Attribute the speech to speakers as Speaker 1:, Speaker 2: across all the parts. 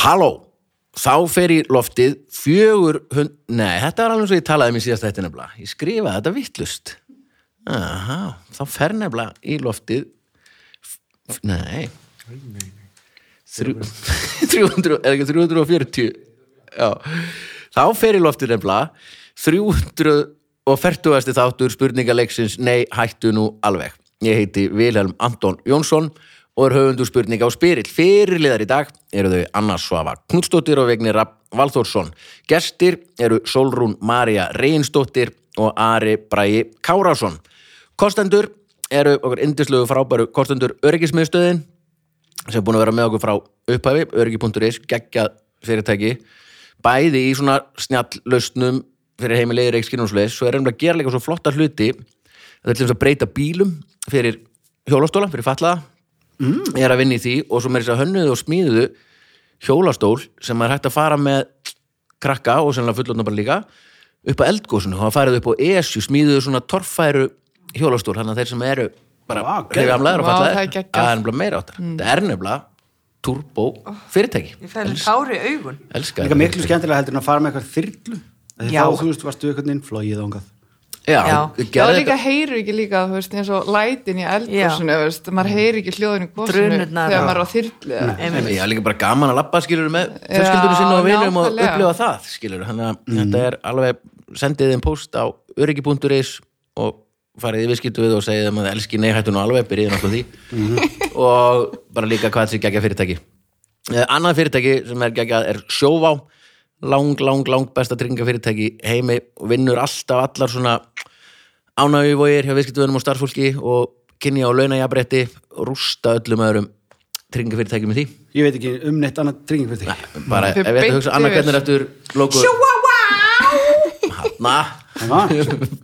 Speaker 1: halló þá fer í loftið 400 nei, þetta var alveg svo ég talaði um mér síðast þetta nefnilega ég skrifaði þetta vittlust Aha, þá fer nefnilega í loftið f- nei Þrjú- 300 eða ekki 340 já, þá fer í loftið nefnilega 340. þáttur spurningaleiksins nei, hættu nú alveg ég heiti Vilhelm Anton Jónsson og er höfundur spurninga á spyrill fyrirliðar í dag eru þau Anna Svava Knudsdóttir og Vegni Rapp Valþórsson gestir eru Solrún Maria Reynsdóttir og Ari Bragi Kárásson kostendur eru okkur indislegu frábæru kostendur öryggismiðstöðin sem er búin að vera með okkur frá upphæfi öryggi.is, geggjað fyrirtæki bæði í svona snjallöstnum fyrir heimilegi reikskinnumsleis svo er reynda að gera líka svo flotta hluti það er til þess að breyta bílum fyrir hjólastóla, fyrir fatlaða mm. er að vinna í því og svo með þess að segja hönnuðu og smíðuðu hjólastól sem er hægt að fara með krakka og sennilega fullotna bara líka upp á eldgósinu, þá farið upp á ESU smíðuðu svona torfæru hjólastól þannig að þeir sem eru bara
Speaker 2: Vá, geggjað.
Speaker 1: hreyfihamlaðir og
Speaker 3: Vá,
Speaker 1: fatlaðir,
Speaker 3: það er geggjað.
Speaker 1: það
Speaker 3: Mm.
Speaker 1: er nefnilega meira áttar það er nefnilega turbo fyrirtæki
Speaker 4: Ég fæði tári augun.
Speaker 1: elskar
Speaker 2: Líka
Speaker 5: sko.
Speaker 2: miklu skemmtilega heldur en að fara með eitthvað þyrlu Af því
Speaker 4: Já.
Speaker 2: Þá, þú veist, varstu einhvern veginn flogið ángað
Speaker 1: já,
Speaker 4: Já.
Speaker 1: gerðu
Speaker 3: Já, líka
Speaker 1: þetta-
Speaker 3: heyru ekki líka, þú veist, eins og lætin í eldgósinu, þú veist, maður heyri ekki hljóðinu í gósinu
Speaker 4: Drunurnar.
Speaker 3: þegar maður er á þyrlu. eða-
Speaker 1: Einmitt. Já, líka bara gaman að labba skilur með fjölskyldunum
Speaker 3: Já,
Speaker 1: sinni og vinum og
Speaker 3: nákvæmlega.
Speaker 1: upplifa það skilur, þannig að þetta er alveg sendið þeim post á öryggi.is og farið í viðskiptu við og segið þeim að elski neihættun og alveg byrjið náttúrulega því og bara líka hvað þessi gegja fyrirtæki Eh, Annað fyrirtæki sem er gegja er sjóvá lang, lang, lang besta tryggingafyrirtæki í heimi og vinnur alltaf allar svona ánægjuvógir hjá viðskiptuðunum og starffólki og kynja og launajabretti og rústa öllum öðrum tryggingafyrirtækjum með því
Speaker 2: Ég veit ekki um neitt annað tryggingfyrirtæki
Speaker 1: bara ef
Speaker 3: Þau
Speaker 1: ég ætti að hugsa
Speaker 3: beint
Speaker 1: annað
Speaker 3: yfir.
Speaker 1: hvernig eftir logo hanna
Speaker 2: Hanna.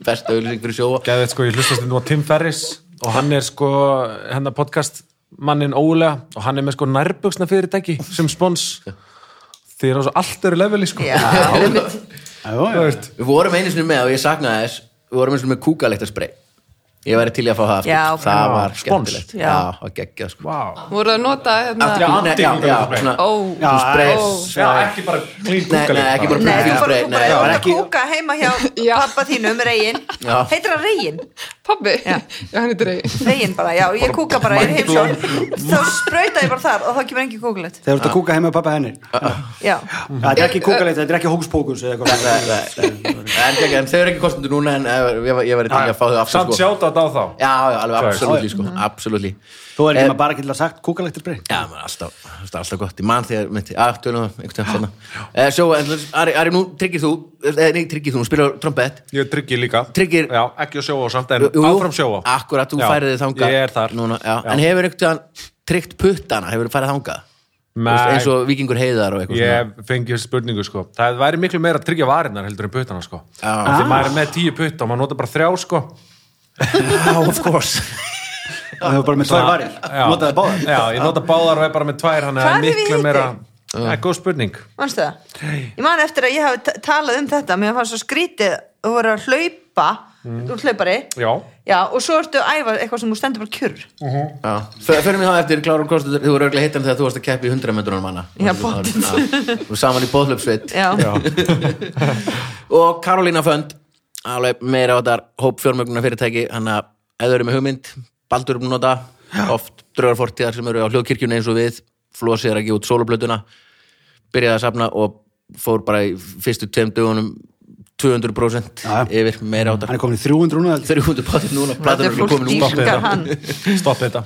Speaker 1: besta auðlýsing fyrir sjóa
Speaker 5: Geðið sko, ég hlustast nú á Tim Ferris og hann er sko, hennar podcast mannin ólega og hann er með sko nærbuksna fyrirtæki sem spons þeir eru á svo allt eru leveli sko
Speaker 4: Já, einmitt.
Speaker 2: Já, já.
Speaker 1: við vorum einu sinni með og ég saknaði þess við vorum einu sinni með kúkalektarspray ég væri til í að fá það aftur
Speaker 4: Já,
Speaker 1: það
Speaker 5: já,
Speaker 1: var
Speaker 5: spons.
Speaker 1: skemmtilegt
Speaker 4: Já.
Speaker 1: já, það geggjað sko
Speaker 5: Vá.
Speaker 3: Voru að nota,
Speaker 1: Aftur í-
Speaker 3: hérna,
Speaker 1: nei, já, já,
Speaker 5: anti-kúkalektarspray.
Speaker 1: svona-
Speaker 3: ó,
Speaker 2: Já,
Speaker 1: sprays.
Speaker 3: ó.
Speaker 5: Já, ekki bara
Speaker 1: Nei,
Speaker 5: clean Google
Speaker 1: nei, ekki bara
Speaker 4: Nei, þú
Speaker 1: Fílspray,
Speaker 4: bara, þú
Speaker 1: nei,
Speaker 4: bara
Speaker 1: það
Speaker 2: var
Speaker 4: út að
Speaker 2: ekki-
Speaker 4: kúka heima hjá
Speaker 3: Já.
Speaker 4: pappa þínum, Reyin.
Speaker 1: Já.
Speaker 4: Heitir hann Reyin?
Speaker 3: pabbi, já,
Speaker 4: Já.
Speaker 3: hann er dreig.
Speaker 4: Reyin bara, já, ég kúka bara, ég er heimsón. Þá sprauta ég bara þar og þá kemur engin kúkulegt.
Speaker 2: Þegar þú ert að kúka heima með pappa hennir
Speaker 4: Já,
Speaker 2: Þetta er ekki kúkaleit, þetta er ekki hókspókus eða eitthvað
Speaker 1: en, geggjað, en þau eru ekki kostendur núna en eh, ég, var- ég væri til í að fá þau aftur
Speaker 5: Samt
Speaker 1: sko já,
Speaker 5: sjáta þetta á þá
Speaker 1: já, alveg
Speaker 5: Sorry.
Speaker 1: absolutt sko absolutt
Speaker 2: Þú er ekki maður bara ekki til að sagt kúkaleitt er breytt
Speaker 1: Já, maður, alltaf, alltaf, alltaf gott, ég man þegar myndi, að, tölum það, einhvern veginn svona Sjó, en, Ari, Ari, nú tryggir þú, eða nei, tryggir þú, nú spilar trompett
Speaker 5: Ég tryggi líka
Speaker 1: Tryggir-
Speaker 5: Já, ekki að sjóa á samt en áfram sjóa
Speaker 1: Akkurat, þú
Speaker 5: Já,
Speaker 1: færið þið þangað
Speaker 5: Ég er þar
Speaker 1: núna, já.
Speaker 5: Já.
Speaker 1: En hefur einhvern veginn tryggt puttana, hefur þið færið þangað Þú veist, Eins og vikingur heiðar og eitthvað
Speaker 5: Ég fengi spurningu sko Það væri miklu meira að tryggja varinnar heldur en puttana sko
Speaker 1: Já.
Speaker 5: Af Því maður er með tíu putta og maður nota bara þrjá sko
Speaker 1: svona Já, of course
Speaker 2: Það hefur bara með tvær varir,
Speaker 5: Já.
Speaker 2: notaði báðar
Speaker 5: Já, ég nota báðar og er bara með tvær Þannig að
Speaker 4: Hvað
Speaker 5: það er
Speaker 4: þið
Speaker 5: miklu
Speaker 4: vitið?
Speaker 5: meira Það er góð spurning
Speaker 4: mannstu það? Ég man eftir að ég hafi ta- talað um þetta, mér fannst svo skrítið, þú voru að hlaupa,
Speaker 1: Mm.
Speaker 4: þú ert hlaupari,
Speaker 5: Já,
Speaker 4: já, og svo ertu að æfa eitthvað sem þú stendur bara kjurr.
Speaker 1: Já, fyrir mig þá eftir klárum kostur Þú voru örgulega hittan þegar þú varst að keppi í 100 metrunum hana
Speaker 4: Já, pottet.
Speaker 1: Og saman í bóðlöpsveit
Speaker 4: Já.
Speaker 1: og Karolína Fönd alveg meira á þetta hópfjörmögnunar fyrirtæki hann að eða eru með hugmynd baldur um nota, oft draugarfortíðar sem eru á hljóðkirkjunni eins og við flósið er að gefa út sólublötuna byrjaði að safna og fór bara í fyrstu tveim dögunum 200%
Speaker 2: Já, já.
Speaker 1: yfir meira á þetta
Speaker 2: Hann er komin í 300 núna heldur
Speaker 1: 300 bátir núna, platan er
Speaker 4: Þetta er
Speaker 1: örugglega komin út
Speaker 4: fólk
Speaker 5: Stoppið
Speaker 4: dýrkar
Speaker 5: þetta.
Speaker 4: hann.
Speaker 5: stopp þetta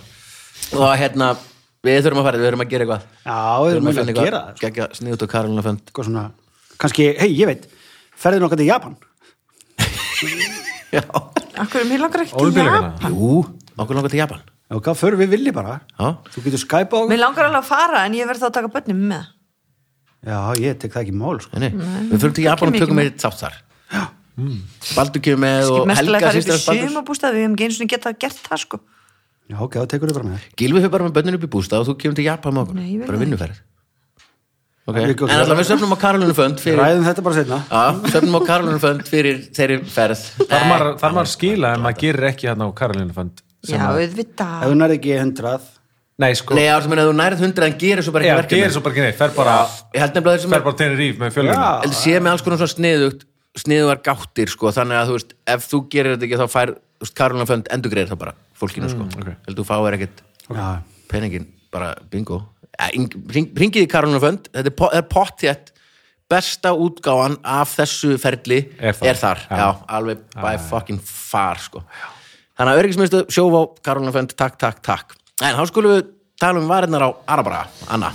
Speaker 1: og hérna, við þurfum að fara við þurfum að gera eitthvað
Speaker 2: Já, við erum að gera það sko.
Speaker 1: geggja sniðut og Karolína Fönd
Speaker 2: Eitthvað svona, kannski, hei, ég veit Ferðin okkar til Japan
Speaker 1: já,
Speaker 4: Akkur, mér langar ekki til Japan.
Speaker 5: Ólympíuleikana
Speaker 1: jú, okkur langar til Japan
Speaker 2: Já, hvað förum við villi bara
Speaker 1: Já.
Speaker 2: Þú getur Skype á
Speaker 4: Mér langar alveg að fara en ég verð þá að taka börnum með
Speaker 2: Já, ég tek það ekki í mál sko.
Speaker 1: Nei, nei. Við fyrir til Japan og
Speaker 4: kemur
Speaker 1: tökum eitt þátt þar Mm. Baldur kemur með og
Speaker 4: Mestlega
Speaker 1: Helga
Speaker 4: það er
Speaker 1: sýstir
Speaker 4: upp í
Speaker 1: hans Baldur
Speaker 4: sumabústað Við hefum ekki eins og geta gert það sko
Speaker 2: Já, ok, þá tekur þau bara með það
Speaker 1: Gilvi fyrir bara með bönninu upp í bústað og þú kemur til Japan með okkur
Speaker 4: Nei, ég veit
Speaker 1: Bara
Speaker 4: það
Speaker 1: vinnuferð okay.
Speaker 2: Það er ekki
Speaker 1: En
Speaker 2: okkur.
Speaker 1: alltaf við söfnum á Karolínu Fönd fyrir
Speaker 2: Ræðum þetta bara setna
Speaker 1: Já, söfnum á Karolínu Fönd fyrir þeirri ferð
Speaker 5: Þar maður, þar maður skila en maður gerir ekki hérna á Karolínu fund
Speaker 4: Já, auðvitað
Speaker 2: Ef þú nærði ekki í 100
Speaker 5: Nei, sko,
Speaker 1: Nei, það Eh, sem meina að þú nærið hundra en gerir svo bara
Speaker 5: já,
Speaker 1: ekki
Speaker 5: gerir
Speaker 1: verkefni
Speaker 5: svo bara ekki neitt, fer bara,
Speaker 1: Ég held nefnilega þeir sem
Speaker 5: fer bara tenni ríf með fjölunum.
Speaker 2: Já.
Speaker 1: Heldur sé með alls konar svona sniðugt sniðugar gáttir sko þannig að þú veist ef þú gerir þetta ekki þá fær þú veist, Karolina Fönd endurgreir það bara fólkinu sko okay. heldur þú fáir ekkert
Speaker 2: Já.
Speaker 1: peningin bara bingo Ja, ing- hring- hringið í Karolina Fönd þetta er po- er pottjætt besta útgáfan af þessu ferli
Speaker 5: Er þar.
Speaker 1: já. alveg by fucking far sko þannig að öryggismistu sjófá Karolina Fönd takk, takk, takk en þá skulum við tala um varinnar á Arabra Anna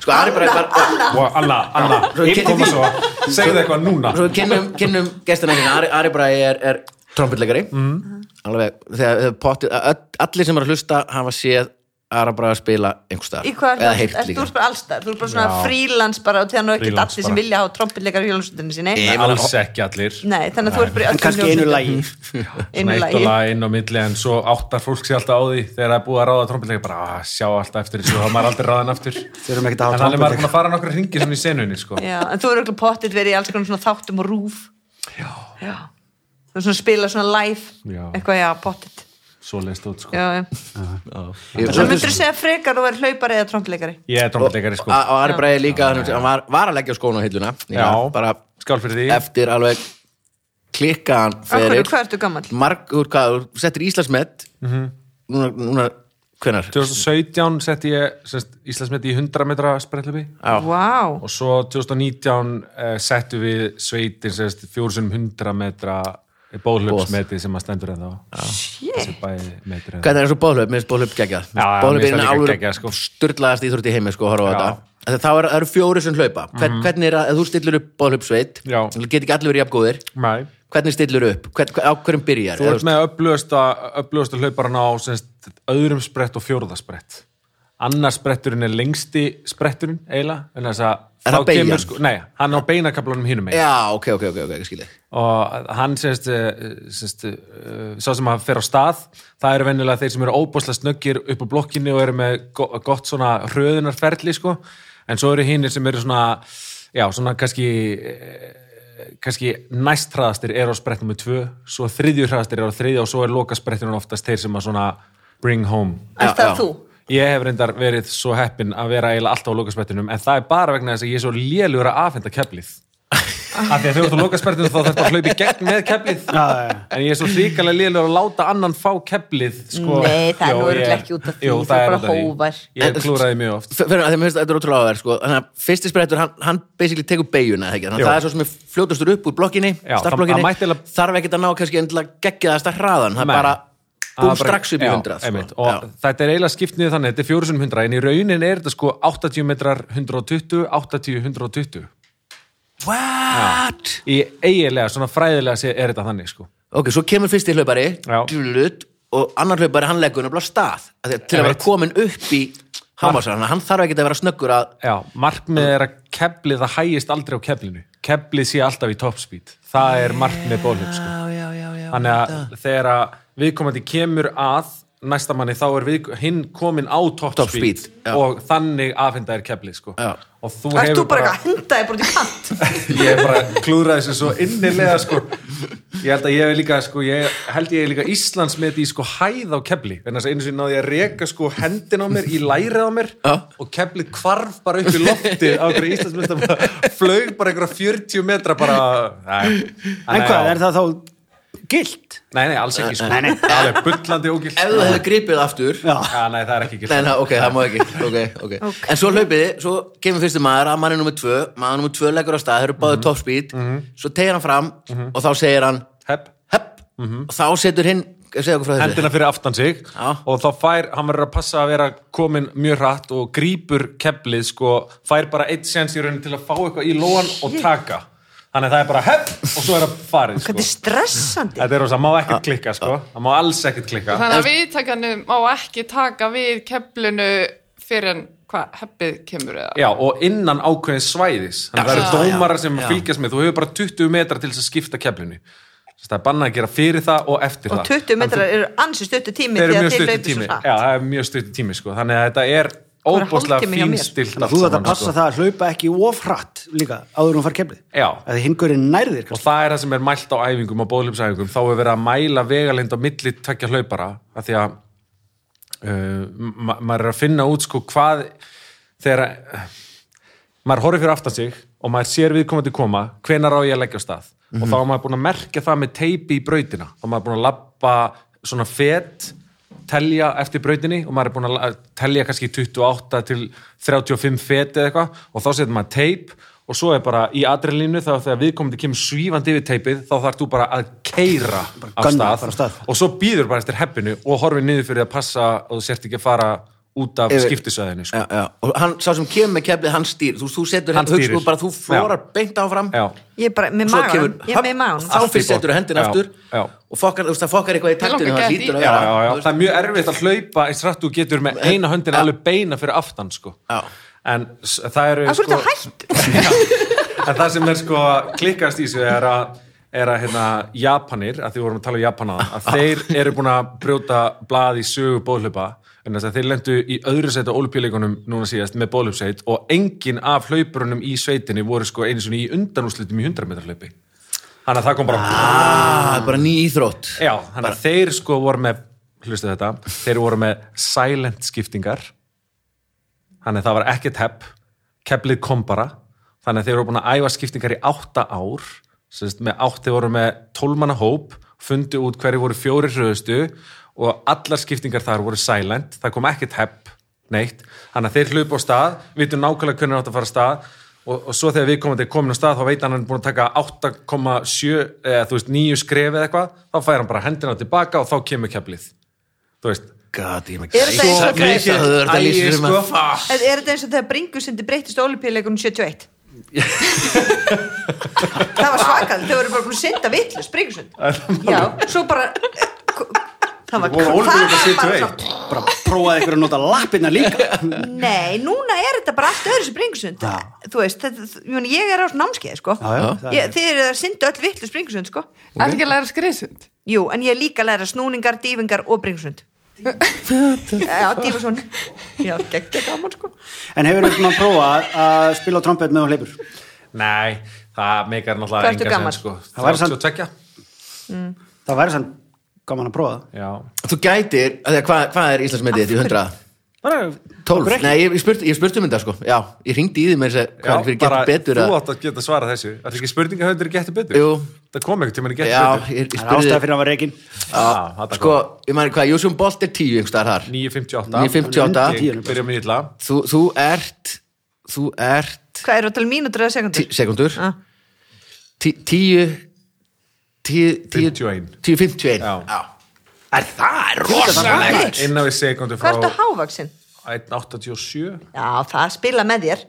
Speaker 1: sko Arabra er bara
Speaker 5: Og Anna, Anna,
Speaker 1: Svo-
Speaker 5: koma svo, segðu eitthvað núna.
Speaker 1: Svo við kynnum, kynnum gestina hérna, Ari, Ari Bræði er, er trompetleikari mm. alveg, þegar, þegar potti, allir sem eru að hlusta hafa séð Ari Bræði spila einhvers staðar,
Speaker 4: Í hvað
Speaker 1: eða
Speaker 4: er
Speaker 1: heyrt
Speaker 4: það? Þú
Speaker 1: líka
Speaker 4: ert bara allstar, þú ert bara svona
Speaker 5: Já.
Speaker 4: frílans bara og tjána ekki
Speaker 5: Freelance
Speaker 4: allir sem
Speaker 5: bara.
Speaker 4: vilja hafa trompilleikar í hljómsveitinni sinni.
Speaker 1: Ég-
Speaker 5: Alls ekki allir.
Speaker 4: Nei, þannig að þú ert bara í
Speaker 2: En
Speaker 4: öllum
Speaker 2: kannski einu lagi
Speaker 4: Einu
Speaker 5: Svona eitt
Speaker 4: lagi.
Speaker 5: og lag inn á milli en svo áttar fólk sér alltaf á því þegar það er búið að ráða trombinleika bara að sjá alltaf eftir þessu og þá er maður aldrei ráðan aftur
Speaker 2: Þurfum ekkert að hafa
Speaker 5: en hann er
Speaker 2: trompetleik.
Speaker 5: maður búin að fara nokkra hringi svona í senunni sko.
Speaker 4: Já, en þú eru örugglega pottitt verið í alls konar svona þáttum og rúf. Já. Þú ert svona að spila svona live,
Speaker 5: Já.
Speaker 4: eitthvað, já, pottitt.
Speaker 5: svo leist út sko.
Speaker 4: Já, já.
Speaker 1: Ég-
Speaker 4: Svo myndir þú segja frekar og verið hlaupari eða trompilleikari.
Speaker 5: ég er trombinleikari
Speaker 1: og ah,
Speaker 5: sko.
Speaker 1: og Ari Bræði líka, hann, hann var, var að leggja skónu á hilluna
Speaker 5: Já.
Speaker 1: bara
Speaker 5: skál fyrir því
Speaker 1: eftir alveg klikkaðan
Speaker 4: Akkur,
Speaker 1: fyrir
Speaker 4: hvað ertu gammal?
Speaker 1: marg, úr hvað, þú settir Íslandsmet núna, núna, hvenar?
Speaker 5: 2017 setti ég semst, Íslandsmeti í 100 metra sprettlubi
Speaker 1: Já.
Speaker 4: Vá.
Speaker 5: og svo 2019 eh, settum við sveitin semst, 400 metra bóðlöpsmeti sem að stendur en þá
Speaker 4: Shit.
Speaker 5: þessi bæði metri
Speaker 1: Hvernig er þessu bóðhlaup? Mér finnst bóðhlaup geggjað
Speaker 5: Já, já,
Speaker 1: Bóðhlaup
Speaker 5: mér
Speaker 1: er
Speaker 5: finnst
Speaker 1: einu
Speaker 5: það líka
Speaker 1: alveg
Speaker 5: geggjað, sko.
Speaker 1: styrlaðast íþrótt í heimi sko, að horfa á
Speaker 5: Já. Mhm.
Speaker 1: þetta Þegar Það er, það eru fjóri sem hlaupa Hvern, Hvernig er að ef þú stillur upp bóðhlaupsveit
Speaker 5: Já.
Speaker 1: Get ekki allir verið jafngóðir
Speaker 5: Nei.
Speaker 1: Hvernig stillur upp? Hvern, hver, á hverjum byrjar?
Speaker 5: Þú
Speaker 1: Eða,
Speaker 5: ert með öflugasta, öflugasta hlauparana á semst, öðrum sprett og fjórða sprett. Annar spretturinn er lengsti spretturinn eiginlega, en þess að
Speaker 1: Er
Speaker 5: þá
Speaker 1: það beygjan?
Speaker 5: kemur Sko, nei, hann á beinakablanum hínum
Speaker 1: veist-
Speaker 5: megin.
Speaker 1: Já, ok, ok, ok, ok, skilji
Speaker 5: Og hann semst, eh, semst, eh, sá sem að fer á stað, það eru venjulega þeir sem eru óbúslega snöggir upp á blokkinni og eru með go- gott svona hröðunarferli, sko. En svo eru hinnir sem eru svona, já, svona kannski eh, kannski næst hraðastir er á sprett nummer 2, svo þriðju hraðastir er á þriðja og svo er loka sprettinun oftast þeir sem að svona bring home.
Speaker 1: Já,
Speaker 4: Er það
Speaker 1: já.
Speaker 4: þú?
Speaker 5: Ég hef reyndar verið svo heppin að vera eiginlega alltaf á lokasprettinum en það er bara vegna þess að ég er svo lélugur að afhenda keflið. Af því að þegar þú ert á lokasprettinum þá þarf bara að hlaupa í gegn með keflið.
Speaker 2: Já, já, já.
Speaker 5: En ég er svo hrikalega lélugur að láta annan fá keflið. Sko.
Speaker 4: Nei, það er
Speaker 5: Jó,
Speaker 4: nú
Speaker 5: ég-
Speaker 4: örugglega ekki út af því,
Speaker 5: Jú,
Speaker 4: þú
Speaker 5: það
Speaker 4: ert
Speaker 5: er
Speaker 4: bara
Speaker 5: út af því.
Speaker 4: hógvær.
Speaker 5: Ég klúraði mjög oft.
Speaker 1: Fyrir að þeim finnst þetta er ótrúlega áverð sko. Þannig að fyrsti sprettur, hann, hann basically tekur beiguna Þannig að
Speaker 5: Jú.
Speaker 1: það er svo sem er fljótastur upp úr blokkinni
Speaker 5: Já,
Speaker 1: Startblokkinni,
Speaker 5: það- það mætti eiginlega-
Speaker 1: þarf ekki að ná kannski endilega geggjaðasta hraðan Það er
Speaker 5: Nei.
Speaker 1: bara,
Speaker 5: Það
Speaker 1: búm,
Speaker 5: var bara-
Speaker 1: strax upp í
Speaker 5: já,
Speaker 1: hundrað sko.
Speaker 5: einmitt. og
Speaker 1: Já.
Speaker 5: þetta er eiginlega skipt niður þannig, þetta er 400 en í raunin er þetta sko 80 metrar 120, 80, 120
Speaker 1: What?
Speaker 5: í eiginlega, svona fræðilega sé, er þetta þannig sko
Speaker 1: Ok, svo kemur fyrsti hlaupari
Speaker 5: Já.
Speaker 1: djúlut, og annar hlaupari hann leggur nefnilega af stað af því að til að vera
Speaker 5: Einmitt. Ah.
Speaker 1: komin upp í hámarsarana, hann þarf ekki að vera snöggur að
Speaker 5: Já, markmið er að keflið það hægist aldrei á keflinu keflið sé alltaf í topspeed það er markmið bólum sko.
Speaker 1: já, já, já
Speaker 5: þannig að þegar að viðkomandi kemur að næsta manni þá er við, hinn komin á
Speaker 1: Top
Speaker 5: topspeed
Speaker 1: speed, já.
Speaker 5: og þannig afhenda er keflið sko.
Speaker 1: Já.
Speaker 5: og
Speaker 4: Ert
Speaker 5: þú
Speaker 4: þú
Speaker 5: hefur Sko.
Speaker 4: bara eitthvað að henda þig bara út í kant?
Speaker 5: ég er bara klúðraði þessu svo innilega sko. ég held að ég hef líka sko, ég held ég hef líka Íslands með því sko hæð á kefli en þess að einu sinni náði ég að reka sko hendin á mér í lærið á mér
Speaker 1: Já.
Speaker 5: og keflið kvarf bara upp í lofti á einhverju Íslands með bara flög bara einhverja 40 metra bara nei,
Speaker 2: En hvað, er það þá gilt?
Speaker 5: nei, nei, alls ekki sko
Speaker 2: Nei, nei.
Speaker 5: alveg bullandi ógilt
Speaker 1: Ef þú hefði gripið aftur
Speaker 2: Já.
Speaker 5: já, nei, það er ekki sko. gilt
Speaker 1: Nei, na, ok, það má ekki okay, okay. En svo hlaupið, þið, svo kemur fyrsti maður að manni nummer tvö, maður nummer tvö leggur á stað þeir eru
Speaker 5: Mhm.
Speaker 1: báðið top speed, svo tegir hann fram og þá segir hann,
Speaker 5: hepp
Speaker 1: hepp og þá setur hinn, segja okkur frá þessu
Speaker 5: Mhm. hendina fyrir aftan sig
Speaker 1: Já.
Speaker 5: og þá fær, hann verður að passa að vera komin mjög hratt og grípur keflið sko, fær bara eitt sens í rauninni til að fá eitthvað í lóan og taka þannig að það er bara hepp og svo er það farið
Speaker 4: Þetta
Speaker 5: sko.
Speaker 4: er stressandi.
Speaker 5: þetta er rosa, það má ekkert klikka sko. það má alls ekkert klikka
Speaker 3: Þannig að viðtakanum má ekki taka við keflinu fyrir en hvað heppið kemur eða.
Speaker 5: Já, og innan ákveðin svæðis þannig að
Speaker 1: Já,
Speaker 5: það eru
Speaker 1: já,
Speaker 5: dómarar sem
Speaker 1: já.
Speaker 5: fylgjast með þú hefur bara 20 metra til þess að skipta keflinu Þess að það er bannað að gera fyrir það og eftir
Speaker 4: Og
Speaker 5: það
Speaker 4: 20 metrar eru ansi stuttu tími
Speaker 5: Þeir eru
Speaker 4: því að þið
Speaker 5: mjög stutti
Speaker 4: hlaupið
Speaker 5: tími
Speaker 4: svo
Speaker 5: Já,
Speaker 4: hratt.
Speaker 5: það er mjög stutti tími sko. þannig að þetta er
Speaker 4: er
Speaker 5: óbúslega
Speaker 4: hálftími hjá mér.
Speaker 5: fínstilt
Speaker 2: Þú þetta passa það að hlaupa ekki ofrætt líka áður en hún far kemlið.
Speaker 5: sko. Já. Oh
Speaker 2: Það hingurinn nærðir.
Speaker 5: og það er það sem er mælt á æfingum og bóðlöpsæfingum þá er verið að mæla vegalind á milli tvekja hlaupara af því að uh, ma maður er að finna út sko hvað þegar eh, maður horfir fyrir aftan sig og maður sér viðkomandi koma hvenar á ég að leggja á stað
Speaker 2: Mhm.
Speaker 5: og þá er maður búin að merkja það með teipi í brautina þá er maður búin að labba svona fet telja eftir brautinni og maður er búin að la- telja kannski 28 til 35 fet eða eitthvað og þá setur maður teip og svo er bara í adrenalínu þá þegar viðkomandi kemur svífandi yfir teipið þá þarf þú bara að keira af
Speaker 2: gunna,
Speaker 5: stað,
Speaker 2: bara af stað.
Speaker 5: og svo býður bara eftir heppinu og horfir niður fyrir að passa og þú sért ekki að fara út af
Speaker 1: Yfir.
Speaker 5: skiptisöðinu
Speaker 2: Eh.
Speaker 5: sko.
Speaker 1: já, já. og hann, sá sem kemur með keflið, hann stýr þú, þú setur, hann
Speaker 5: Hann
Speaker 1: hugsa
Speaker 5: stýrir.
Speaker 1: nú bara, þú flórar beint áfram
Speaker 5: Já.
Speaker 4: Ég er bara, með
Speaker 1: svo
Speaker 4: magan,
Speaker 1: kemur,
Speaker 4: ég er með magan
Speaker 1: þá
Speaker 5: Allt í
Speaker 1: fyrst
Speaker 5: botn.
Speaker 1: setur hendin
Speaker 5: Já,
Speaker 1: aftur
Speaker 5: já.
Speaker 1: og fokkar, þú veist, það fokkar eitthvað í
Speaker 3: Mig
Speaker 1: taktinu
Speaker 3: langar
Speaker 1: það
Speaker 3: ekki að
Speaker 1: lítur
Speaker 3: því.
Speaker 1: að
Speaker 5: Já,
Speaker 1: vera
Speaker 5: já,
Speaker 1: þú
Speaker 5: já.
Speaker 1: veist.
Speaker 5: það er mjög erfitt að hlaupa eins rætt þú getur með eina höndin alveg beina fyrir aftan sko. en s- það eru sko,
Speaker 4: Af hverju þetta hætt?
Speaker 5: en það sem er sko klikkast í sig er að er að hérna, Japanir, að því við vorum að tala um Japana að þeir eru búin að brjóta blað í sögu bóðhlaupa en þess að þeir lendu í öðru sæti á olupíleikunum núna síðast með bóðhlaupsveit og engin af hlaupurunum í sveitinni voru sko einu svona í undanúslitum í 100 metra hlaupi þannig að það kom bara
Speaker 1: Ah, bara ný íþrótt
Speaker 5: já, þannig að þeir sko voru með hlustu þetta, þeir voru með silent skiptingar þannig að það var ekkert hepp keflið kom bara þannig að þeir voru búin að æfa skiptingar í átta ár sérst, með átt, þeir voru með tólmanna hóp, fundu út hverju voru fjóri hröðustu og allar skiptingar þar voru silent, það kom ekkert hepp neitt, þannig að þeir hlupu á stað vitum nákvæmlega hvernig átt að fara af stað og, og svo þegar viðkomandi er komin á stað þá veit hann að hann er búin að taka 8,7 eða þú veist 9 skref eða eitthvað þá fær hann bara hendina tilbaka og þá kemur keflið þú veist,
Speaker 1: God, ég maður
Speaker 4: Er þetta eins og-
Speaker 1: mikið að þetta
Speaker 5: Æi,
Speaker 1: lýsir um að
Speaker 5: sko.
Speaker 4: Er er þetta eins og þegar bringusundi breytist ólipíleikunum 71? það var svakal, þau voru bara búin að synda vittlust bringusund. Já, svo bara... Það var,
Speaker 5: voru Ólympíuleikum 71.
Speaker 4: svona-
Speaker 2: bara prófaði ykkur að nota lappina líka já,
Speaker 4: Nei, núna er þetta bara allt öðru sem bringusund.
Speaker 2: Já.
Speaker 4: Þú veist, þetta, ég, meina, ég er á námskeið, sko.
Speaker 2: já, það
Speaker 4: Ég,
Speaker 2: er-
Speaker 4: þið eru að synda öll vittlust bringusund, sko.
Speaker 3: Er ekki að læra skriðsund?
Speaker 4: Jú, en ég er líka að læra snúningar, dýfingar og bringusund. Já, dýfarsund. Já, geggja gaman, sko.
Speaker 2: en hefur ykkur maður prófað að spila á trompet með hún hleypur
Speaker 5: Nei, það meikar
Speaker 4: Hvað
Speaker 5: náttúrulega
Speaker 4: ertu
Speaker 5: engan
Speaker 4: gamall?
Speaker 5: sens, sko.
Speaker 2: Það væri samt-
Speaker 5: 32?
Speaker 2: það væri sann gaman að prófa
Speaker 5: Já.
Speaker 1: Þú gætir, af því að hvað hvað er Íslandsmetið þetta í 100?
Speaker 2: það
Speaker 1: 12, nei, ég, ég spurti, ég spurti um þetta sko Já, ég hringdi í því með þess að hvað
Speaker 5: Já,
Speaker 1: er fyrir getur betur
Speaker 5: þú
Speaker 1: að
Speaker 5: átt að geta svara þessu Það er ekki spurninga höfður getur betur
Speaker 1: Jú.
Speaker 5: Það kom ekkert tíma að
Speaker 1: Já,
Speaker 5: geta
Speaker 1: ég,
Speaker 5: betur
Speaker 1: ég
Speaker 2: Það er
Speaker 1: spurði
Speaker 2: ástæða fyrir að hann var reikin
Speaker 5: Já, þetta
Speaker 1: Sko,
Speaker 5: kom.
Speaker 1: ég maður hvað, Júsum Bolt er 10 einhvers staðar þar
Speaker 5: 9.58
Speaker 2: 9.58.
Speaker 1: 9.58
Speaker 5: Ég Byrja með illa
Speaker 1: þú, þú ert, þú ert
Speaker 4: Hvað eru að tala mínútur eða sekundur?
Speaker 1: tí- Sekundur
Speaker 4: Ah.
Speaker 1: 10 10
Speaker 5: 51.
Speaker 1: 51
Speaker 5: Já.
Speaker 1: Já Er það er rosalegt
Speaker 5: Inna við sekundu frá
Speaker 4: Hvað ertu hávaksin?
Speaker 5: 1.87
Speaker 4: Já, það spila með þér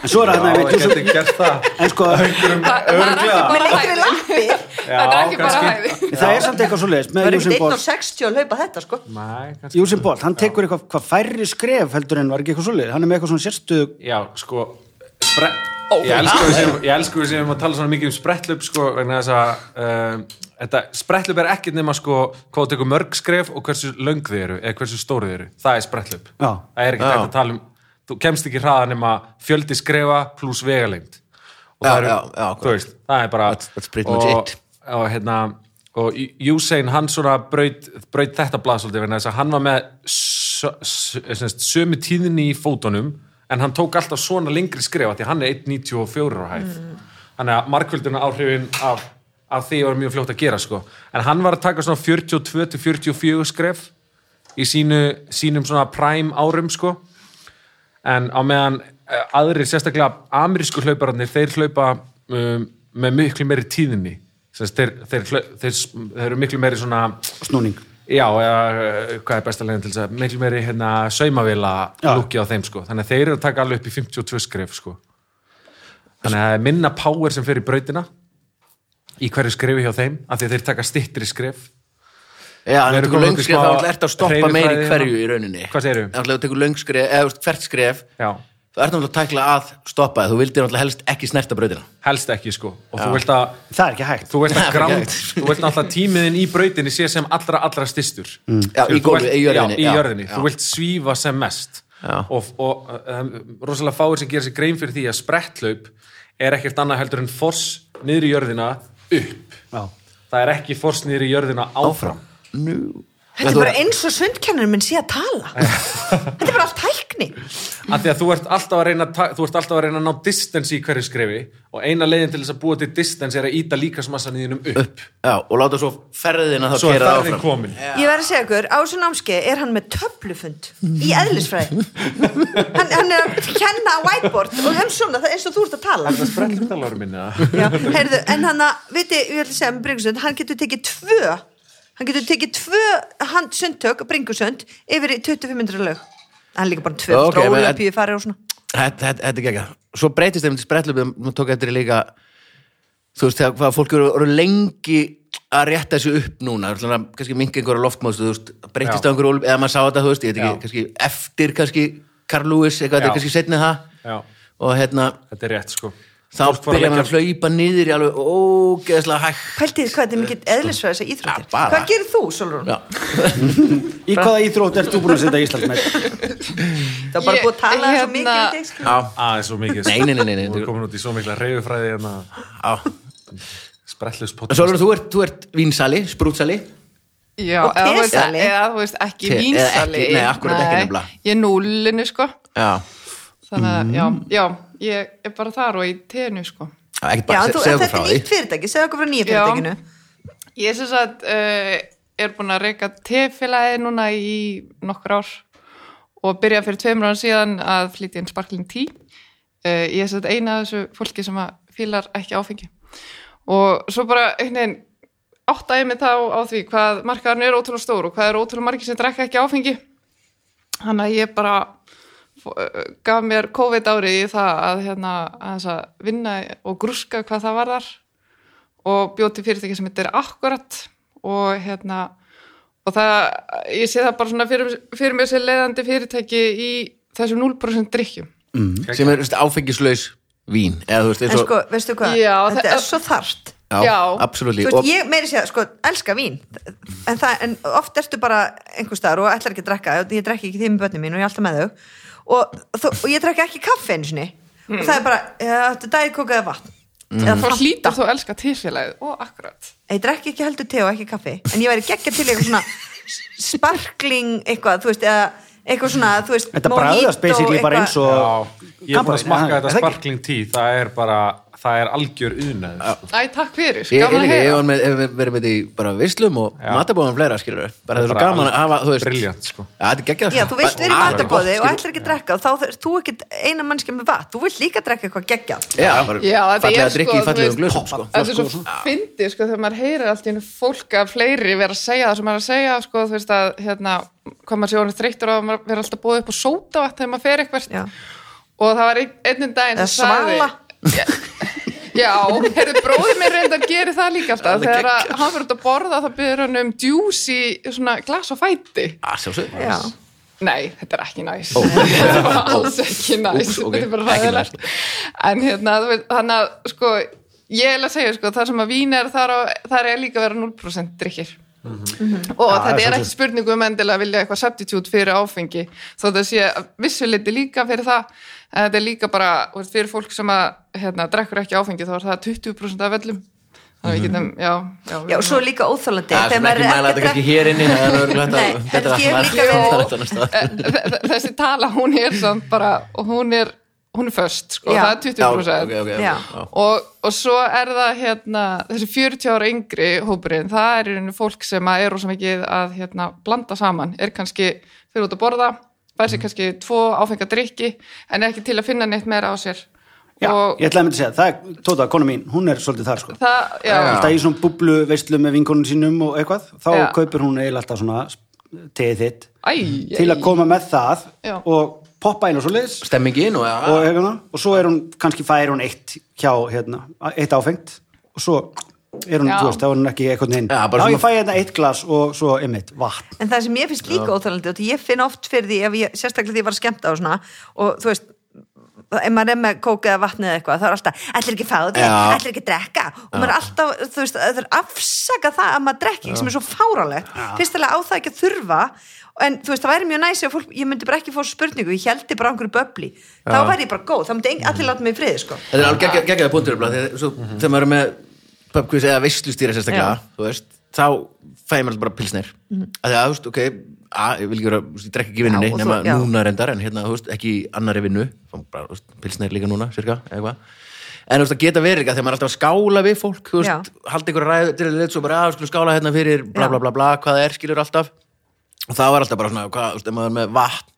Speaker 2: en svo er það
Speaker 5: Já,
Speaker 2: hérna
Speaker 5: ég
Speaker 2: við Júsum
Speaker 5: geti gert það
Speaker 2: en sko,
Speaker 5: Örglega
Speaker 4: Með lengri lappir
Speaker 3: Það er ekki bara hæði.
Speaker 2: það er samt eitthvað svo leiðis
Speaker 4: Það
Speaker 2: með
Speaker 4: er
Speaker 2: Júsum
Speaker 4: ekkert 1 og
Speaker 2: Bolt
Speaker 4: 60 að laupa þetta sko
Speaker 5: Nei, kannski
Speaker 2: Júsum Bolt, hann tekur eitthvað hvað færri skref heldur en var ekki eitthvað svo leiðis hann er með eitthvað svona sérstuð
Speaker 5: Já, sko spre... ég, elsku við sem, ég elsku við sem að tala svona mikið um sprettlöp sko, vegna þess að um, þetta sprettlöp er ekkert nema sko hvað þú tekur mörg skref og hversu löng þið eru eða hversu stóru þið eru, það er sprettlöp
Speaker 2: Já.
Speaker 5: það er ekkert
Speaker 1: Já.
Speaker 5: hægt að tala um þú kemst ekki hraða nema fjöldi skrefa pluss vegalengd
Speaker 1: Já,
Speaker 5: og það, eru,
Speaker 1: já, já,
Speaker 5: þú veist, það er bara
Speaker 1: That's- that's pretty much
Speaker 5: og,
Speaker 1: it.
Speaker 5: og hérna og Usain hann svona braut, braut þetta blað svolítið vegna þess að hann var með s- s- sem sagt, sömu tíðinni í fótunum en hann tók alltaf svona lengri skrifa því að hann er 1.94 á hæð þannig að markvölduna áhrifin af, af því var mjög fljótt að gera sko en hann var að taka svona 42-44 skref í sínu, sínum svona prime árum sko en á meðan eh, aðrir sérstaklega amerísku hlaupararnir þeir hlaupa um, með miklu meiri tíðinni Sess, þeir, þeir, hlau- þeir, s- þeir eru miklu meiri svona
Speaker 2: snúning
Speaker 5: já, eða, eh, hvað er besta leginn til þess að miklu meiri hérna, saumavila
Speaker 2: Já.
Speaker 5: lukki á þeim sko þannig að þeir eru að taka alveg upp í 52 skref sko þannig að það er minna power sem fer í brautina í hverju skrefi hjá þeim af því að þeir taka stittri skref
Speaker 1: Já, en
Speaker 5: Við
Speaker 1: þú
Speaker 5: erum
Speaker 1: tekur
Speaker 5: komin út í
Speaker 1: löngskref
Speaker 5: smá
Speaker 1: þá ert að stoppa meiri í
Speaker 5: hreyfifræði
Speaker 1: hverju í
Speaker 5: hérna.
Speaker 1: rauninni
Speaker 5: Hvað segirðu?
Speaker 1: Þá ætlaðu að tekur löngskref, eða þú veist, hvert skref
Speaker 5: já,
Speaker 1: þú ert náttúrulega að tækla að stoppa þú vildir náttúrulega helst ekki snerta brautina
Speaker 5: helst ekki sko og þú vilt að
Speaker 2: það er ekki hægt
Speaker 5: þú veist
Speaker 1: Það
Speaker 5: að
Speaker 1: er
Speaker 5: gránd,
Speaker 1: gætt.
Speaker 5: þú veist alltaf tímiðin í brautinni sé sem allra, allra styrstur mm.
Speaker 1: Já, í gólfi, í jörðinni,
Speaker 5: já, í
Speaker 1: já,
Speaker 5: jörðinni.
Speaker 1: já.
Speaker 5: þú vilt svífa sem mest
Speaker 1: Já.
Speaker 5: og, og um, rosalega fáir sem gera sér grein fyrir því að spretthlaup er ekkert annað heldur en force niður í jörðina upp
Speaker 2: Já.
Speaker 5: það er ekki force niður í jörðina áfram,
Speaker 1: Nú
Speaker 4: Þetta er bara eins og sundkennurinn minn sé að tala Þetta er bara allt tækni
Speaker 5: af því að þú ert alltaf að reyna að ta- þú ert alltaf að reyna að ná distance í hverju skrefi og eina leiðin til þess að búa til distance er að íta líkasmassan í þínum upp, upp.
Speaker 1: Já, og láta svo ferðina þá
Speaker 5: svo er
Speaker 1: keyra
Speaker 5: það
Speaker 1: áfram.
Speaker 5: þinn komin
Speaker 4: Ég verð að segja ykkur, á þessu námskeið er hann með töflufund í eðlisfræði hann, hann er að kenna á whiteboard og hann svona, það er eins og þú ert að tala
Speaker 5: það sprellir talar minna
Speaker 4: Já, heyrðu, en hann að, viti, ég ætla að segja um bringusund, hann getur tekið tvö hann getur tekið tvö hand sundtök, bringusund, yfir í 2500 lög hann er líka bara tvö,
Speaker 1: Já,
Speaker 4: okay,
Speaker 1: ok, menn-
Speaker 4: stróla, píu, farið og svona
Speaker 1: Þetta, þetta, þetta er ekki Svo breytist þeim til sprettlubið, maður tók eftir því líka þú veist, þegar hvað fólk eru, eru lengi að rétta þessu upp núna, svona, kannski mingi einhverja loftmóðstu, þú veist, breytist
Speaker 5: Já.
Speaker 1: á einhverju ólf- eða maður sá þetta, þú veist, ég veit
Speaker 5: Já.
Speaker 1: ekki, kannski eftir kannski Carl Lewis, eitthvað, þetta
Speaker 5: Já.
Speaker 1: er kannski setnið það
Speaker 5: Já.
Speaker 1: og hérna,
Speaker 5: þetta er rétt sko
Speaker 1: þá
Speaker 5: Fólk var að
Speaker 1: byrja maður
Speaker 5: leggja-
Speaker 1: að flaupa niður í alveg ógeðslega hægt
Speaker 4: Pæltið, hvað þetta er mikið eðlisfræði þessar íþróttir
Speaker 1: Ja, bara.
Speaker 4: Hvað gerir þú, Solrún?
Speaker 1: Já,
Speaker 2: Í hvaða íþrótt ert þú búin að setja Íslandsmeist?
Speaker 4: Það var bara
Speaker 3: Ég-
Speaker 4: búið að tala svo
Speaker 3: hérna-
Speaker 4: mikið um þig, skilur.
Speaker 1: á,
Speaker 5: að, svo mikið sko.
Speaker 1: Nei, nei, nei, nei, nei.
Speaker 5: Þú er komin út í svo mikla reyðufræði hérna, en að
Speaker 1: á
Speaker 5: sprellus
Speaker 1: Sólur, þú ert, þú ert vínsali, sprútsali
Speaker 3: Já,
Speaker 4: Og
Speaker 3: eða, þú veist-
Speaker 4: tesali.
Speaker 3: eða þú veist ekki
Speaker 1: Te- eða
Speaker 3: vínsali
Speaker 1: ekki- nei, akkurat ekki
Speaker 3: Nei,
Speaker 1: nefnilega.
Speaker 3: Ég er núlinu sko
Speaker 1: Já,
Speaker 3: Þannig að,
Speaker 1: Mm.
Speaker 3: já, já, ég er bara þar og í tenu sko
Speaker 1: ekki
Speaker 4: Já,
Speaker 1: bara,
Speaker 4: þú,
Speaker 1: se-
Speaker 4: en
Speaker 1: segðu okkur
Speaker 4: þetta
Speaker 1: frá
Speaker 4: er
Speaker 1: því
Speaker 4: nýtt fyrirtæki, segja okkur frá nýja
Speaker 3: Já.
Speaker 4: fyrirtækinu
Speaker 3: Ég er sem sagt, uh, er búin að reyka tefélagi núna í nokkur ár og byrja fyrir tveimur án síðan að flytja inn sparkling tí. Uh, ég er sem sagt eina af þessu fólki sem að fílar ekki áfengi. Og svo bara einhvern veginn áttaði ég mig þá á því hvað markaðarinn er ótrúlega stór og hvað er ótrúlega margir sem drekka ekki áfengi. Þannig að ég bara fó- eh, gaf mér COVID árið í það að, hérna, að, að vinna og grúska hvað það var þar og bjó til fyrirtæki sem þetta er akkurat og hérna og það, ég sé það bara svona fyrir, fyrir mér sem leiðandi fyrirtæki í þessum 0% drikkjum
Speaker 1: sem er þú veist, áfengislaus vín eða þú veist, eins
Speaker 4: En
Speaker 1: og
Speaker 4: sko, veistu hvað,
Speaker 3: Já,
Speaker 4: þetta
Speaker 3: það-
Speaker 4: er svo þart
Speaker 1: já,
Speaker 3: já.
Speaker 1: absolutt
Speaker 4: Þú veist, ég meiri sér, sko, elska vín en, það, en oft ertu bara einhver staðar og ætlar ekki að drekka, ég drekki ekki því með börnum mín og ég er alltaf með þau og, þó, og ég drekki ekki kaffi einu sinni og það er bara, þetta dagið kokaði vatn eða
Speaker 3: þá
Speaker 4: fanta.
Speaker 3: hlýtur þú að elska tilfélagið og akkurat
Speaker 4: ég drekki ekki heldur te og ekki kaffi en ég væri geggja til eitthvað svona sparkling eitthvað, þú veist, eða eitthvað svona, þú veist,
Speaker 2: Þetta
Speaker 4: mojito,
Speaker 2: bræðast basically bara eins og
Speaker 5: Já, ég er búin að
Speaker 2: Kampavín,
Speaker 5: smakka
Speaker 2: er
Speaker 5: þetta
Speaker 2: það ekki?
Speaker 5: sparkling tea það er bara, það er algjör sko. unnað
Speaker 3: Æ, takk fyrir,
Speaker 1: Ég er
Speaker 3: gaman að
Speaker 1: líka, ég
Speaker 3: heyra
Speaker 1: var með, hef verið með þetta í bara vislum og matabóðum fleira, skilur bara það er svo
Speaker 5: Bara
Speaker 1: gaman að hafa, þú veist
Speaker 5: brilliant, sko.
Speaker 1: Já, þetta er geggjað
Speaker 4: Já, þú vilt verið
Speaker 1: Bara-
Speaker 4: matabóði
Speaker 1: gott,
Speaker 4: og
Speaker 1: skilur.
Speaker 4: ætlar ekki að drekka og þá þarf þú ekki eina mannskja með vatn, þú vilt líka drekka eitthvað geggjað
Speaker 1: Já, bara
Speaker 3: Já, þetta
Speaker 1: fallega
Speaker 3: er,
Speaker 1: drikki
Speaker 3: sko,
Speaker 1: í fallegum
Speaker 3: þú
Speaker 1: glösum, sko
Speaker 3: Þetta er svo fyndið, sko, þegar maður heyrir allt í hennu fólk að fleiri vera að segja það sem maður er að segja, sko, þú veist að, hérna, hvað maður sé orðin þreyttur á að maður vera alltaf búið upp á sótavatn þegar maður fer eitthvert
Speaker 4: Já.
Speaker 3: og það var ein, einnum daginn
Speaker 4: Eða
Speaker 3: sem sagði-
Speaker 4: svala.
Speaker 3: Já, Já, heyrðu, bróðið mér reyndar gerir það líka alltaf,
Speaker 1: Það er
Speaker 3: þegar að hann fyrir út að borða þá byrður hann um djús í svona glas og fæti.
Speaker 1: Já, sjálfsög
Speaker 4: Já.
Speaker 3: Nei, þetta er ekki næs Þetta var alls ekki næs
Speaker 1: Úps, ok.
Speaker 3: Þetta er bara
Speaker 1: Ekki
Speaker 3: ræðilegt En hérna, þú veist, þannig að sko, ég er að segja, sko, þar sem að vín er þar, á, þar er líka að vera 0% drikkir og
Speaker 2: Já,
Speaker 3: þetta
Speaker 2: það er
Speaker 3: er ekki spurningu um endilega að vilja eitthvað substitute fyrir áfengi þó það sé vissuleiti líka fyrir það en þetta er líka bara, þú veist, fyrir fólk sem að hérna, drekkur ekki áfengi þá er það 20% af öllum þannig að við getum, já, já,
Speaker 4: Já, og svo er líka óþálandi
Speaker 1: Það er svona ekki mæla þetta kannski hér inni það er örugglega hægt
Speaker 4: Nei,
Speaker 1: að-
Speaker 4: en
Speaker 1: þetta-
Speaker 4: ég hef líka
Speaker 1: það-
Speaker 4: verið-
Speaker 1: þetta er næsta.
Speaker 3: Þe- þessi tala hún er samt bara og hún er, hún er föst sko,
Speaker 4: Já.
Speaker 3: það er 20%
Speaker 1: Já, ok, ok, ok,
Speaker 4: Já.
Speaker 1: já.
Speaker 3: Og, og svo er það hérna, þessi 40 ára yngri hópurinn, það er í rauninni fólk sem að er rosa mikið að hérna, blanda saman er kannski fyrir út að borða fær sér kannski tvo áfenga drikki en er ekki til að finna neitt meira á sér
Speaker 2: Já,
Speaker 3: og
Speaker 2: ég ætlaði að mynda að segja, það er Tóta, kona mín, hún er svolítið þar sko
Speaker 3: það, já,
Speaker 2: Alltaf í svona bublu veistlu með vinkonun sínum og eitthvað, þá
Speaker 3: Já.
Speaker 2: kaupir hún eiginlega alltaf svona teið þitt
Speaker 3: æ,
Speaker 2: til að koma með það
Speaker 3: Já.
Speaker 2: og poppa inn og svo liðs
Speaker 1: Stemmingin og já,
Speaker 2: og, hérna, og svo er hún, kannski fær hún eitt hjá, hérna, eitt áfengt og svo er hún,
Speaker 3: Já.
Speaker 2: þú veist, þá er hún ekki eitthvað neinn,
Speaker 1: Já,
Speaker 2: já,
Speaker 1: bara svona-
Speaker 2: ég fæ hérna eitt glas og svo einmitt vatn
Speaker 4: En það sem ég finnst líka óþálandi og því ég finn oft fyrir því, ef ég, sérstaklega því ég var að skemmta og svona, og þú veist ef maður er með kók eða vatni eða eitthvað þá er alltaf, ætlir ekki að fá þig,
Speaker 1: Já.
Speaker 4: ætlir ekki að drekka og maður er alltaf, þú veist, það er afsaka það að maður drekki, sem er svo fáralegt fyrstilega á það ekki að þurfa en þú veist, það væri mjög næs ef fólk, ég myndi bara ekki fór spurningu, ég heldi bara á einhverju böbli þá væri ég bara góð, þá myndi ein, allir láta mig í friði sko.
Speaker 1: Þetta er alveg geggja- geggjaði
Speaker 4: Mhm.
Speaker 1: punktur nefnilega, þegar- svo- þegar maður er með pubquiz eða veislustýra sérstaklega, þú veist, þá fæði mér alltaf bara pilsnir mm. að það, þú veist, ok, að, ég vil ekki vera þú veist, ég drekka ekki í vinnunni,
Speaker 4: Mhm. Já, og
Speaker 1: nema
Speaker 4: þú- já.
Speaker 1: núna reyndar en hérna, þú veist, ekki í annarri vinnu Þá bara, þú veist, pilsnir líka núna, cirka, eða eitthvað en þú veist, það geta verið líka, þegar maður er alltaf að skála við fólk, þú veist, haldi ykkur ræðu til að leit svo bara, að, skulum skála hérna fyrir bla
Speaker 4: Já.
Speaker 1: bla bla bla, hvað það er, skilur alltaf og það var alltaf bara svona, hvað, þú veist, ef maður er með vatn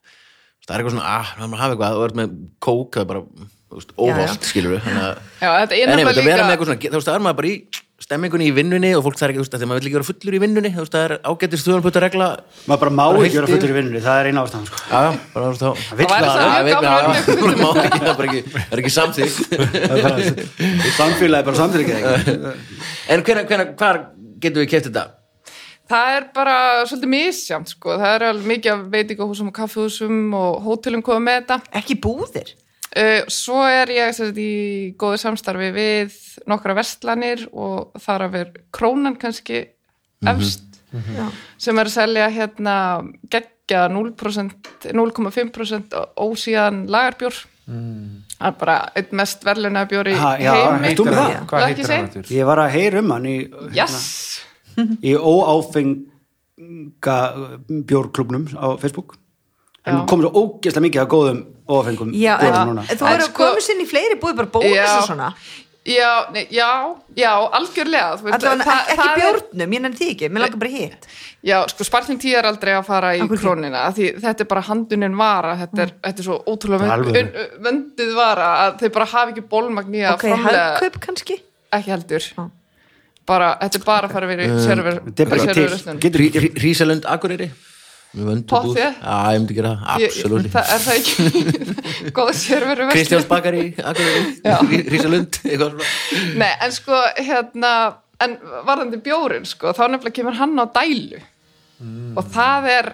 Speaker 1: það er eitthvað svona, að, maður hafa eitthvað þú veist, með kók, það er bara þú veist, óholt, skilur við
Speaker 3: Já, þetta er
Speaker 1: en einmitt
Speaker 3: nefnilega
Speaker 1: að vera
Speaker 3: líka-
Speaker 1: með eitthvað svona, þú veist, það er maður bara í stemmingunni í vinnunni og fólk þarf ekki, þú veist, þegar maður vil ekki vera fullur í vinnunni þú veist, það er ágættist þjóðanpötta regla
Speaker 2: maður bara má
Speaker 1: Bara
Speaker 2: ekki vera
Speaker 1: heilt
Speaker 2: fullur í vinnunni, það er eina ástæðan sko.
Speaker 1: já, já, bara þú veist þá
Speaker 2: Vill
Speaker 3: Það væri
Speaker 2: það-
Speaker 3: svo-
Speaker 1: Já,
Speaker 3: mjög
Speaker 1: ég veit,
Speaker 3: gaman að
Speaker 1: já, já,
Speaker 3: vera
Speaker 1: bara má ekki, það er bara ekki- það er ekki samþykkt
Speaker 2: það er bara- samfélagið er bara samfélagið
Speaker 1: en hvenær, hvenær, hvar getum við keft þetta?
Speaker 3: Það er bara svolítið misjant sko, það er alveg mikið af veitingahúsum og kaffihúsum og hótelum komið með þetta.
Speaker 4: ekki búðir
Speaker 3: Uh, svo er ég sérst, í góðu samstarfi við nokkra vestlanir og þar að vera krónan kannski
Speaker 2: Mhm.
Speaker 3: efst
Speaker 4: Já.
Speaker 3: sem er að selja hérna geggja 0%, 0,5% ósíðan lagarbjór. Það er bara einn mest verðluna bjóri
Speaker 2: Mm. Ha, já,
Speaker 3: heimi.
Speaker 2: ertu með það?
Speaker 3: Já.
Speaker 5: Hvað
Speaker 3: Ekki
Speaker 5: heitir
Speaker 3: segja.
Speaker 5: hann aftur?
Speaker 2: ég var að heyra um hann í, hérna,
Speaker 3: Yes!
Speaker 2: í óáfenga bjórklubnum á Facebook en
Speaker 3: Já.
Speaker 2: komur svo ógeðslega mikið að góðum óáfengum
Speaker 4: já,
Speaker 2: bjórum
Speaker 4: en,
Speaker 2: núna
Speaker 4: en þú eru
Speaker 3: En
Speaker 4: að
Speaker 3: sko-
Speaker 4: koma sinni í fleiri búðir bara bónus og
Speaker 3: Já.
Speaker 4: svona
Speaker 3: Já, nei, já, já, algjörlega þú veist,
Speaker 4: Allavega,
Speaker 3: það-
Speaker 4: ekki,
Speaker 3: það
Speaker 4: ekki
Speaker 3: er-
Speaker 4: bjórnum, ég nefnir því ekki, mér langar bara hitt
Speaker 3: Já, sko spartin 10 er aldrei að fara í
Speaker 4: Af hverju Mm. ekki?
Speaker 3: krónina af því þetta er bara handunin vara þetta er, þetta er svo ótrúlega
Speaker 2: Það er
Speaker 3: vönd- vönduð vara að þeir bara hafa ekki bólmagn í að
Speaker 4: Ok,
Speaker 3: framlega
Speaker 4: hagkaup kannski
Speaker 3: ekki heldur
Speaker 4: Já.
Speaker 3: bara, þetta er bara að fara verið um, server
Speaker 2: Eh, þetta er bara ekki til
Speaker 3: serververslun.
Speaker 2: getur ekki
Speaker 1: Rísalund Akureyri?
Speaker 3: Pottþétt.
Speaker 1: Pottið? Já, ég myndi gera það,
Speaker 3: Ég-
Speaker 1: absolutt
Speaker 3: það er það ekki góð serveru
Speaker 1: Kristjáns Bakari, Akureyri, Rísalund eitthvað svona
Speaker 3: Nei, en sko, hérna en varðandi bjórin, sko, þá nefnilega kemur hann á dælu
Speaker 2: Mm.
Speaker 3: og það er,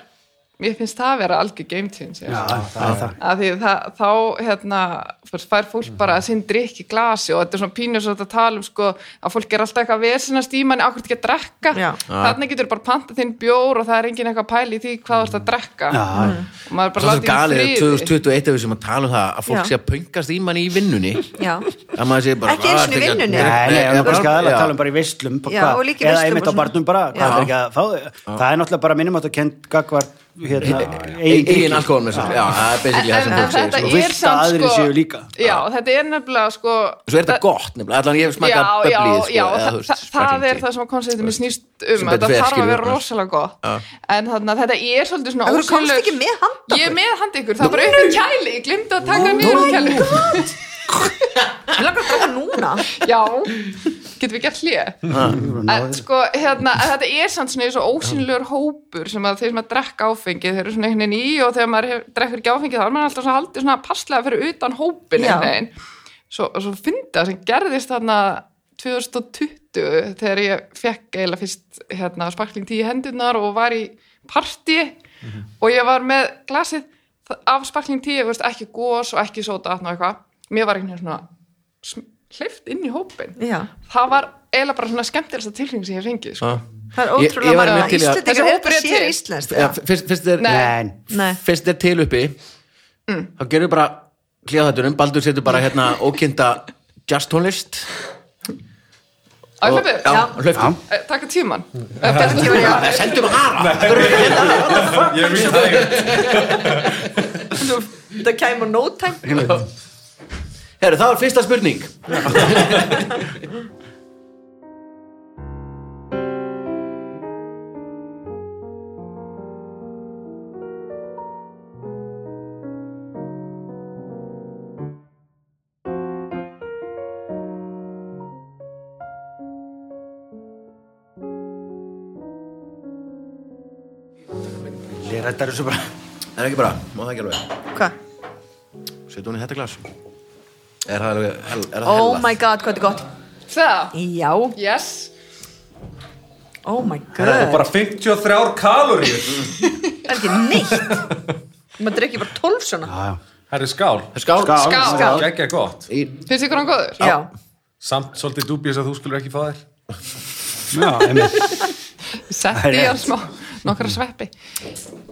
Speaker 3: ég finnst það að vera algjör game change
Speaker 2: Já, það er það
Speaker 3: að því það, þá hérna, fyrst, fær fólk bara sinn drikk í glasi og þetta er svona pínur svo þetta tala um sko, að fólk er alltaf eitthvað að vesinast í manni akkur ekki að drekka,
Speaker 4: Já.
Speaker 3: þannig getur bara panta þinn bjór og það er engin eitthvað pæli í því hvað þú ert að
Speaker 2: Já,
Speaker 3: drekka
Speaker 2: já.
Speaker 3: og maður er
Speaker 1: Það
Speaker 3: bara
Speaker 1: er svo galið að
Speaker 3: látið í friði
Speaker 1: 2021 ef við sem að tala um það að fólk
Speaker 4: Já.
Speaker 1: sé að pöngast í manni í vinnunni
Speaker 4: Já,
Speaker 1: að maður sé bara
Speaker 4: Ekki einu
Speaker 1: "Ah,
Speaker 4: sinni í
Speaker 1: ertu ekki að
Speaker 4: vinnunni."
Speaker 1: drekka?"
Speaker 2: Nei, nei,
Speaker 1: já,
Speaker 2: það er bara skadal að
Speaker 1: já.
Speaker 2: tala um bara í visslum
Speaker 4: Já, og líka
Speaker 2: eða
Speaker 4: í veislum
Speaker 2: einmitt
Speaker 4: og
Speaker 2: á
Speaker 4: svona.
Speaker 2: barnum bara hvað
Speaker 4: Já.
Speaker 2: það er ekki að fá það er náttúrulega bara minnum átt að kent gagvar hérna,
Speaker 1: Eigin
Speaker 2: drykki.
Speaker 1: eigin alkohol með þessu, já, það er basically það
Speaker 3: En,
Speaker 1: sem
Speaker 3: en
Speaker 1: fólk segir
Speaker 3: þetta
Speaker 2: sko.
Speaker 1: sko.
Speaker 2: Vilt
Speaker 3: er
Speaker 2: að
Speaker 3: samt
Speaker 2: aðrir
Speaker 3: sko
Speaker 2: séu líka.
Speaker 3: Já, þetta er nefnilega sko
Speaker 1: Svo er þetta gott nefnilega, allan ég hef
Speaker 3: já,
Speaker 1: smakað
Speaker 3: já,
Speaker 1: böbli sko,
Speaker 3: já,
Speaker 1: eða,
Speaker 3: það,
Speaker 1: þú veist,
Speaker 3: það, það er
Speaker 1: sparkling
Speaker 3: það
Speaker 1: tea.
Speaker 3: sem að konceptinu snýst
Speaker 1: Sem betur
Speaker 3: um þetta
Speaker 1: fer,
Speaker 3: þarf að
Speaker 1: skilur
Speaker 3: vera
Speaker 1: við,
Speaker 3: rosalega gott en þannig að þetta er svolítið svona
Speaker 4: Af hverju komstu
Speaker 3: ósýnilegur-
Speaker 4: ekki með handa
Speaker 3: Ég er
Speaker 4: okkur?
Speaker 3: með handa ykkur, það er bara upp í kæli ég glimti að taka niður úr kæli
Speaker 4: mér langar að draga núna
Speaker 3: Já, getum við gert hlýja en sko, hérna, en þetta er samt svona þessu ósynlur hópur sem að þeir sem að drekka áfengi, þeir eru svona einhvern veginn í og þegar maður hef, drekkur ekki áfengi þá er maður alltaf svona haldið svona passlega fyrir utan hópin
Speaker 4: Já.
Speaker 3: einhvern veginn. Svo, svo fynda sem gerðist þarna 2020 þegar ég fekk eiginlega fyrst hérna, sparkling 10 hendunar og var í partí og ég var með glasið af sparkling 10, veist, ekki gós og ekki sóta og eitthvað. Mér var einhvern veginn svona sm- hleypt inn í hópin
Speaker 4: Já.
Speaker 3: það var eiginlega bara svona skemmtilegsta tilfeng sem ég fengið sko.
Speaker 1: Já.
Speaker 4: Það er
Speaker 1: Ég- ég
Speaker 4: ótrúlega
Speaker 1: var
Speaker 4: marga
Speaker 1: einmitt til í að-
Speaker 4: Íslendingar
Speaker 3: Þessi
Speaker 4: er
Speaker 3: hópur
Speaker 4: þetta
Speaker 3: er
Speaker 4: sér
Speaker 3: til.
Speaker 4: íslenskt
Speaker 1: Já, fyrst- Fyrst er
Speaker 3: Nei. Mm.
Speaker 2: Nei,
Speaker 4: Nei.
Speaker 1: fyrst er til uppi þá gerum við bara klíðaðættunum Baldur setur bara hérna ókynda just tónlist
Speaker 3: á
Speaker 1: Ah, og-
Speaker 3: hlöpu,
Speaker 1: Já,
Speaker 4: Já.
Speaker 1: hlöftum
Speaker 3: Eh, taka tíman Eh, betur tíman, já.
Speaker 1: Það sendum að hara
Speaker 5: Ég veit það ekki.
Speaker 4: Það kæmur no time
Speaker 1: Herru, það var fyrsta spurning
Speaker 2: ég rættar þessu bara
Speaker 1: Það er ekki bara, má það ekki alveg
Speaker 4: Hva?
Speaker 1: Setu hún í þetta glas Er það alveg, er það hella
Speaker 4: Oh my god, hvað þetta er gott
Speaker 3: það,
Speaker 4: Já,
Speaker 3: yes
Speaker 4: oh my god
Speaker 5: Það er bara 53 kaloríur
Speaker 4: Það er ekki neitt Maður drekkir bara 12 svona
Speaker 2: Já, já.
Speaker 5: Það er skál
Speaker 1: Skál,
Speaker 2: Skál.
Speaker 3: Skál.
Speaker 5: Gækja gott
Speaker 1: Í,
Speaker 3: finnst ykkur hann góður?
Speaker 4: Já,
Speaker 5: Samt svolítið dubjus að þú skulur ekki fá þér
Speaker 2: Já, einmitt.
Speaker 3: setti ég hann smá nokkra sveppi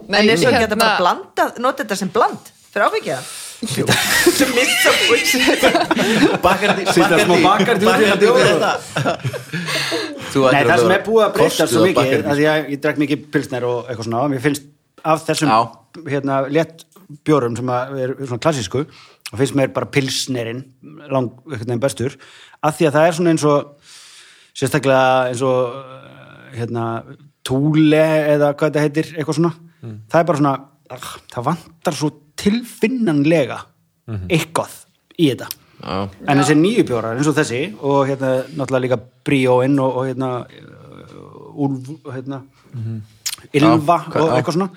Speaker 3: Mm. Nei, hérna,
Speaker 4: en er svo ekki að þetta bara blanda Nota þetta sem bland Fyrir áfengið það
Speaker 1: Bakardi
Speaker 2: Setja smá Bacardi út í
Speaker 1: Bakardi
Speaker 2: þetta.
Speaker 1: og þetta Þú ættir
Speaker 2: Nei, það sem
Speaker 1: vera
Speaker 2: er búið að breyta
Speaker 1: kostuð
Speaker 2: svo
Speaker 1: af
Speaker 2: mikið
Speaker 1: Bacardi.
Speaker 2: að ég, ég drakk mikið pilsner og eitthvað svona mér finnst af þessum
Speaker 1: Já.
Speaker 2: hérna, létt bjórum sem að er svona klassísku og finnst mér bara pilsnerinn lang, einhvern veginn bestur af því að það er svona eins og sérstaklega eins og uh, hérna, túle eða hvað þetta heitir, eitthvað svona það er bara svona, ah, það vantar svo tilfinnanlega eitthvað í þetta
Speaker 1: Já.
Speaker 2: en þessi nýju bjórar eins og þessi og hérna náttúrulega líka bríóinn og, og hérna uh, úlf hérna, ylva
Speaker 1: Mhm. Já,
Speaker 2: og
Speaker 1: já.
Speaker 2: eitthvað svona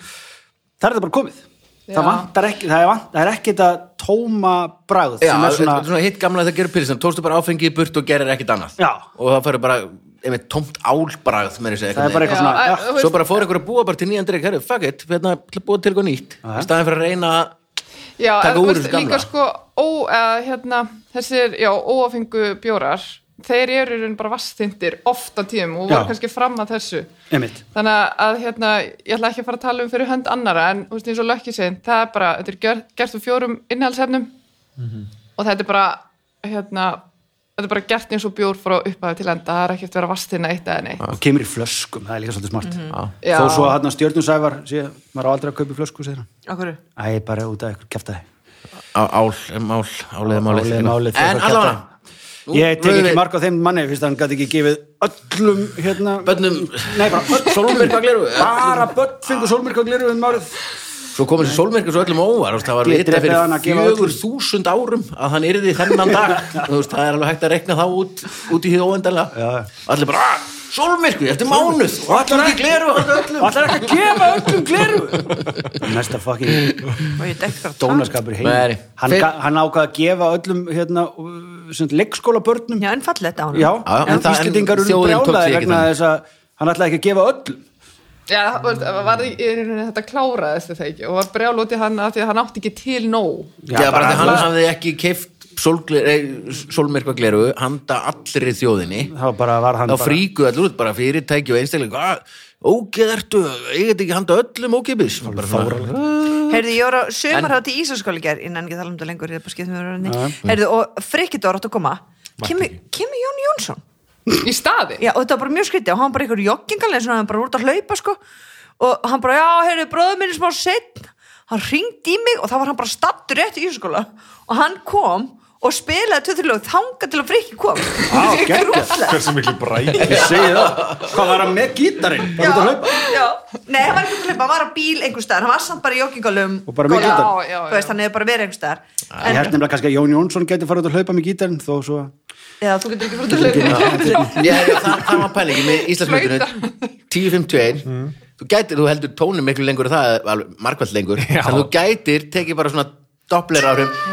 Speaker 2: það er þetta bara komið
Speaker 3: Já.
Speaker 2: það vantar ekki, það er, vant, það er ekki þetta tóma bragð
Speaker 1: Já,
Speaker 2: sem er
Speaker 1: þetta
Speaker 2: svona,
Speaker 1: er svona hitt gamla þegar gerir pilsin tókstu bara áfengið í burt og gerir ekkit annað
Speaker 2: Já.
Speaker 1: og það fyrir bara einmitt tómt álbragð með þessi
Speaker 2: það er bara eitthvað
Speaker 3: Já,
Speaker 2: svona
Speaker 3: að-
Speaker 2: ja,
Speaker 3: þú veist-
Speaker 1: Svo bara fór einhver að búa bara til nýjan drikk, herru, fuck it, hérna, til að búa til eitthvað nýtt í staðin fyrir að reyna að
Speaker 3: já,
Speaker 1: Taka
Speaker 3: en,
Speaker 1: úr
Speaker 3: þú
Speaker 1: þessu gamla.
Speaker 3: líka sko ó, að, hérna, þessir já, óafengu bjórar þeir eru í raun bara vastindir oft á tíum og
Speaker 2: Já.
Speaker 3: voru kannski fram að þessu
Speaker 2: einmitt,
Speaker 3: þannig að hérna, ég ætla ekki að fara að tala um fyrir hönd annara en þú veist, eins og lökki segin það er bara, þetta er gert, gert úr fjórum innhaldsefnum
Speaker 2: Mhm.
Speaker 3: og þetta er bara hérna, þetta er bara gert eins og bjór frá upphæðu til enda, það er ekkert verið að vastina eitt eða neitt
Speaker 2: og kemur í flöskum það er líka svolítið smart
Speaker 1: Mhm.
Speaker 3: Já.
Speaker 2: þó svo að hérna stjörnusævar sé, maður á aldrei að kaupa í flösku segir hann,
Speaker 4: Akkur,
Speaker 2: æ, bara út af eitthvað kæftæði
Speaker 1: á, ál, mál, áliða málið
Speaker 2: Málið, málið, þeir
Speaker 1: En
Speaker 2: fara að
Speaker 1: allavega
Speaker 2: kjafta.
Speaker 1: nú
Speaker 2: Ég tek
Speaker 1: rauðvín.
Speaker 2: ekki mark á þeim manni fyrst að hann gæti ekki gefið öllum hérna,
Speaker 1: Börnum-
Speaker 2: Nei, bara öll
Speaker 1: Sólmyrkva gleraugu.
Speaker 2: Bara börn fengur sólmyrka gleru um árið
Speaker 1: Svo komið þessi sólmerkis og öllum óvar þú veist, það var
Speaker 2: Ég
Speaker 1: vita
Speaker 2: drepið hann að
Speaker 1: fyrir
Speaker 2: gefa öllum.
Speaker 1: fjögur þúsund árum að hann yrði þennan dag Þú veist, það er alveg hægt að rekna það út, út í hið óendanlega
Speaker 2: Já.
Speaker 1: allir bara, "Ah, sólmyrkvi, eftir mánuð og allir ekki gleru og öllum
Speaker 2: Það er ekki að gefa öllum gleru Næsta fucking
Speaker 4: og ég dekkt bara
Speaker 2: dónaskapur heim
Speaker 1: Nei.
Speaker 2: Hann, ga- hann ákvað að gefa öllum hérna, leikskóla börnum
Speaker 4: Já, en fallegt á hann
Speaker 2: Já,
Speaker 1: Já, en
Speaker 2: en
Speaker 1: það- en
Speaker 2: Íslendingar eru
Speaker 1: þjóðin tók sig
Speaker 2: brjálaði
Speaker 1: ekki
Speaker 2: vegna
Speaker 1: þannig.
Speaker 2: þess að hann ætlaði ekki að gefa öllum
Speaker 3: Já, það var, það var í í rauninni þetta kláraðist þetta ekki og var brjál út í hann af því að hann átti ekki til nóg
Speaker 1: Já, bara, bara
Speaker 2: bara-
Speaker 1: því hann hafði ekki keift sólmyrkva gleru handa allri þjóðinni
Speaker 2: Þá bara var hann
Speaker 1: þá
Speaker 2: bara-
Speaker 1: fríku allir út, bara fyrirtæki og einstaklega ógeð ertu, ég get ekki handa öllum ógeðbis bara svona,
Speaker 4: Heyrðu, ég var á sömarhátt í Ísaskóli ger innan ekki að tala um þetta lengur, ég er bara skipt með verðinni Heyrðu, og Frikkidor átt að koma kemur, kemur Jón Jónsson
Speaker 3: í staði
Speaker 4: Já, og þetta var bara mjög skrítið og hann var bara einhver joggingalegin svona, hann var bara út að hlaupa sko og hann bara, já, heyrðu, bróður minn er smá setn hann ringdi í mig og þá var hann bara stattur rétt í Ísaskóla og hann kom og spilaði töðurlög þanga til að Frikki kom
Speaker 2: Á,
Speaker 4: Ég
Speaker 2: geggjað.
Speaker 4: grúfla.
Speaker 5: hversu miklu bræði
Speaker 2: Ég segi það, hvað var hann með gítarinn? Bara
Speaker 4: Já,
Speaker 2: út að hlaupa
Speaker 4: já. Nei, hann var ekki út að hlaupa, hann var á bíl einhver staðar, hann var samt bara í joggingalum Sko,
Speaker 2: Og bara með
Speaker 3: Já,
Speaker 2: gítar
Speaker 3: já, já.
Speaker 4: Þú veist, hann hefur bara verið einhver staðar
Speaker 2: Ég
Speaker 4: En-
Speaker 2: held nefnilega kannski að Jón Jónsson geti farið út að hlaupa með gítarinn þó svo að
Speaker 4: Já, þú getur ekki fyrir að um hlaupa
Speaker 1: já, já, það, það var pælingi með Íslandsmyndinu 10.51 þú, gætir, þú heldur tónum miklu lengur en það alveg markvælt lengur
Speaker 5: Já.
Speaker 1: þannig að þú gætir tekið bara svona doppler áhrif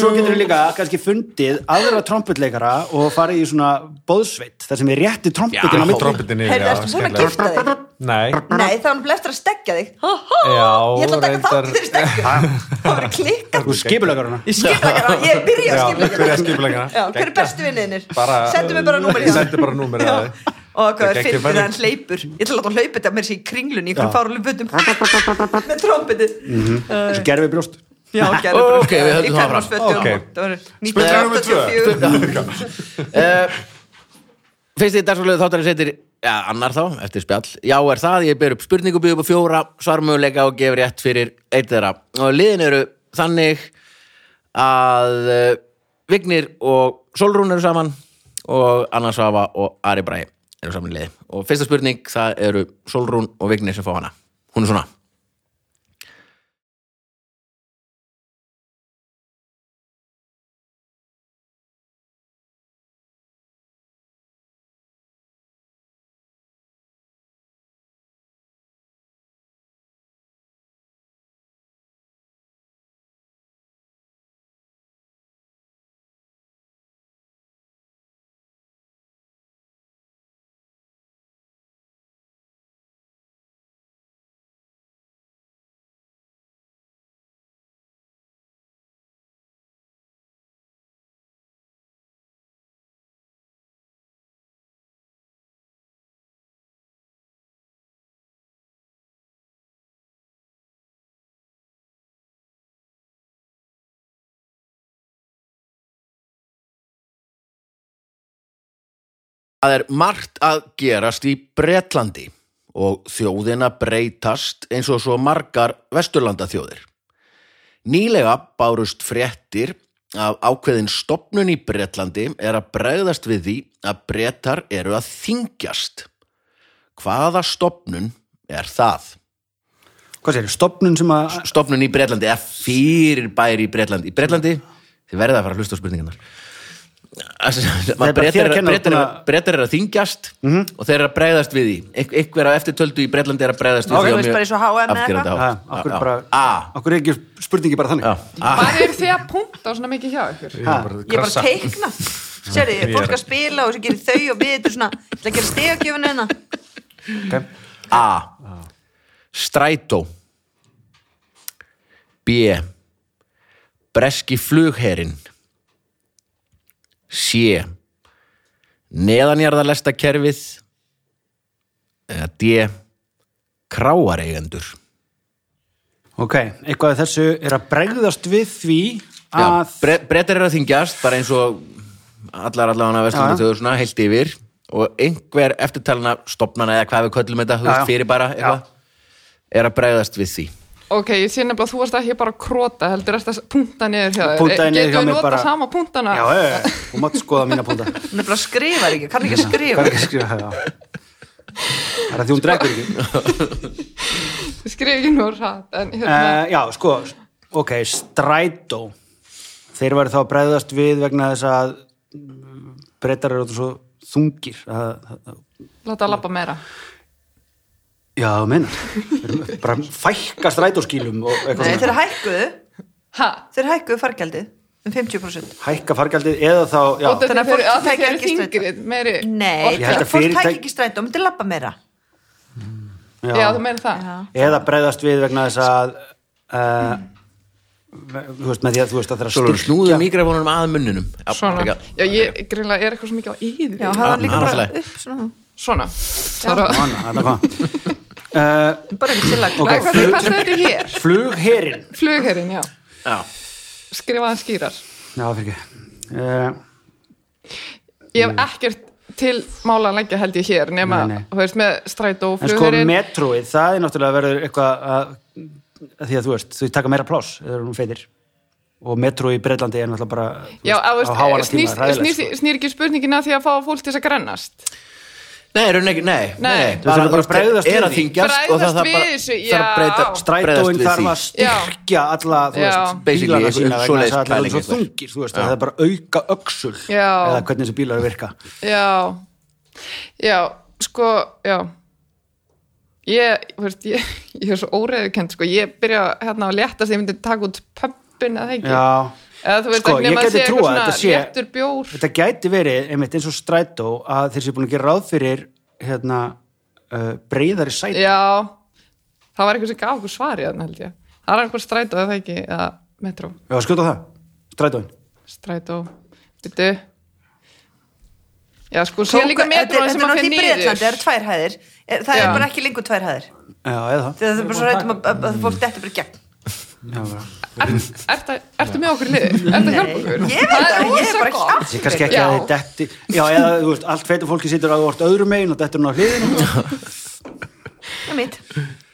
Speaker 2: Svo getur við líka kannski fundið aðra trompetleikara og farið í svona bóðsveit þar sem er rétti trompetin á milli
Speaker 5: trompetin
Speaker 4: Heyrðu, ertu búin að gifta þig?
Speaker 5: nei
Speaker 4: Nei, það var hann eftir að stekja þig ha, ha,
Speaker 5: Já,
Speaker 4: Ég ætla að taka
Speaker 5: reyndar-
Speaker 4: þátt þegar stekja Það var klikkað
Speaker 2: og skipulegaruna
Speaker 4: Skipleikara, ég byrja á
Speaker 5: Já, byrja á
Speaker 4: skipleikara
Speaker 5: skipuleggara.
Speaker 4: Já, hver er
Speaker 5: Geggjað.
Speaker 4: bestu vinninir?
Speaker 5: Bara-
Speaker 4: Sendu mér bara númer í
Speaker 5: Ég
Speaker 4: hann.
Speaker 5: sendi bara númerið
Speaker 4: Já.
Speaker 5: að þig.
Speaker 4: Og hvað er
Speaker 5: Þetta er geggjað
Speaker 4: fyrir þegar
Speaker 5: pæling.
Speaker 4: hann hleypur Ég ætla að láta hann hlaupa þetta mér sér í kringlunni í hverjum fáralum butum með trombiti
Speaker 5: Mhm.
Speaker 2: Svo gerðum við brjóst
Speaker 4: Já, gerði
Speaker 1: Ó, ok, við höldum áfram.
Speaker 5: Ok. Spurning númer tvö.
Speaker 4: Spurning nummer 2
Speaker 1: Fyrst í dagsfólöðu Eh, þáttarins heitir Já, annar þá, eftir spjall Já, er það, ég ber upp spurningu, býð upp á fjóra svarmöguleika og gefur rétt fyrir eitt þeirra og liðin eru þannig að eh, Vignir og Solrún eru saman og Anna Svafa og Ari Bræ eru saman í liði og fyrsta spurning, það eru Solrún og Vignir sem fá hana Hún er svona Það er margt að gerast í Bretlandi og þjóðina breytast eins og svo margar vesturlanda þjóðir. Nýlega bárust fréttir af ákveðin stopnun í Bretlandi er að bregðast við því að brettar eru að þingjast. Hvaða stopnun er það?
Speaker 2: Hvað sér, stopnun sem að
Speaker 1: Stopnun í Bretlandi eða fyrir bæri í Bretlandi. Í Bretlandi, þið verða að fara að hlusta á spurningarnar.
Speaker 2: bara þér að
Speaker 1: Brettar
Speaker 2: kenna,
Speaker 1: brettar-
Speaker 2: búin að- Mhm.
Speaker 1: Bretar eru að þingjast og þeir eru að bregðast við því Eik, einhver á eftirtöldu í Bretlandi er að bregðast við
Speaker 4: Ok,
Speaker 1: því á
Speaker 4: þú veist,
Speaker 1: mjög
Speaker 4: bara eins og HM eða
Speaker 1: afgerandi
Speaker 4: eitthvað.
Speaker 1: hátt.
Speaker 2: Ha, okkur
Speaker 1: Já,
Speaker 2: bara,
Speaker 1: já.
Speaker 2: okkur er ekki spurningi bara þannig
Speaker 1: Já, já.
Speaker 3: Hvað eru þið að punta svona mikið hjá ykkur?
Speaker 5: Ég er bara
Speaker 4: ég er bara
Speaker 5: krassa.
Speaker 4: að teikna Sérðu, fólk að spila og svo gerir þau og við þetta er svona, ég ætla að gera stegakjöfuna hérna
Speaker 1: A. Strætó B. Breski flugherin C. Neðanjarðalesta kerfið D. Kráareigendur
Speaker 2: ok, eitthvað af þessu er að bregðast við því
Speaker 1: Já,
Speaker 2: að
Speaker 1: bre brettar eru að þingjast bara eins og allar allavega vestlandi
Speaker 2: Já.
Speaker 1: þjóður svona heilt yfir og einhver eftirtalina stopnana eða hvað við köllum þetta, þú
Speaker 2: Já,
Speaker 1: veist,
Speaker 2: já.
Speaker 1: fyrir bara eitthvað, er að bregðast við því
Speaker 3: Ok, ég sé nefnilega að þú varst ekki bara að króta heldur eftir að punta niður hjá þér Eh,
Speaker 2: Puntaði niður hjá
Speaker 3: Getum
Speaker 2: mér
Speaker 3: við nota
Speaker 2: bara-
Speaker 3: sama puntana?
Speaker 2: já, já, já, þú mátt skoða mína púnta hvað
Speaker 4: nefnilega skrifar ekki, kann ekki að skrifa
Speaker 2: er ekki að skrifa það já. Það er að því hún drekkur ekki
Speaker 3: Ég skrif ekki nú rætt en hérna,
Speaker 2: uh, Já, sko, ok, strætó Þeir væri þá að bregðast við vegna þess að mm, breytar eru svo þungir að, að,
Speaker 3: láta að labba meira
Speaker 2: Já, menna bara fækka strætóskýlum og
Speaker 4: Nei,
Speaker 2: eitthvað
Speaker 4: þeir
Speaker 2: svona.
Speaker 4: hækkuðu,
Speaker 3: Ha?
Speaker 4: þeir hækkuðu fargjaldið um 50%
Speaker 2: hækka fargjaldið eða þá já,
Speaker 3: Og þetta
Speaker 4: Þannig að
Speaker 3: fyrir
Speaker 4: fólk
Speaker 3: að
Speaker 4: tæki
Speaker 3: það er
Speaker 4: ekki strætó.
Speaker 3: þingrið meiri
Speaker 4: Nei,
Speaker 2: Ég held að
Speaker 4: fólk
Speaker 2: fyrirtæk-
Speaker 4: tæk ekki strætó, myndi labba meira
Speaker 3: Já,
Speaker 2: já,
Speaker 3: þú meina það
Speaker 2: eða bregðast við vegna þess að uh, þú veist, með því að þú veist að þeir að
Speaker 1: Svo
Speaker 2: styrkja
Speaker 1: snúðu mikrofónunum að munnunum Já,
Speaker 3: Svona,
Speaker 1: ekki-
Speaker 3: já ég greinlega er eitthvað svo mikið á yður
Speaker 4: Já,
Speaker 2: Ah,
Speaker 4: hafa hann
Speaker 1: Já,
Speaker 4: líka
Speaker 1: það er
Speaker 4: bara
Speaker 1: allt í
Speaker 4: upp svona
Speaker 3: Svona Það er
Speaker 2: Svona, þarna kom það. Eh,
Speaker 4: Bara ekki til að
Speaker 2: Ok.
Speaker 3: Hvað hvað er þetta hér?
Speaker 2: Flugherinn
Speaker 3: Flugherinn, já
Speaker 1: Já.
Speaker 3: Skrifaðan skýrar
Speaker 2: Já, fyrir ekki uh,
Speaker 3: Ég hef ekkert til mála að leggja held ég hér nema,
Speaker 2: Nei, nei.
Speaker 3: þú veist, með strætó og
Speaker 2: En sko
Speaker 3: flugherinn
Speaker 2: metróið, það er náttúrulega verður eitthvað að, að því að þú veist, þau taka meira pláss eða eru nú feitir og metróið í Breitlandi er náttúrulega bara þú
Speaker 3: Já, að,
Speaker 2: á háana
Speaker 3: veist, eh, snýst,
Speaker 2: hræðilegt,
Speaker 3: snýst,
Speaker 2: sko.
Speaker 3: snýr ekki spurningin að því að fá fólk til þess að grannast
Speaker 1: Nei, er ekki, nei, nei,
Speaker 3: Nei.
Speaker 1: bara,
Speaker 2: Þú veist, bara bregðast
Speaker 1: er
Speaker 2: við
Speaker 1: að
Speaker 2: því.
Speaker 1: þingjast og það
Speaker 3: Bregðast
Speaker 1: það
Speaker 3: við
Speaker 1: bara
Speaker 3: þessu,
Speaker 1: þarf að
Speaker 3: já.
Speaker 1: breyta-
Speaker 2: Strætóin
Speaker 1: bregðast við
Speaker 2: þarf
Speaker 1: því.
Speaker 2: að styrkja alla, þú
Speaker 3: Já.
Speaker 2: veist,
Speaker 1: Basically,
Speaker 2: bílana
Speaker 1: einhver-
Speaker 2: sína vegna
Speaker 1: svoleiðis
Speaker 2: þess að það er
Speaker 1: pæling
Speaker 2: svo
Speaker 1: einhver.
Speaker 2: þungir, þú veist, það er bara að auka öxul
Speaker 3: Já.
Speaker 2: eða hvernig þessi bílar virka
Speaker 3: Já Já, sko, já Ég, þú veist, ég, ég er svo óreðukend sko, ég byrja hérna að léttast ég myndi taka út pömpin eða það ekki
Speaker 2: Já,
Speaker 3: eða þú veist
Speaker 2: Sko,
Speaker 3: ekki nema
Speaker 2: ég
Speaker 3: að
Speaker 2: gæti
Speaker 3: sé
Speaker 2: trúað
Speaker 3: eitthvað
Speaker 2: að
Speaker 3: svona
Speaker 2: þetta sé-
Speaker 3: léttur bjór
Speaker 2: þetta gæti verið, einmitt eins og strætó að þeir séu búin að gera ráð fyrir hérna, uh, breyðari sæti
Speaker 3: Já, það var eitthvað sem gaf okkur svari þannig held ég, það er einhver strætó eða það ekki, eða metró,
Speaker 2: Já, skjóta á það, strætóin
Speaker 3: strætó Byttu Já, sko, sé
Speaker 4: Kóka-
Speaker 3: líka
Speaker 4: Þetta
Speaker 3: metróin
Speaker 4: er
Speaker 3: sem að fyrir
Speaker 4: náttúrulega í
Speaker 3: niður
Speaker 4: Breitlandi, það eru tvær hæðir Er- Það
Speaker 3: Já.
Speaker 4: er bara ekki lengur tvær hæðir
Speaker 2: Já, eða það
Speaker 4: Það er bara svo rættum að að- að fólk dettur bara í gegn
Speaker 2: Já, já.
Speaker 3: Er- Ertu ertu með okkur lið? Ertu að hjálpa okkur?
Speaker 4: Ég veit
Speaker 3: er
Speaker 4: það, ég er
Speaker 3: rosa
Speaker 4: bara
Speaker 3: gott.
Speaker 4: ekki
Speaker 2: Ég kannski ekki
Speaker 3: Já.
Speaker 2: að þið detti Já, eða, þú veist, allt feitur fólki situr að þú ert öðrum megin og dettur hún á hliðinu
Speaker 4: Það er mitt.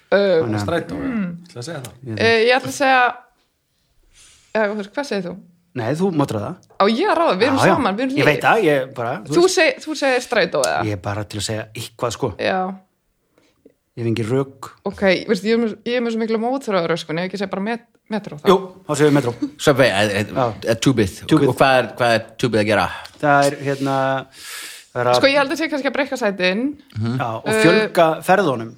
Speaker 3: Uh,
Speaker 5: Strætó,
Speaker 4: Mm.
Speaker 5: ætla að segja það
Speaker 2: Mhm.
Speaker 3: uh, Ég ætla að segja Já, þú veist, Hvað segir þú?
Speaker 2: Nei, þú máttur það
Speaker 3: Á ég að ráða, við erum
Speaker 2: Já, já.
Speaker 3: saman, við erum
Speaker 2: Ég veit það, ég bara, þú
Speaker 3: Þú,
Speaker 2: veist
Speaker 3: seg, þú segir strætó eða?
Speaker 2: Ég er bara til að segja eitthvað, sko
Speaker 3: Já,
Speaker 2: Ég hef engin rök
Speaker 3: ok, veist, ég, er með- ég er með svo miklu mótröður sko, en ef ekki segja bara met, metró þá
Speaker 2: Jú, þá segir við metró
Speaker 1: Subway, eh, eh,
Speaker 2: Já.
Speaker 1: eh, Tubið
Speaker 2: Tubið.
Speaker 1: og hvað er, hvað er Tubið að gera?
Speaker 2: Það er, hérna það er að,
Speaker 3: Sko, ég held að segja kannski að breyka sætin
Speaker 2: já,
Speaker 4: uh,
Speaker 2: Og fjölga ferðunum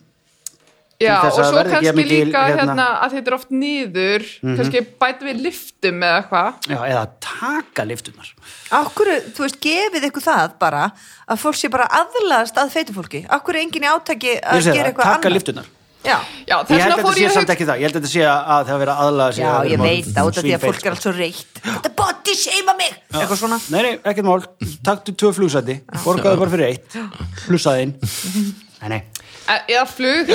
Speaker 3: Já,
Speaker 2: Til
Speaker 3: og
Speaker 2: þess að
Speaker 3: svo
Speaker 2: verða ekki
Speaker 3: kannski
Speaker 2: jafn mikil,
Speaker 3: líka
Speaker 2: hérna- Mhm.
Speaker 3: hérna, að þetta er oft niður kannski bæta við liftum eða eitthvað
Speaker 2: Já, eða taka liftunar
Speaker 4: Akkur, þú veist, gefið ykkur það bara að fólk sé bara aðlaðast að feitufólki Akkur er enginn í átaki
Speaker 2: Ég
Speaker 4: að
Speaker 2: segi það,
Speaker 4: gera eitthvað
Speaker 2: taka
Speaker 4: annað
Speaker 2: liftunar
Speaker 4: Já,
Speaker 3: Já,
Speaker 2: Ég held
Speaker 3: þess vegna
Speaker 2: að þetta
Speaker 3: fór
Speaker 2: sé
Speaker 3: ég að
Speaker 2: samt ekki það, ég held að þetta sé að það hafa verið aðlaða
Speaker 4: já ég veit það út af því að fólk er allt svo reytt Þetta body shame mig Eitthvað svona
Speaker 2: Nei, nei, ekkert mál, taktu tvö flugsæti borgaðu bara fyrir eitt, flussaði inn Nei, nei,
Speaker 3: hugsa Eh, eða flug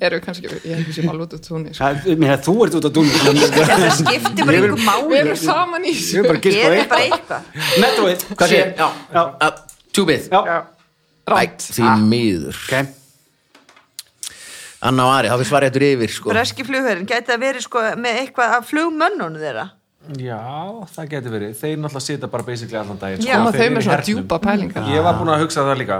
Speaker 3: eru kannski, ég hef ekki sem alveg út úr túnni sko.
Speaker 2: það, mér, þú ert út á dúnum
Speaker 4: Já, Það skiptir bara ykkur
Speaker 3: við
Speaker 4: máli
Speaker 3: erum saman í þessu
Speaker 2: Ég er bara að giska á
Speaker 4: Gerið bara
Speaker 2: sko, eitthvað
Speaker 4: eitthvað
Speaker 2: Metroið,
Speaker 1: Hvað sé?
Speaker 2: Já.
Speaker 1: Já. Tjúbið,
Speaker 2: Já, Ah.
Speaker 1: bæk, því
Speaker 3: Ah,
Speaker 1: miður
Speaker 2: ok
Speaker 1: Anna og Ari, þá fyrir svarið eftir yfir sko.
Speaker 4: Breski flugherrin, gæti að verið sko með eitthvað af flugmönnunum þeirra
Speaker 5: Já, það getur verið. Þeir náttúrulega sita bara basically allan daginn.
Speaker 4: Já,
Speaker 5: sko.
Speaker 4: og
Speaker 3: þau
Speaker 5: Þeir eru
Speaker 3: með
Speaker 5: í
Speaker 3: svona
Speaker 5: hernum.
Speaker 3: djúpa pælingar
Speaker 5: Ég var búin að hugsa það líka.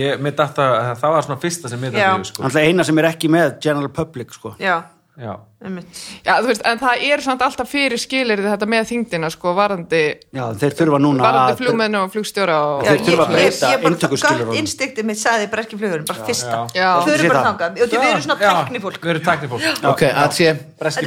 Speaker 5: ég, mér datt að það var svona fyrsta sem mér datt
Speaker 4: Mhm. Já.
Speaker 5: í hug, sko.
Speaker 2: Þannig að eina sem er ekki með general public sko.
Speaker 4: Já,
Speaker 5: Já.
Speaker 4: einmitt
Speaker 3: Já, þú veist, en það er samt alltaf fyrir skilirði þetta með þyngdina, sko, varðandi
Speaker 2: Já, þeir þurfa núna
Speaker 3: varðandi flugmennu og flugstjóra og
Speaker 4: Já,
Speaker 2: Þeir þurfa að breyta
Speaker 4: ég, ég, ég bara
Speaker 2: inntökuskilyrðunum.
Speaker 4: gott instiktið mitt saði breski flugherrin, bara fyrsta
Speaker 3: Já.
Speaker 4: Þau eru
Speaker 2: Sé
Speaker 4: bara
Speaker 2: það.
Speaker 4: þangað, og við erum svona
Speaker 5: Já,
Speaker 4: teknifólk
Speaker 5: Við erum teknifólk.
Speaker 1: Ok, að sé
Speaker 4: Þetta er
Speaker 5: Breski
Speaker 4: breski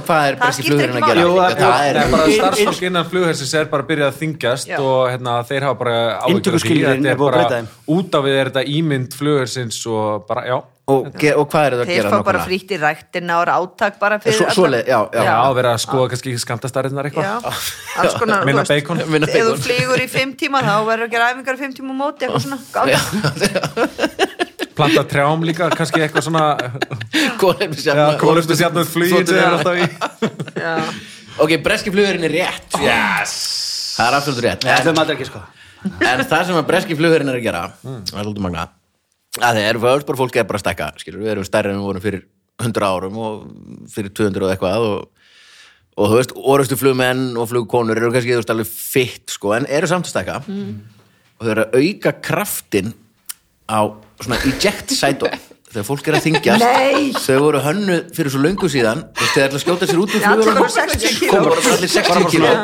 Speaker 1: Breski flugurinn
Speaker 4: flugurinn.
Speaker 1: og hvað er
Speaker 4: Það
Speaker 1: Breski
Speaker 4: skiptir
Speaker 1: flugurinn að
Speaker 4: ekki
Speaker 1: gera?
Speaker 4: máli.
Speaker 2: Jú,
Speaker 1: það
Speaker 5: Nei,
Speaker 1: er
Speaker 5: bara
Speaker 2: Inn-
Speaker 5: starfsfólk innan flughersins er bara byrjað að þingjast
Speaker 4: Já.
Speaker 5: og hérna, þeir hafa bara áhyggjur af því.
Speaker 2: Inntökuskilyrðin
Speaker 5: Þetta
Speaker 2: er búið að
Speaker 5: bara-
Speaker 2: breyta þeim.
Speaker 5: Út af við er þetta ímynd flughersins og bara, já.
Speaker 1: og, ge- og hvað er það að
Speaker 4: Þeir
Speaker 1: gera
Speaker 4: fá bara
Speaker 1: nákvæmlega?
Speaker 4: frítt í ræktina og rátak bara fyrir
Speaker 1: Svo-
Speaker 4: alla-
Speaker 1: svoleið, já, já.
Speaker 5: Já, verið að skoða kannski skamtastarðinar eitthvað.
Speaker 4: Já, alls konar
Speaker 5: Minna
Speaker 4: þú veist,
Speaker 5: bacon.
Speaker 1: Minna
Speaker 4: Ef þú
Speaker 1: bacon.
Speaker 4: flýgur í fimm tíma þá verður að gera æfingar í fimm tíma á móti eitthvað svona gátt
Speaker 5: Planta trjám líka, kannski eitthvað svona
Speaker 1: Kólefnisjarnar
Speaker 5: Kólefstu sjálfnum flugin sem er alltaf í
Speaker 1: Ok, breski flugurinn er rétt
Speaker 5: Yes
Speaker 1: Það er absolutt rétt
Speaker 2: Það
Speaker 1: en,
Speaker 2: þurfum aldrei ekki sko.
Speaker 1: en það sem að breski flugurinn er að gera Það er svolítið magna að þeir eru bara fólk er bara að stekka skilur, við erum stærri en við vorum fyrir 100 árum og fyrir 200 og eitthvað og, og þú veist, orustu flugmenn og flugkonur eru kannski þú veist alveg fitt sko, en eru samt að stekka
Speaker 4: Hmm.
Speaker 1: og þau eru að auka kraftin á svona eject sætó þegar fólk er að þingjast
Speaker 4: Nei.
Speaker 1: þau voru hönnu fyrir svo löngu síðan þú veist, þeir ætla að skjóta sér út úr
Speaker 4: Já, allir
Speaker 1: flugvélunum.
Speaker 4: voru 60 kíló.
Speaker 1: Komu bara allir 60 kíló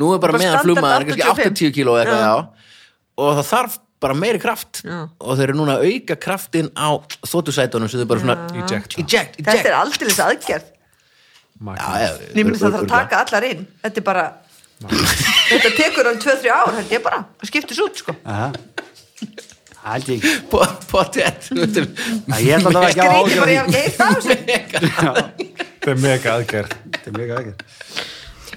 Speaker 1: nú er bara
Speaker 4: Bara
Speaker 1: meðan
Speaker 4: standard
Speaker 1: flugmaður kannski
Speaker 4: 85.
Speaker 1: 80 kíló eitthvað
Speaker 4: Já.
Speaker 1: já og það þarf bara meiri kraft
Speaker 4: Já.
Speaker 1: og þeir eru núna að auka kraftin á þóttusætunum sem þau bara svona
Speaker 5: Eject.
Speaker 1: eject,
Speaker 4: Þetta
Speaker 1: eject.
Speaker 4: er aldrei þess aðgerð
Speaker 1: Já, já,
Speaker 4: Nýmur það þarf að
Speaker 1: örugglega.
Speaker 4: taka allar inn Þetta er bara Þetta tekur alveg 2-3 ár held ég bara Það skiptis út sko
Speaker 2: Aha. Það held ég ekki
Speaker 1: Po- pottet þú veist,
Speaker 2: Æ, Ég held að það ekki að
Speaker 4: Gríti
Speaker 2: ágjör
Speaker 4: bara ég hef geitt af þessu
Speaker 5: Þetta er mega aðgerð
Speaker 2: Þetta er mjög aðgjör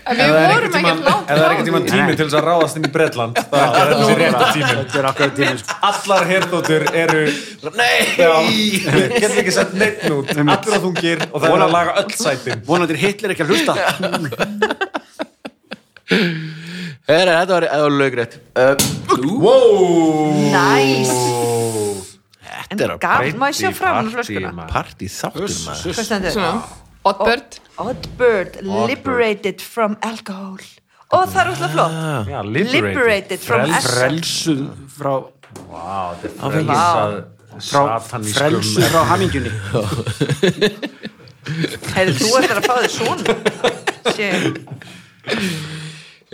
Speaker 3: En við vorum ekkert
Speaker 5: tíman,
Speaker 3: langt
Speaker 5: ef það er
Speaker 3: frá
Speaker 5: ekki tíman
Speaker 3: því.
Speaker 5: tími til þess að ráðast inn í Bretland þá er ekki þessi réttu tímin
Speaker 2: Þetta er akkur tími sko.
Speaker 5: Allar herðóttur eru Já,
Speaker 1: nei
Speaker 5: við getum ekki sett neitt nút Allir að þungir og það er að laga öll sætin
Speaker 2: Vonandi er Hitler ekki að hlusta
Speaker 1: Heri, þetta var, þetta var lögrétt uh,
Speaker 5: Wow
Speaker 4: Næs
Speaker 1: þetta er að
Speaker 4: Gaf, má ég sjá fram á flöskuna
Speaker 1: partí þáttur maður
Speaker 4: Hvað stendur?
Speaker 3: Svona, Oddbird
Speaker 4: Oddbird, liberated from alcohol Og það er útla flott
Speaker 5: Já,
Speaker 4: Liberated from
Speaker 5: Frels-
Speaker 4: S-
Speaker 2: Frelsuð frá
Speaker 5: Vá, þetta er
Speaker 2: frá, frelsuð frá hamingjunni
Speaker 4: Heyrðu, þú ættir að fá þér svona Sjö.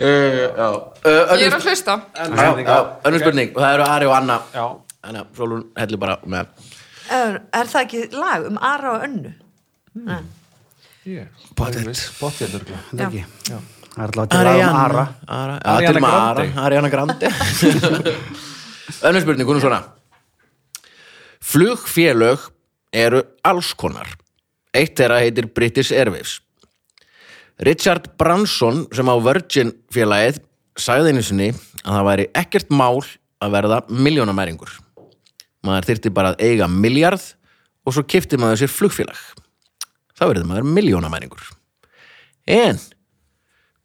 Speaker 3: Ég er að hlusta
Speaker 1: önnur spurning og það eru Ari og Anna
Speaker 5: Já.
Speaker 1: Anna, Frólun, hellu bara með
Speaker 4: Er er það ekki lag um Ara og Önnu? Hmm.
Speaker 1: pottet
Speaker 5: Bóttið örgulega
Speaker 2: Það er ekki. Það er alltaf að gera um
Speaker 1: Ariana
Speaker 2: Ara
Speaker 1: Ara,
Speaker 5: Ariana
Speaker 1: ja, til og með Ara,
Speaker 5: Grande.
Speaker 1: Ariana Grande Önnur spurning, hún er svona Flugfélög eru alls konar Eitt þeirra heitir British Airwaves Richard Branson sem á Virgin félagið sagði einu sinni að það væri ekkert mál að verða miljónamæringur maður þyrfti bara að eiga miljard og svo kipti maður sér flugfélag þá verður maður miljónamæringur en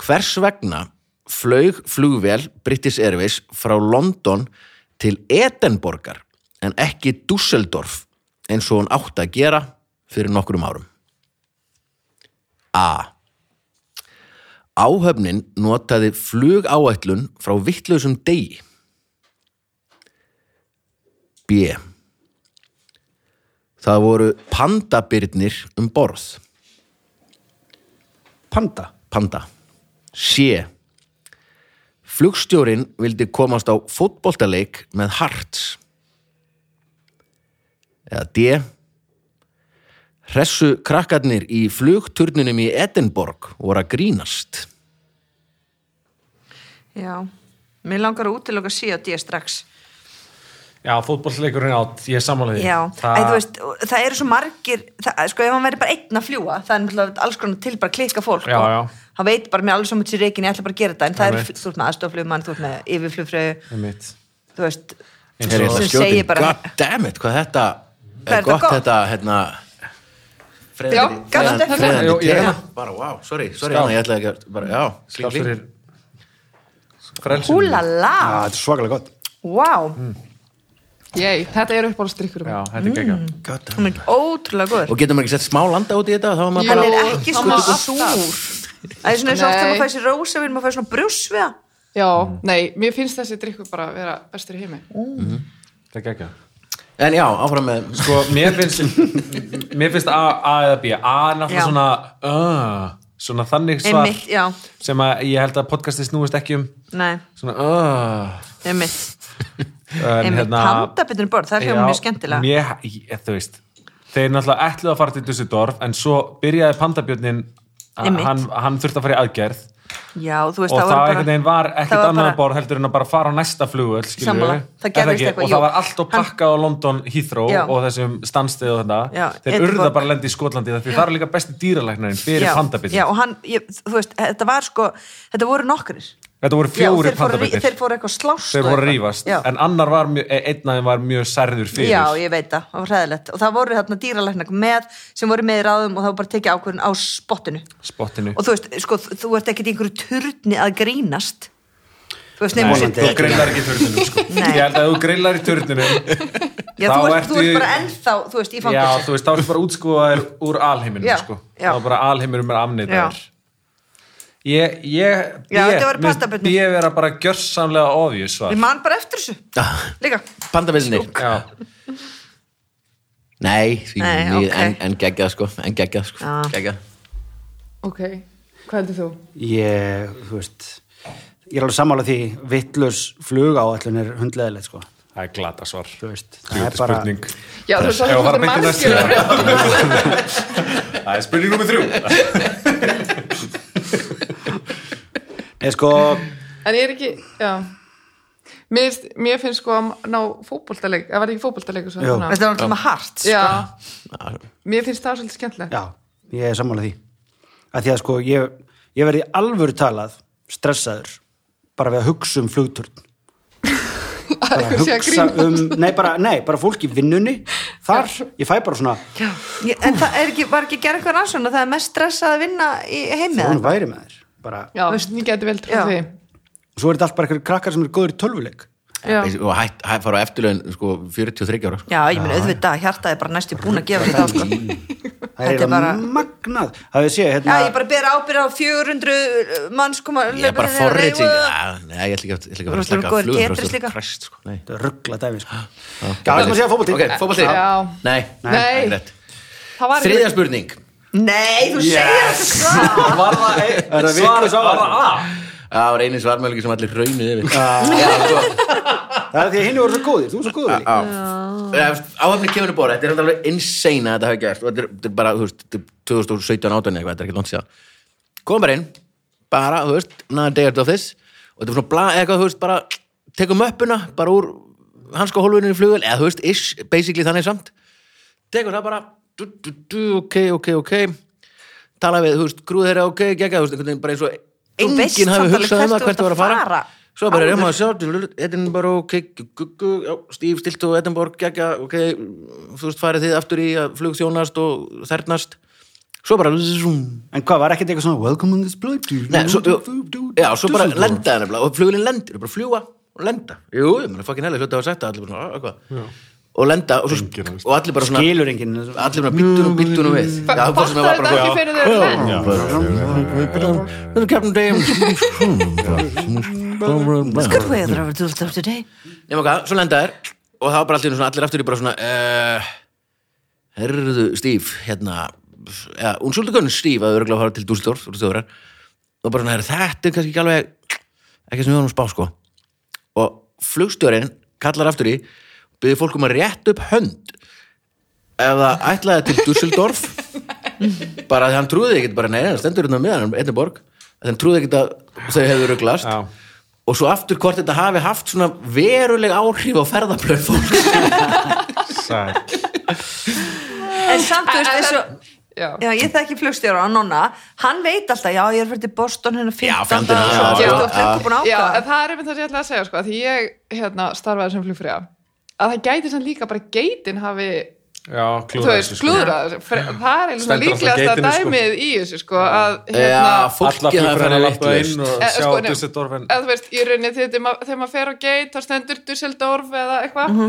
Speaker 1: Hvers vegna flög flugvél British Airways frá London til Edinborgar en ekki Dusseldorf eins og hún átti að gera fyrir nokkrum árum? A. Áhöfnin notaði flugáætlun frá vittlausum degi. B. Það voru pandabirnir um borð.
Speaker 2: Panda
Speaker 1: Panda C Flugstjórin vildi komast á fótboltaleik með Hearts eða D Hressu krakkarnir í flugturninum í Edinborg voru að grínast
Speaker 4: Já, mér langar að útiloka sí og dýja strax
Speaker 5: Já, fótbollsleikurinn átt, ég sammála því
Speaker 4: Já, það... Æ, þú veist, það eru svo margir það, sko, ef hann verður bara einn að fljúa það er náttúrulega alls konar til bara að klikka fólk
Speaker 5: Já,
Speaker 4: og
Speaker 5: já.
Speaker 4: hann veit bara með alveg svo mjög sér reikin ég ætla bara að gera þetta, en það er,
Speaker 5: Einmitt.
Speaker 4: þú ert með aðstoflumann þú ert með yfirflugfröðu,
Speaker 5: Einmitt.
Speaker 4: þú veist
Speaker 1: Þeir
Speaker 5: Eins og-
Speaker 1: eru að
Speaker 4: sem
Speaker 1: skjóta
Speaker 4: segir
Speaker 1: inn.
Speaker 4: bara-
Speaker 1: God damn it, hvað þetta
Speaker 4: Hvað er
Speaker 1: er
Speaker 4: þetta
Speaker 1: gott,
Speaker 4: gott?
Speaker 1: þetta hérna
Speaker 3: Já,
Speaker 1: friðandi-
Speaker 4: gafstu
Speaker 1: friðandi-
Speaker 4: þetta?
Speaker 1: friðandi
Speaker 5: Jú, ég er
Speaker 1: te.
Speaker 5: hérna.
Speaker 1: bara wow, sorry, sorry
Speaker 5: Skál.
Speaker 1: Anna, ég ætlaði ekki að bara, já,
Speaker 5: Skál
Speaker 1: kling, kling.
Speaker 5: fyrir frelsinu.
Speaker 4: húlala,
Speaker 2: Já, þetta er svakalega gott.
Speaker 4: wow
Speaker 3: Ég, þetta er uppáhaldsdrykkur
Speaker 5: Já, þetta er
Speaker 4: Mm.
Speaker 5: geggjað.
Speaker 4: hún er ótrúlega góður
Speaker 1: Og getur maður ekki sett smá landa út í þetta og þá er maður
Speaker 3: Jú.
Speaker 1: bara
Speaker 4: hann
Speaker 3: Jú.
Speaker 4: er ekki
Speaker 3: Hann sko
Speaker 4: svona
Speaker 3: var alltaf.
Speaker 4: súr það er svona eins og ofta
Speaker 3: Nei.
Speaker 4: maður fæði sér rósa við maður fæði svona brjósviða
Speaker 3: Já, nei, mér finnst þessi drykkur bara að vera bestur í heimi
Speaker 5: Þetta er geggjað.
Speaker 1: En já, áfram með
Speaker 5: Sko, mér finnst mér finnst A, A eða B A er
Speaker 4: Já.
Speaker 5: náttúrulega svona uh, svona þannig svar
Speaker 4: einmitt, já,
Speaker 5: sem að ég held að podcastið snúist ekki um
Speaker 4: nei,
Speaker 5: svona uh,
Speaker 4: einmitt
Speaker 5: en hérna-
Speaker 4: einmitt, pandabitunum borð, það er hljóma mjög skemmtilega
Speaker 5: mér, ég, þú veist, þeir náttúrulega ætluðu að fara til Dusseldorf en svo byrjaði pandabjörnin
Speaker 4: Einmitt.
Speaker 5: hann, hann þurfti að fara í aðgerð
Speaker 4: já, þú veist,
Speaker 5: og
Speaker 4: það
Speaker 5: það
Speaker 4: var
Speaker 5: einhvern veginn var ekkert
Speaker 4: það var
Speaker 5: annað
Speaker 4: bara-
Speaker 5: borð heldur en að bara fara á næsta flugvöld
Speaker 4: Sammála, það gerðist eitthvað,
Speaker 5: og
Speaker 4: jú.
Speaker 5: það var allt og pakka á London Heathrow
Speaker 4: Já.
Speaker 5: og þessum standstið og
Speaker 4: Já,
Speaker 5: þetta þeir
Speaker 4: Edinborg.
Speaker 5: urða bara að lenda í Skotlandi það, því það er líka besti dýralæknarinn fyrir pandabittin
Speaker 4: já, og hann, ég, þú veist, þetta var sko þetta voru nokkrir
Speaker 5: þetta voru
Speaker 4: Já,
Speaker 5: fjóri
Speaker 4: þeir fóru-
Speaker 5: pandabittir
Speaker 4: þeir fóru eitthvað slást
Speaker 5: þeir
Speaker 4: og
Speaker 5: voru að
Speaker 4: eitthvað.
Speaker 5: rífast
Speaker 4: já.
Speaker 5: en annar var mjög, einn af þeim var mjög særður fyrir
Speaker 4: já, ég veit það, það var hræðilegt og það voru þarna dýralæknar með sem voru með í ráðum og það var bara tekið ákvörðin á spottinu
Speaker 5: spottinu
Speaker 4: og þú veist, sko, þú- þú ert ekkert í einhverju turni að grínast þú veist,
Speaker 5: Nei,
Speaker 4: nefnum
Speaker 5: þú grillar ekki í turnunum sko.
Speaker 4: Nei.
Speaker 5: ég held að ef þú grillar í turnunum
Speaker 4: Já,
Speaker 5: þá
Speaker 4: þú ert, þú
Speaker 5: ertu-
Speaker 4: ert bara ennþá, þú veist, í
Speaker 5: já,
Speaker 4: fangelsi.
Speaker 5: þú veist, þá ertu bara útskúaður úr alheiminum
Speaker 4: Já,
Speaker 5: sko.
Speaker 4: já.
Speaker 5: þá bara alheiminum er amnitaður ég, ég
Speaker 4: Já,
Speaker 5: ég-
Speaker 4: þetta voru
Speaker 5: mér finnst
Speaker 4: pandabörnin.
Speaker 5: ég vera bara gjörsamlega ofjus
Speaker 4: Ég man bara eftir þessu, líka.
Speaker 1: Pandavillinir
Speaker 5: já,
Speaker 1: Nei, því,
Speaker 4: Nei,
Speaker 1: ég-
Speaker 4: ok.
Speaker 1: en, en geggjað sko En geggjað sko
Speaker 4: Já.
Speaker 1: geggjað.
Speaker 3: Ok, hvað heldur þú?
Speaker 2: Ég, þú veist, ég er alveg sammála því vittlaus flug áallun er hundleðilegt, sko.
Speaker 5: það er glata svar
Speaker 2: Þú veist, það er
Speaker 5: Þetta
Speaker 2: bara...
Speaker 5: spurning
Speaker 3: Já, þú
Speaker 5: Ef
Speaker 3: sagði
Speaker 5: þú fara
Speaker 3: þetta
Speaker 5: beint í næstu-
Speaker 3: margir
Speaker 5: það er spurning nummer þrjú
Speaker 2: Nei, sko,
Speaker 3: En ég er ekki, já Mér, finnst- mér finnst sko að ná fótboltaleik Það var ekki fótboltaleik
Speaker 2: Jú.
Speaker 4: Þetta var náttúrulega hart, sko.
Speaker 3: Já,
Speaker 1: Já.
Speaker 3: mér finnst það svolítið skemmtilegt
Speaker 2: já, ég er sammála því. Að því að, sko, ég, ég verði alvöru talað stressaður bara við að hugsa um flugturn. Bara
Speaker 3: Ég sé að
Speaker 2: hugsa
Speaker 3: grínast.
Speaker 2: um, nei, bara, nei, bara fólk í vinnunni, þar, ég fæ bara svona,
Speaker 4: Já. Ég, en það er ekki, var ekki að gera eitthvað rannsóna, það er mest stressað að vinna í heimið.
Speaker 2: hún væri með þér. Bara,
Speaker 3: Já, ég geti vel
Speaker 4: Já.
Speaker 3: trúið því
Speaker 2: svo er þetta allt bara eitthvað krakkar sem eru góður í tölvuleik.
Speaker 3: Já,
Speaker 1: Og hætt, hætt fara á eftirlaun sko 43 ára sko.
Speaker 4: Já, ég minn auðvitað, hjartaði bara næstu búin að gefa þetta á, sko.
Speaker 2: Það er
Speaker 4: Þetta
Speaker 2: bara...
Speaker 4: er bara-
Speaker 2: magnað. Það við séð,
Speaker 4: Já,
Speaker 2: hérna...
Speaker 4: ég bara ber ábyrð á 400 manns koma.
Speaker 1: Ég er bara
Speaker 4: leiðbeinir þeirra
Speaker 1: forrið til
Speaker 4: leigu.
Speaker 1: Já, Nei, ég ætla ekki að- ég ætla ekki að fara að
Speaker 4: Þú
Speaker 1: slaka
Speaker 4: ert góður
Speaker 1: flugur
Speaker 4: Tetris líka.
Speaker 1: Krist, sko. Nei.
Speaker 2: Þetta er ruggla dæmi, sko. Já,
Speaker 1: Já,
Speaker 2: það er maður að segja fótbolti.
Speaker 1: Ok, fótbolti
Speaker 3: Já.
Speaker 1: Nei,
Speaker 3: Nei.
Speaker 1: ekki rétt.
Speaker 3: það var
Speaker 1: Þriðja spurning
Speaker 4: Nei, þú segir þetta sko.
Speaker 5: var það
Speaker 2: Er það
Speaker 5: svar
Speaker 2: vitlaus áætlun?
Speaker 5: var það A
Speaker 1: Það var einu svarmölingi sem allir raunuð yfir sko.
Speaker 2: Það er því að hinn voru svo góðir, þú er svo góður líka.
Speaker 1: Áhafni kemur í bóra Þetta er samt alveg insane að þetta hafi gert og þetta er, þetta er bara, þú veist, þetta er 2017 átönni eitthvað, þetta er ekki langt síðan Komum bara inn, bara, þú veist, another day out of this og þetta er svona blað, eitthvað, þú veist, bara tekum möppuna, bara úr hanska hólfinu í flugvel, eða þú veist, ish, basically þannig samt tekur það bara du, du, du, ok, ok, ok tala við, þú veist, grúð þeirra ok gegga, þú veist, einhvern veginn bara eins og
Speaker 4: Þú veist
Speaker 1: enginn hafi
Speaker 4: samt alveg
Speaker 1: hugsað um
Speaker 4: hvert
Speaker 1: það
Speaker 4: þú
Speaker 1: hvert þú var að
Speaker 4: ert að
Speaker 1: fara,
Speaker 4: fara.
Speaker 1: svo bara
Speaker 4: Áður.
Speaker 1: erum að sjá dululul, Edinburgh, ok, gu- gu- gu- já, Steve Stilto, Edinburgh, gegga, ok þú veist, farið þið aftur í að flugþjónast og þernast, svo bara zoom,
Speaker 2: En hvað, var ekkert eitthvað svona Welcome on this blood
Speaker 1: Nei, svo, já, svo bara lenda það nefnilega og flugulinn lendir, bara fljúa og lenda Jú, ég meina, fucking heilig, hljóta að hafa sagt það allir bara svona, eitthvað og lenda og, svo, og allir bara svona
Speaker 2: Skilur enginn
Speaker 1: allir bara býttunum, býttunum við Já, það var sem það var
Speaker 3: Fattar þetta
Speaker 1: bara
Speaker 3: ekki fyrir þau lent?
Speaker 1: Þetta er Captain Dame
Speaker 4: Good weather of adult of today.
Speaker 1: Nefnum hvað, svo lenda þær og það var bara allir, svona, allir aftur í bara svona uh, Herðu, Steve, hérna ja, Unsuldukun Steve að örgulega fara til Dúsildorf og bara svona, herru, þetta er kannski ekki alveg ekki sem við varum að spá sko og flugstjórinn kallar aftur í byrði fólk um að rétt upp hönd ef það ætlaði til Dusseldorf bara því hann trúði ekkit bara neina, stendur hérna á miðan einnig borg, þannig trúði ekkit að þau hefur ruglast
Speaker 5: Já.
Speaker 1: og svo aftur hvort þetta hafi haft svona veruleg áhrif á ferðablöð fólk
Speaker 5: Sæll.
Speaker 4: En samt, þú
Speaker 3: En-
Speaker 4: veist,
Speaker 3: en-
Speaker 4: eins og...
Speaker 3: Já,
Speaker 4: Já, ég þekki flugstjóra á nonna hann veit alltaf, já, ég er fyrir til Boston hennar 15.
Speaker 1: Já, 15, já,
Speaker 4: og
Speaker 3: já,
Speaker 4: 25
Speaker 1: já.
Speaker 4: búin að
Speaker 3: Já,
Speaker 4: ákvæða.
Speaker 3: en það er einmitt það sem ég ætla að segja sko, að því ég hérna, starfaði sem flugfræða að það gæti sem líka bara geitin hafi
Speaker 5: já,
Speaker 3: þú
Speaker 5: klúðra
Speaker 3: veist,
Speaker 5: þessu, sko.
Speaker 3: klúðra þessu. Fre- það er eins og
Speaker 5: Stendur alltaf á
Speaker 3: líklegasta
Speaker 5: geitinu, sko.
Speaker 3: dæmið í þessu sko, að
Speaker 1: Já,
Speaker 3: hérna,
Speaker 5: Alla
Speaker 1: fólkið það
Speaker 5: flugferðina
Speaker 1: fyrir
Speaker 5: lappa
Speaker 1: vittlust
Speaker 5: inn og
Speaker 3: Eh,
Speaker 5: sjá
Speaker 3: sko, nei.
Speaker 5: Düsseldorfen.
Speaker 3: eða þú veist, í rauninni þegar, þegar, ma- þegar maður fer á geit þá stendur Dusseldorf eða eitthvað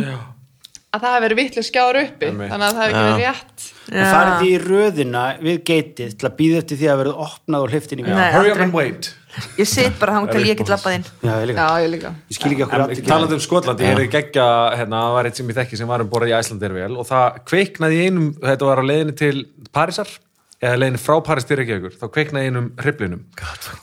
Speaker 3: að það hafi verið vitlega skjáður uppi
Speaker 5: Einmitt.
Speaker 3: þannig að það hefur ekki verið rétt
Speaker 2: Það farið því í röðina við geitið til að býða eftir því að verða opnað og hliftin í mér.
Speaker 4: Nei,
Speaker 5: Hurry up
Speaker 4: aldrei.
Speaker 5: and wait.
Speaker 4: Ég sit bara hann til ég get lappað inn
Speaker 2: Já, ég líka.
Speaker 3: já, ég líka
Speaker 2: Ég skil ekki okkur
Speaker 5: En
Speaker 2: allir
Speaker 5: talandi um Skotland, ég hefði geggja hérna, það var eitt sem ég þekki sem var um borðið í Æslandirvél og það kveiknaði í einum, þetta var á leiðinni til Parísar, eða leiðinni frá París til Reykjavíkur, þá kveiknaði í einum hriflinum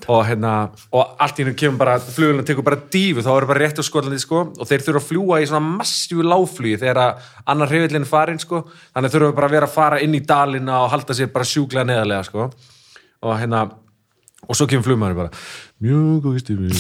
Speaker 5: og hérna, og allt í hennum kemur bara, flugulinn tekur bara dífu þá eru bara rétt á Skotlandi sko, og þeir þurfa að fljúa í svona massífu láflugi þegar að annar hriflinn farin sko, þannig þurfa bara að vera að fara inn í dalina og halda sér bara sjúklega neðarlega sko, og hérna og svo kemur flugmaður bara mjög góð stími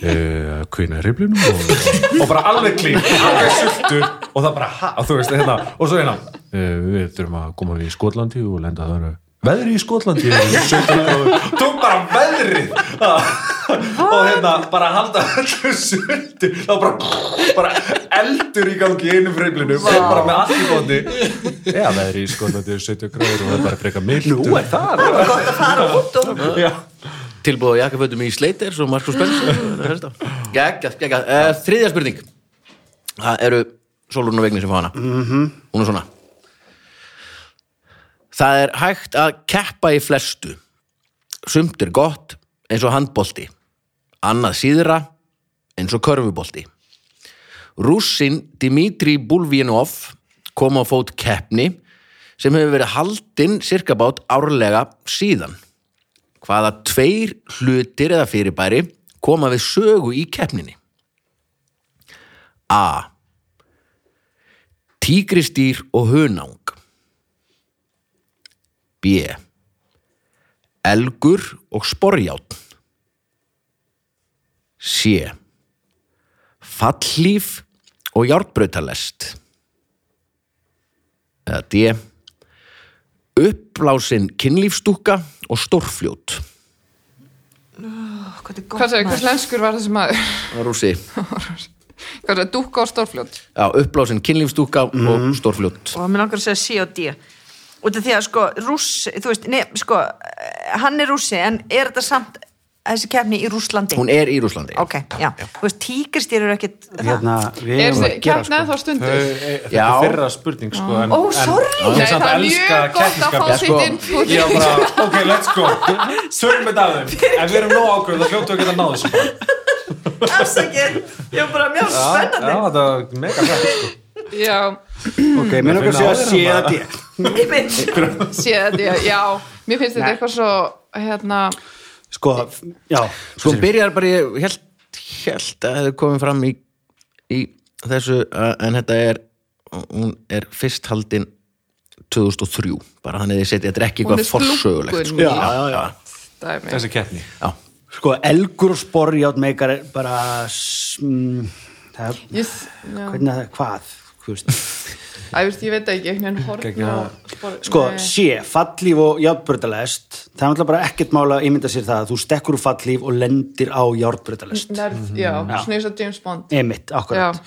Speaker 5: eh, kvinna riflinum og, og bara alveg klín alveg sultur og það bara ha, þú veist, hérna, og svo hérna eh, við þurfum að koma við í Skotlandi og lenda það veðri í Skotlandi er 17 gráður. tók bara veðri og hérna bara halda öllu sultu þá bara, bara eldur í gangi í einum riflinum og bara með allt í bóti já, veðri í Skotlandi er 17 gráður og það er bara freka mild nú er það
Speaker 4: Gott að fara út og
Speaker 5: já
Speaker 1: Tilbúið á jakkafötum í Sleiters og Markus Benz Gægjað, gægjað Eh, Þriðja spurning Það eru Solurinn og Vigni sem fá hana -hmm. Hún er svona Það er hægt að keppa í flestu Sumt er gott eins og handbolti Annað síðra eins og körfubolti Rússin Dmitri Bulvinov kom á fót keppni sem hefur verið haldin sirkabát árlega síðan hvaða tveir hlutir eða fyrirbæri koma við sögu í keppninni A Tígristýr og hunang B Elgur og sporjátn C Fallhlíf og járnbrautalest eða D Uppblásin kynlífstúka og stórfljót
Speaker 4: Hvað
Speaker 3: hvað segir, hvers
Speaker 4: maður?
Speaker 3: lenskur var þessi maður
Speaker 1: Rússi
Speaker 3: hvað segir, dúkka og stórfljót
Speaker 1: Já, uppblásin kynlífstúka og stórfljót
Speaker 4: og mér langar að segja C og D út af því að sko rússi þú veist, nei, sko, eh, hann er rússi en er þetta samt þessi kefni í Rússlandi?
Speaker 1: Hún er í Rúslandi
Speaker 4: ok, já, þú veist, tíkristýr eru ekkit það.
Speaker 2: Hérna, við
Speaker 3: er
Speaker 2: erum að
Speaker 3: þessi
Speaker 2: gera
Speaker 3: keppna
Speaker 2: sko.
Speaker 3: þá stundur
Speaker 5: Þetta er fyrra spurning sko, en,
Speaker 4: Ó, sorry.
Speaker 5: en,
Speaker 3: Nei,
Speaker 5: en samt
Speaker 3: það er
Speaker 5: elska
Speaker 3: mjög gott að fá
Speaker 5: keppnisskap.
Speaker 1: sko.
Speaker 3: sitt input
Speaker 5: Já, bara, ok, let's go Svörum við það þeim En við erum nóg ákveð, það hljóttu að geta náðu þessu bara.
Speaker 4: afsakið, ég er bara mjög
Speaker 5: Já,
Speaker 4: spennandi
Speaker 5: það er mega hrætt sko.
Speaker 3: já,
Speaker 2: Ok, mér langar að segja
Speaker 5: Náður
Speaker 2: sé
Speaker 5: hann
Speaker 2: að
Speaker 5: bara.
Speaker 2: ég.
Speaker 4: ég mynd,
Speaker 3: sé þetta, já, já mér finnst þetta eitthvað svo hérna,
Speaker 2: Sko, já.
Speaker 1: Sko hún byrjar bara, ég held, held að það hefði komið fram í, í þessu uh, en þetta er hún er fyrst haldin 2003, bara þannig að ég setja þetta er ekki
Speaker 3: Hún er
Speaker 1: eitthvað forsögulegt
Speaker 3: splunkunýr.
Speaker 1: sko.
Speaker 2: Já, já, já.
Speaker 3: dæmi
Speaker 5: Þessi keppni
Speaker 1: já.
Speaker 2: Sko, elgur og sporjátt meikar er bara... s- mm, Það,
Speaker 3: ég, já,
Speaker 2: hvernig að það, hvað? Þú veist.
Speaker 3: Æ, veist, ég veit ekki, einhvern veginn horn
Speaker 5: Geggjað.
Speaker 3: og spor-
Speaker 2: Sko,
Speaker 3: Nei.
Speaker 2: sé, fallíf og járnbrötalest, það er náttúrulega bara ekkert mála að ímynda sér það að þú stekkur úr fallíf og lendir á járnbrötalest.
Speaker 3: Nærð, já, svona eins og James Bond
Speaker 2: Emitt, akkurat.
Speaker 3: Mm. Já.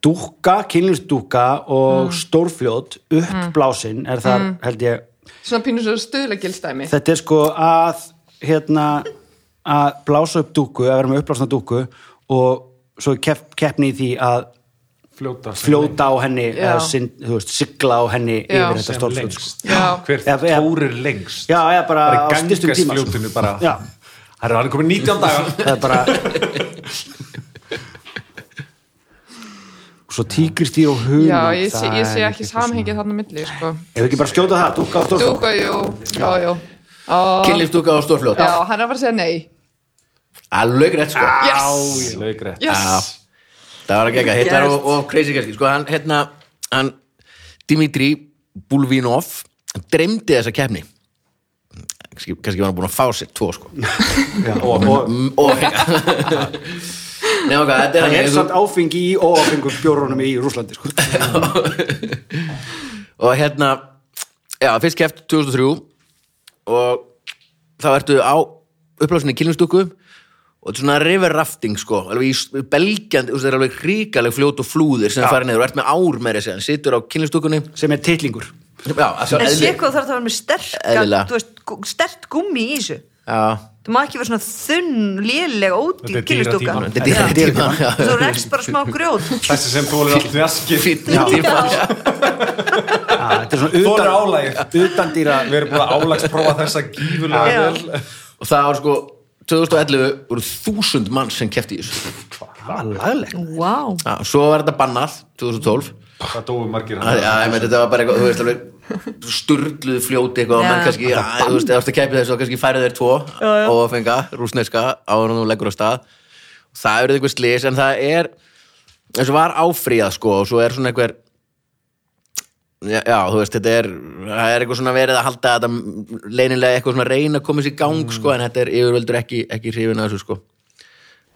Speaker 2: Dúkka, kynlýstúkka og stórfljót, uppblásin er þar, held ég,
Speaker 3: Svona pínur svo stuðlegilstæmi
Speaker 2: þetta er sko að, hérna, að blása upp dúku, að vera með uppblásna dúku og svo er kepp, keppni í því að
Speaker 5: Fljóta sem lengst.
Speaker 2: fljóta á henni,
Speaker 3: Já.
Speaker 2: eða sin, þú veist, sigla á henni
Speaker 3: Já.
Speaker 2: yfir þetta
Speaker 5: Sem
Speaker 2: stórfljót. Sko.
Speaker 5: lengst
Speaker 3: Já.
Speaker 5: Hver
Speaker 2: Já, já.
Speaker 5: tórir lengst
Speaker 2: Já, já, bara
Speaker 5: Bara
Speaker 2: á stystum
Speaker 5: gangast
Speaker 2: tíma. sko.
Speaker 5: fljótinu bara
Speaker 2: Já,
Speaker 5: Það eru hann komið 19 dagar
Speaker 2: það er bara... Svo tígristýr og hugum
Speaker 3: Já, ég sé, ég sé ekki samhengið þarna á milli sko.
Speaker 2: Ef við ekki bara skjóta það, dúkka á stórfljót.
Speaker 3: Dúka, jú, já, já
Speaker 1: Kynlífstúka og stórfljót
Speaker 3: Já, hann er bara að segja nei
Speaker 1: Alveg rétt sko
Speaker 3: Yes,
Speaker 5: Laugrétt
Speaker 3: yes
Speaker 1: Það var hérna ekki ekki, hittar og, og crazy kannski sko, hann, hérna, hann Dimitri Bulvinov dreymdi þessa keppni kannski, kannski var hann búin að fá sér tvo sko
Speaker 2: Og, og,
Speaker 1: Mm, og hega Nei, ok, þetta er
Speaker 2: það er
Speaker 1: þannig,
Speaker 2: samt áfengi í óáfengum bjórunum í Rúslandi, sko.
Speaker 1: og hérna já, fyrst keft 2003 og þá ertu á upplásinni kynlumstúku og þetta er svona river rafting sko alveg í belgjandi, þetta er alveg ríkaleg fljót og flúðir sem fara niður og ert með ár meira sem situr á kynlistúkunni
Speaker 2: sem er titlingur
Speaker 1: já, að
Speaker 4: En sé hvað þarf það að vera með
Speaker 1: Eðlilega.
Speaker 4: sterk, veist, gu- sterkt gummi í þessu.
Speaker 1: já,
Speaker 4: Það má ekki vera svona þunn, léleg, ódýr
Speaker 5: Þetta er dýra
Speaker 4: kynlistúka.
Speaker 5: típan.
Speaker 1: þetta er dýra tíma já.
Speaker 4: Þú rekst bara smá grjóð.
Speaker 5: þessi sem þólir allt við askir
Speaker 1: Fínn tíma.
Speaker 2: ja, þetta er svona
Speaker 5: þólir
Speaker 2: utan,
Speaker 5: álægir
Speaker 2: utan dýra
Speaker 5: við erum búin að álagsprófa þessa
Speaker 4: Já.
Speaker 5: gífurlega vel
Speaker 1: og það var sko 2011 voru þúsund mann sem kefti í þessu
Speaker 2: það var laglegt
Speaker 4: Vá.
Speaker 1: já, svo var þetta bannað 2012
Speaker 5: það dói margir
Speaker 1: Já, já, ég meint, þetta var bara eitthvað, þú veist alveg sturluð fljóti eitthvað og menn
Speaker 4: Já.
Speaker 1: kannski, já, þú veist, ef þú kæpi þessu og kannski færið þeir tvo óafenga, rúsneska áður en þú leggur á stað það eru eitthvað slis, en það er eins og var áfríðað, sko og svo er svona eitthvað já, já, þú veist, þetta er það er eitthvað svona verið að halda þetta leynilega eitthvað svona reyna að koma sér í gang,
Speaker 2: Mm.
Speaker 1: sko en þetta er yfirvöldur ekki, ekki hrifin að þessu, sko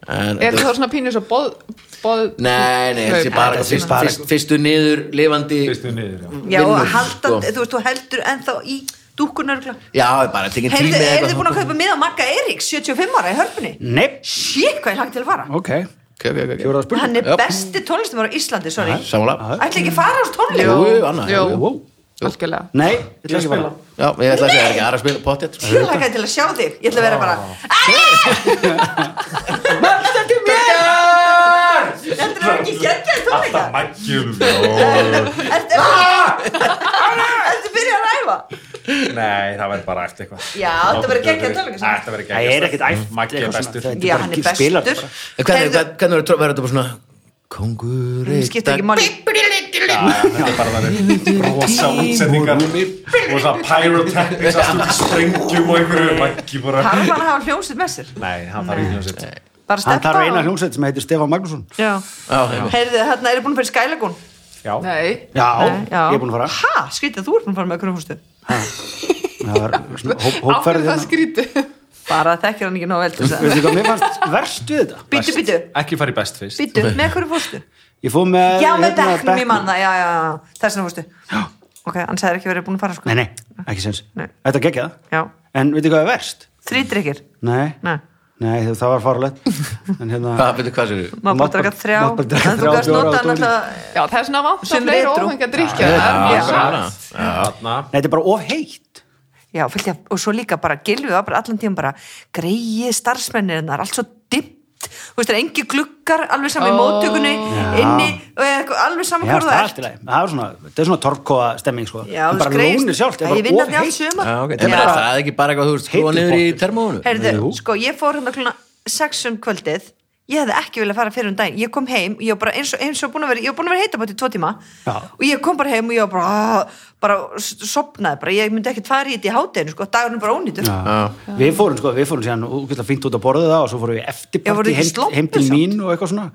Speaker 1: en,
Speaker 3: Er það svona pínu svo boð, boð
Speaker 1: Nei, nei, þessi
Speaker 3: Hlaup.
Speaker 1: bara
Speaker 2: þetta sé
Speaker 1: fyrst,
Speaker 2: bara-
Speaker 1: fyrst, fyrstu niður lifandi
Speaker 5: fyrstu niður já.
Speaker 4: Já,
Speaker 1: vinnur,
Speaker 4: og haldan,
Speaker 1: sko.
Speaker 4: þú veist, þú heldur ennþá í dúkkunarugla.
Speaker 1: Já, bara tekin tími
Speaker 4: Heyrðu,
Speaker 1: eða
Speaker 4: er þið
Speaker 1: eitthvað
Speaker 4: búin að
Speaker 1: svona.
Speaker 4: kaupa miða á Magga Eiríks, 75 ára í hörpunni?
Speaker 2: Nei,
Speaker 4: Shit, hvað ég langt til að fara.
Speaker 2: ok,
Speaker 1: Ok, ok, ok, ok.
Speaker 2: fjóraða spurning
Speaker 4: Hann er
Speaker 1: Já.
Speaker 4: besti tónlistumar á Íslandi, sorry.
Speaker 1: Sammála
Speaker 4: Ætla ekki að fara á þessu tónleik?
Speaker 1: Jú, annað,
Speaker 3: Jú,
Speaker 1: jú,
Speaker 2: wow.
Speaker 3: algjörlega
Speaker 2: Nei, ég ætla ekki að fara
Speaker 1: Já, ég ætla að segja það er ekki aðra að spila pottet
Speaker 4: Ég lakaði til að sjá þig. Ég ætla að vera bara
Speaker 2: Ah.
Speaker 4: Þetta er ekki geggjað tónleika.
Speaker 5: Mækjum
Speaker 4: Ertu
Speaker 2: Ah!
Speaker 4: ertu byrjað að ræfa?
Speaker 5: Nei, það verður bara eftir eitthvað
Speaker 4: Já, þetta verður geggjað tónleika samt.
Speaker 5: Þetta verður
Speaker 2: Það
Speaker 5: geggjað
Speaker 2: er ekkert æft
Speaker 5: Maggi er
Speaker 2: eitthvað svona.
Speaker 5: bestur
Speaker 2: Þetta
Speaker 4: Já,
Speaker 2: bara
Speaker 4: hann
Speaker 2: ekki-
Speaker 4: er
Speaker 2: spilar
Speaker 4: bestur.
Speaker 2: bara.
Speaker 1: En Hvernig
Speaker 4: Heyrðu,
Speaker 1: hvernig- hvernig verður þetta verður þetta bara svona Kongur
Speaker 4: það skiptir ekki máli.
Speaker 5: Já, já, Þetta er bara þannig Rosa útsendingar Og það pyrotechnics Allt út í sprengjum og einhverju Maggi bara
Speaker 4: Þarf hann að hafa hljómsveit með sér?
Speaker 5: Nei, hann þarf ekki hljómsett
Speaker 4: Bara
Speaker 2: Hann
Speaker 4: steppa
Speaker 2: þarf eina hljómsveit sem heitir Stefán Magnússon
Speaker 4: Já.
Speaker 1: Já,
Speaker 4: Heyrðu, hérna er ég búin að fyrir skælagún.
Speaker 5: Já,
Speaker 3: Nei,
Speaker 2: Já,
Speaker 4: Nei, já.
Speaker 2: ég er búin að fara
Speaker 4: Ha, skrítið, þú ert búin að fara með okkur fórstu.
Speaker 2: Það var svona hóp, hérna.
Speaker 3: áfyrir
Speaker 2: hópferðið
Speaker 3: það skríti
Speaker 4: Bara þekkir hann ekki nóg vel til þess að...
Speaker 2: Veistu hvað, mér fannst verst við þetta
Speaker 4: Býtu, býtu,
Speaker 5: ekki fara í best fyrst
Speaker 4: býtu, með okkur fórstu.
Speaker 2: Ég fóð með
Speaker 4: Já, með
Speaker 2: Eh, hérna,
Speaker 4: bekknum í manna, já, já, já, þess vegna fórstu. Ok, hann sagði ekki verið búin að fara sko.
Speaker 2: Nei, nei, ekki sens
Speaker 4: Nei.
Speaker 2: Þetta gekkja það
Speaker 4: Já,
Speaker 2: En veitu hvað er verst?
Speaker 4: þrýdrykkir.
Speaker 2: Nei,
Speaker 4: Nei.
Speaker 2: nei það var farlegt En hérna
Speaker 1: hvað veitir hvað sér
Speaker 4: Má bara
Speaker 2: Mátt bara-
Speaker 4: draka þrjá,
Speaker 2: mátt bara drekka
Speaker 4: en þú
Speaker 2: þrjá,
Speaker 4: gæst
Speaker 2: fjóra
Speaker 4: nota
Speaker 2: á
Speaker 4: hann
Speaker 2: tónleik.
Speaker 4: alltaf...
Speaker 3: Já, það er svona vant
Speaker 4: Sem
Speaker 3: að fleiri
Speaker 4: vetrú.
Speaker 3: óhengar drikja
Speaker 2: Já,
Speaker 3: það er mjög
Speaker 4: já.
Speaker 3: satt.
Speaker 5: Þarna
Speaker 2: Nei, þetta er bara of heitt
Speaker 4: Já, fylgja, og svo líka bara gilfið var bara allan tíum bara greið starfsmennir en það er allt svo dimmt þú veist, það er engi gluggar alveg saman
Speaker 3: Ó.
Speaker 4: í móttökunni
Speaker 2: Já.
Speaker 4: inni, og eða eitthvað, alveg saman
Speaker 2: Já,
Speaker 4: hvað
Speaker 2: það er
Speaker 4: það ert
Speaker 2: allt í lagi. Það er svona, þetta er svona torfkóa stemming sko.
Speaker 4: Já,
Speaker 2: En
Speaker 4: þú
Speaker 2: bara
Speaker 4: skreist-
Speaker 2: lónið sjálft,
Speaker 4: Já,
Speaker 2: það
Speaker 4: ég
Speaker 2: er
Speaker 4: vinn
Speaker 2: bara
Speaker 4: hérna
Speaker 2: of
Speaker 4: allt
Speaker 2: heitt
Speaker 4: sumar.
Speaker 1: Það er
Speaker 2: bara-
Speaker 1: það ekki bara eitthvað þú veist skrúa
Speaker 2: Heitur
Speaker 1: niður í
Speaker 2: pottet.
Speaker 1: termónu
Speaker 4: Heyrðu,
Speaker 2: Jú.
Speaker 4: sko, ég fór hérna kluna sex um kvöldið ég hefði ekki viljað fara fyrir um daginn ég kom heim, ég var bara eins og, eins og búin að vera ég var búin að vera heita bátt í tvo tíma
Speaker 2: Já.
Speaker 4: og ég kom bara heim og ég var bara ah, bara s- sofnaði, bara, ég myndi ekkert fara í þetta í hátæðinu sko, dagurinn er bara ónýtur
Speaker 2: Já. Við fórum sko, við fórum síðan útgætla fínt út að borða það og svo fórum við
Speaker 4: Já,
Speaker 2: eftirparti
Speaker 4: voruð þið
Speaker 2: heim,
Speaker 4: ekki sloppið
Speaker 2: heim til
Speaker 4: samt?
Speaker 2: mín og eitthvað svona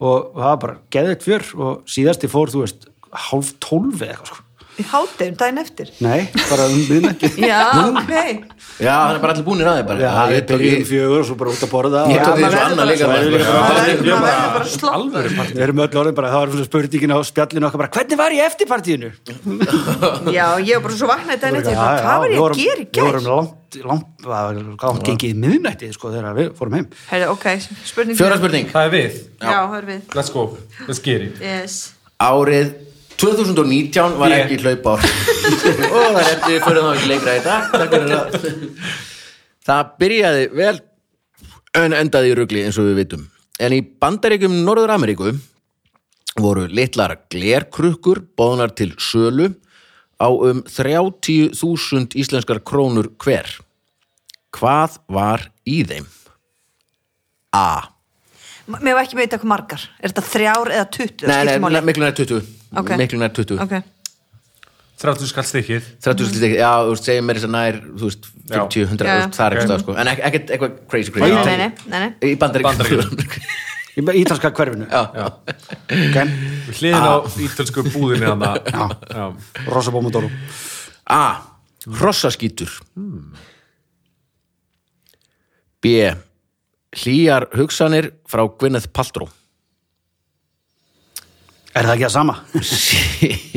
Speaker 2: og það var bara geðveikt fjör og síðasti fór, þú veist, hálf tólf eða eitthvað sko.
Speaker 4: í hátæðinu daginn eftir
Speaker 2: Nei, bara um miðnætti
Speaker 4: já, ok
Speaker 1: Já, það er bara allir búinir að þeir bara
Speaker 2: Já,
Speaker 1: Það-
Speaker 2: við byrjum fjögur og svo bara út að borða
Speaker 1: Ég tók því
Speaker 2: og
Speaker 4: Já, maður
Speaker 1: svo annað
Speaker 4: verður bara
Speaker 1: líka
Speaker 4: svo-
Speaker 1: bara.
Speaker 4: maður
Speaker 1: Já.
Speaker 4: verður- maður verður
Speaker 5: bara-
Speaker 4: bara sloppur.
Speaker 2: við erum öll orðin bara, það var svona spurningin á spjallinu okkar bara, hvernig var ég eftirpartíinu?
Speaker 4: Já, ég var bara svo vaknaði daginn eftir, ég bara, hvað var ég að gera í
Speaker 2: Við
Speaker 4: gær?
Speaker 2: vorum langt, langt, hvað langt gengið í miðnætti sko þegar við fórum heim
Speaker 4: Heyrðu, ok, spurning
Speaker 1: Fjóra spurning
Speaker 5: Það er við
Speaker 4: Já, hör við
Speaker 5: Let's go Let's get it
Speaker 4: yes.
Speaker 1: Árið 2019 var
Speaker 5: Ég.
Speaker 1: ekki hlaupár og það er eftir fyrir þá ekki leikra í dag Takk fyrir það Það byrjaði vel en endaði í rugli eins og við vitum en í bandaríkjum Norður Ameríku voru litlar glerkrukkur bóðnar til sölu á um 30.000 íslenskar krónur hver Hvað var í þeim? A
Speaker 4: M- Mér var ekki með þetta hvað margar Er þetta þrjár eða tuttu?
Speaker 1: Nei, nei, nei, miklu nær 20
Speaker 4: Ok.
Speaker 1: Miklu nær 20
Speaker 4: Ok,
Speaker 5: 30 skall stikkið
Speaker 1: 30 slítið ekki, já, þú veist, segjum mér þess að nær þú veist, 50,
Speaker 5: Já.
Speaker 1: 100,
Speaker 4: Já.
Speaker 1: þú veist, það er
Speaker 5: Ok.
Speaker 1: eitthvað sko. en ek- ekkert eitthvað crazy
Speaker 4: nei,
Speaker 1: crazy
Speaker 4: nei, nei, nei, nei.
Speaker 1: í bandaríkjum
Speaker 2: í ítalska hverfinu okay.
Speaker 5: Hliðin á ítölsku búðinni hann Já
Speaker 2: Rosa Pomodoro
Speaker 1: A. Hrossaskítur B. Hlýjar hugsanir frá Gwyneth Paltrow
Speaker 2: Er það ekki það sama?
Speaker 1: C.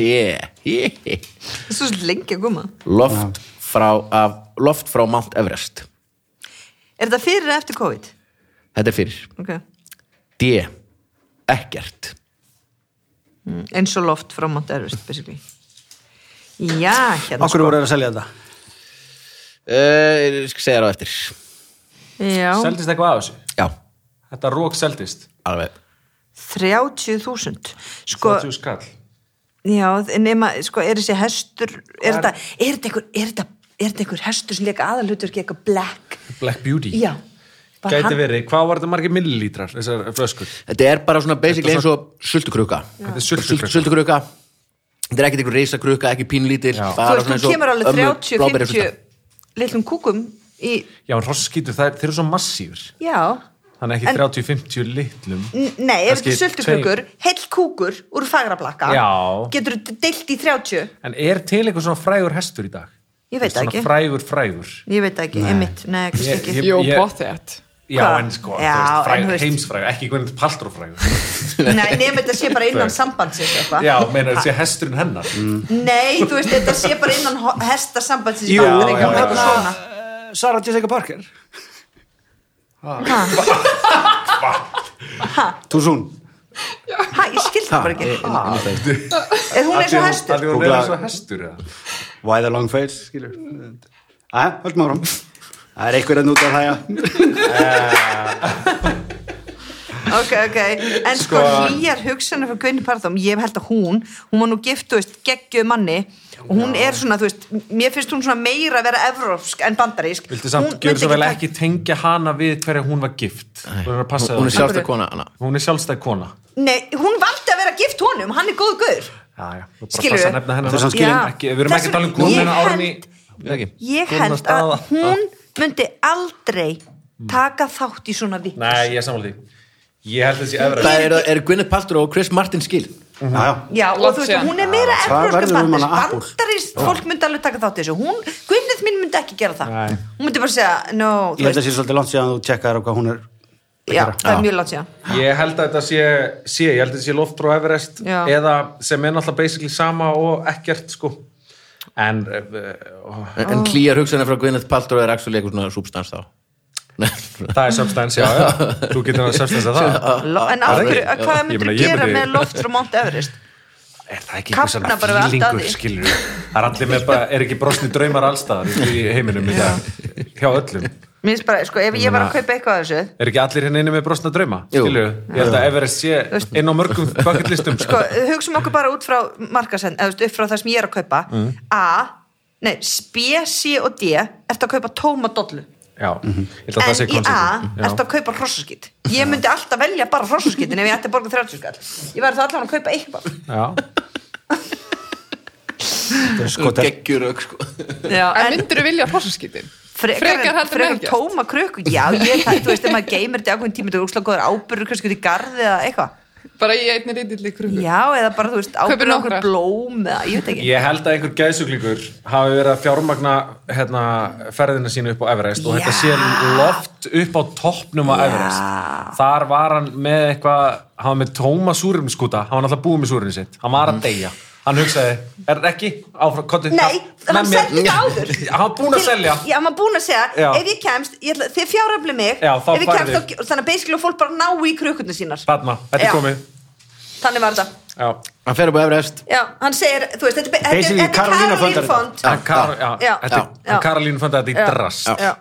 Speaker 4: Það er svo lengi að koma
Speaker 1: Loft frá, af, loft frá Mount Everest
Speaker 4: Er þetta fyrir eða eftir COVID?
Speaker 1: Þetta er fyrir.
Speaker 4: okay.
Speaker 1: D. Ekkert.
Speaker 4: eins og loft frá Mount Everest basically já, hérna
Speaker 2: Akkur voru þeir að selja þetta?
Speaker 1: Uh, ég skal segja það á eftir.
Speaker 4: já,
Speaker 5: Seldist eitthvað af þessu?
Speaker 1: Já,
Speaker 5: Þetta rók seldist.
Speaker 1: alveg.
Speaker 4: 30.000 sko,
Speaker 5: 30 skall.
Speaker 4: já, nema sko, er þessi hestur er þetta, er þetta einhver er þetta, er þetta einhver hestur sem leika aðalhutur ekki eitthvað black,
Speaker 5: Black Beauty.
Speaker 4: já Bara
Speaker 5: Gæti
Speaker 4: hann-
Speaker 5: verið, hvað var þetta margir millilítrar, þessar flöskur?
Speaker 1: Þetta er bara svona basically eins og sultukrukka.
Speaker 5: Þetta er
Speaker 1: Sult-
Speaker 5: sultukrukka.
Speaker 1: Sultukrukka. Þetta er ekkert einhver reisakrukka, ekki pínlítil.
Speaker 5: Já.
Speaker 4: þú
Speaker 1: bara
Speaker 4: veist,
Speaker 1: svona eins
Speaker 4: þú
Speaker 1: og
Speaker 4: kemur alveg
Speaker 1: ömmu
Speaker 4: 30-50
Speaker 1: bláberjasulta.
Speaker 4: litlum kúkum í,
Speaker 5: Já, en hrossskítur, það er- þeir eru svo massífur.
Speaker 4: já
Speaker 5: Þannig
Speaker 4: En-
Speaker 5: ekki 30-50 litlum.
Speaker 4: N- Nei, ef þetta
Speaker 5: Kannski
Speaker 4: er sultukrukkur, heill kúkur úr fagrablakka,
Speaker 5: Já.
Speaker 4: getur þetta deilt í 30
Speaker 5: En er til eitthvað svona frægur hestur í dag?
Speaker 4: Ég veit
Speaker 5: Svona
Speaker 4: ekki.
Speaker 5: Frægur, frægur.
Speaker 4: Ég veit það ekki, einmitt, nei, kannski
Speaker 5: Ég-
Speaker 4: ekki
Speaker 5: ég-
Speaker 3: Jó,
Speaker 5: ég-
Speaker 3: potþétt.
Speaker 5: Já,
Speaker 4: Hvað?
Speaker 5: en sko,
Speaker 4: Já, en þú
Speaker 5: þú veist, frægur,
Speaker 4: veist-
Speaker 5: heimsfrægur, ekki hvernig paltrófrægur.
Speaker 4: Nei, nefnir þetta sé bara innan sambandsins eitthvað
Speaker 5: Já, meina þessi hesturinn hennar.
Speaker 4: Nei, þú veist, þetta sé bara innan ho- hesta sambandsins í
Speaker 2: Jú,
Speaker 4: Bandaríkjunum,
Speaker 5: já, já,
Speaker 4: eitthvað
Speaker 5: já.
Speaker 4: svona.
Speaker 2: Uh, Sarah Jessica Parker Too soon
Speaker 4: Ha, ég skildi það
Speaker 5: eh,
Speaker 4: bara ekki Er hún eins og hestur?
Speaker 5: Það er hún
Speaker 2: Googla-
Speaker 5: er eins og hestur, eða?
Speaker 2: Why the long face skilur Æja, höldum áfram Það er einhver að núta að hlæja
Speaker 4: Ok, ok, en sko hlýjar hugsanir fyrir Gunni Parþóm, ég held að hún hún var nú gift, þú veist, geggjöð manni og hún er svona, þú veist, mér finnst hún svona meira að vera evrópsk en bandarísk
Speaker 5: Viltu samt,
Speaker 4: Hún
Speaker 5: gjör
Speaker 4: myndi
Speaker 5: svo vel
Speaker 4: taka-
Speaker 5: ekki tengja hana við hverja hún var gift Þú verður að passa
Speaker 1: Hún er
Speaker 5: það.
Speaker 1: sjálfstæð kona, Anna.
Speaker 5: Hún er sjálfstæð kona
Speaker 4: Nei, hún valdi að vera gift honum, hann er góð guður.
Speaker 5: Já, já, þú bara
Speaker 4: Skilurðu?
Speaker 5: passa að nefna hennar
Speaker 2: Þess vegna
Speaker 4: skilin-
Speaker 5: ekki, Við erum ekki að tala um
Speaker 4: Þess vegna-
Speaker 5: konuna
Speaker 4: ég
Speaker 5: árni
Speaker 4: held-
Speaker 1: Ekki.
Speaker 4: Ég
Speaker 5: Konan
Speaker 4: held að
Speaker 5: staða.
Speaker 4: hún myndi aldrei taka þátt í svona vitt.
Speaker 5: Nei, ég er sammála því Ég held þessi efra
Speaker 1: Það eru er Gwyneth Paltrow og Chris Martin skil.
Speaker 2: Já, já
Speaker 4: Já, og
Speaker 3: Langt
Speaker 4: þú veist,
Speaker 3: síðan.
Speaker 4: hún er meira
Speaker 2: Það
Speaker 4: evrópska
Speaker 2: verður um
Speaker 4: bandis.
Speaker 2: hana Apple.
Speaker 4: Bandarist fólk myndi alveg taka þátt í þessu. Hún, Gunnið mín myndi ekki gera það.
Speaker 5: Nei.
Speaker 4: Hún myndi bara segja, no,
Speaker 2: Ég held
Speaker 4: þú
Speaker 2: að
Speaker 4: veist,
Speaker 2: það sé svolítið langt síðan að þú tjekkaðir á hvað hún er
Speaker 4: já, það
Speaker 1: Já.
Speaker 4: er mjög langt síðan.
Speaker 5: Ég held að þetta sé, sé Ég held að þetta sé Loftrú Everest
Speaker 4: Já.
Speaker 5: Eða sem er náttúrulega basically sama og ekkert sko En uh,
Speaker 1: En, en klíjar hugsanar frá Gwyneth Paltrow er actually eitthvað svona substans þá.
Speaker 5: það er substance, já, já Þú getur að substance að það
Speaker 4: Lo- En af
Speaker 5: Það er
Speaker 4: hverju,
Speaker 5: ekki-
Speaker 4: hvað
Speaker 5: Ég
Speaker 4: myndir
Speaker 5: meina, ég
Speaker 4: gera
Speaker 5: myndi-
Speaker 4: með loft frá Mount Everest?
Speaker 5: Er það ekki
Speaker 4: Kafna
Speaker 5: eitthvað svona
Speaker 4: bara við allt að
Speaker 5: fílingur
Speaker 4: því.
Speaker 5: skilur Það er allir með bara, er ekki brosni draumar allstaðar í heiminum í dag Hjá öllum
Speaker 4: Mér finnst bara, sko, ef ég var að kaupa eitthvað af þessu,
Speaker 5: Er ekki allir hérna inni með brosna drauma?
Speaker 1: Jú.
Speaker 5: Skilju, ég held að Everest sé inn á mörgum bucketlistum
Speaker 4: sko, hugsum okkur bara út frá markasend, eða þú veist, upp frá það sem ég er að kaupa
Speaker 5: Mm.
Speaker 4: A, nei, B, C og D ertu að kaupa tóma dollu
Speaker 5: Já, ég held að það
Speaker 4: en
Speaker 5: sé
Speaker 4: í A ertu
Speaker 5: konceptið.
Speaker 4: að kaupa hrossaskýt ég myndi alltaf velja bara hrossaskýtin ef ég ætti að borga 30 skall ég væri þá allan að kaupa eitthvað
Speaker 5: Já, já.
Speaker 2: Skotar
Speaker 1: Geggjur auk, sko.
Speaker 4: já,
Speaker 3: En myndir þú vilja hossaskýtin?
Speaker 4: frekar,
Speaker 3: frekar heldur
Speaker 4: frekar
Speaker 3: en ekkert.
Speaker 4: tóma krukku já, ég það, þú veist, ef maður geymir þetta í ákveðin tíma þetta er úrslega góður ábyrður, kannski út í garði eða eitthvað
Speaker 3: Bara í einni reytilli krukku.
Speaker 4: já, eða bara, þú veist,
Speaker 3: Kaupir
Speaker 4: ábyrður okkur
Speaker 3: nokkrar.
Speaker 4: blóm eða, ég veit ekki
Speaker 5: Ég held að einhver gæðsuglíkur hafi verið að fjármagna hérna, ferðina sínu upp á Everest og
Speaker 4: Já.
Speaker 5: þetta sé loft upp á toppnum á
Speaker 4: Já.
Speaker 5: Everest Þar var hann með eitthvað hann var með tóma súrumskúta, hann var náttúrulega búið með súrinu sitt hann
Speaker 1: Mm.
Speaker 5: var að deyja, hann hugsaði er þetta ekki, áfram, kottu
Speaker 4: Nei, hann seldi þetta áður
Speaker 5: Hann var búinn að
Speaker 4: Til-
Speaker 5: selja
Speaker 4: Já, hann var búinn að segja,
Speaker 5: Já.
Speaker 4: ef ég kemst ég ætla, þið fjáröfli mig,
Speaker 5: Já, þá
Speaker 4: ef ég
Speaker 5: færðu.
Speaker 4: kemst þá, þannig að basically fólk bara ná í krukkunni sínar
Speaker 5: Þarna, þetta
Speaker 4: Já.
Speaker 5: er komið
Speaker 4: þannig var þetta
Speaker 5: Já.
Speaker 1: Hann fer upp á Everest.
Speaker 4: Já, hann segir, þú veist, þetta, er- þetta,
Speaker 2: Basically,
Speaker 4: er- þetta er
Speaker 2: Karolína
Speaker 4: Karolín
Speaker 2: fundar
Speaker 4: fond
Speaker 5: En Kar- já,
Speaker 4: Já.
Speaker 5: þetta-
Speaker 4: Já.
Speaker 5: en Karolín fann þetta í
Speaker 4: Já.
Speaker 5: drast
Speaker 4: Já,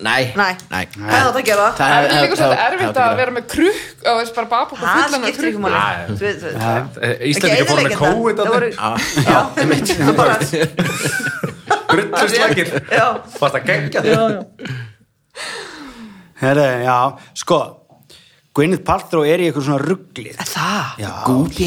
Speaker 1: Nei.
Speaker 4: Nei.
Speaker 1: Nei.
Speaker 4: það er þetta að gera
Speaker 1: Það
Speaker 3: Það
Speaker 1: hefði-
Speaker 3: er
Speaker 1: það-
Speaker 3: líka svolítið
Speaker 1: það-
Speaker 3: erfitt
Speaker 1: Eh, það-
Speaker 3: að vera með krukk og veist bara baba okkur
Speaker 4: Það
Speaker 3: fullan af
Speaker 4: skiptir ekki
Speaker 3: krukku.
Speaker 4: máli
Speaker 5: Já, já.
Speaker 4: Þú veist, þú veist,
Speaker 5: Íslandingar fórum með
Speaker 4: Ekki að
Speaker 5: kóið
Speaker 4: eyðileggja
Speaker 5: þarna.
Speaker 1: Já,
Speaker 4: þetta. Það voru- Já, einmitt Það bara-
Speaker 1: Ah.
Speaker 5: Drulluslækir
Speaker 4: Já.
Speaker 5: Fast að gengja þig
Speaker 2: Herre, já, sko Gwyneth Paltrow er í eitthvað svona rugglið
Speaker 4: Það?
Speaker 2: Já,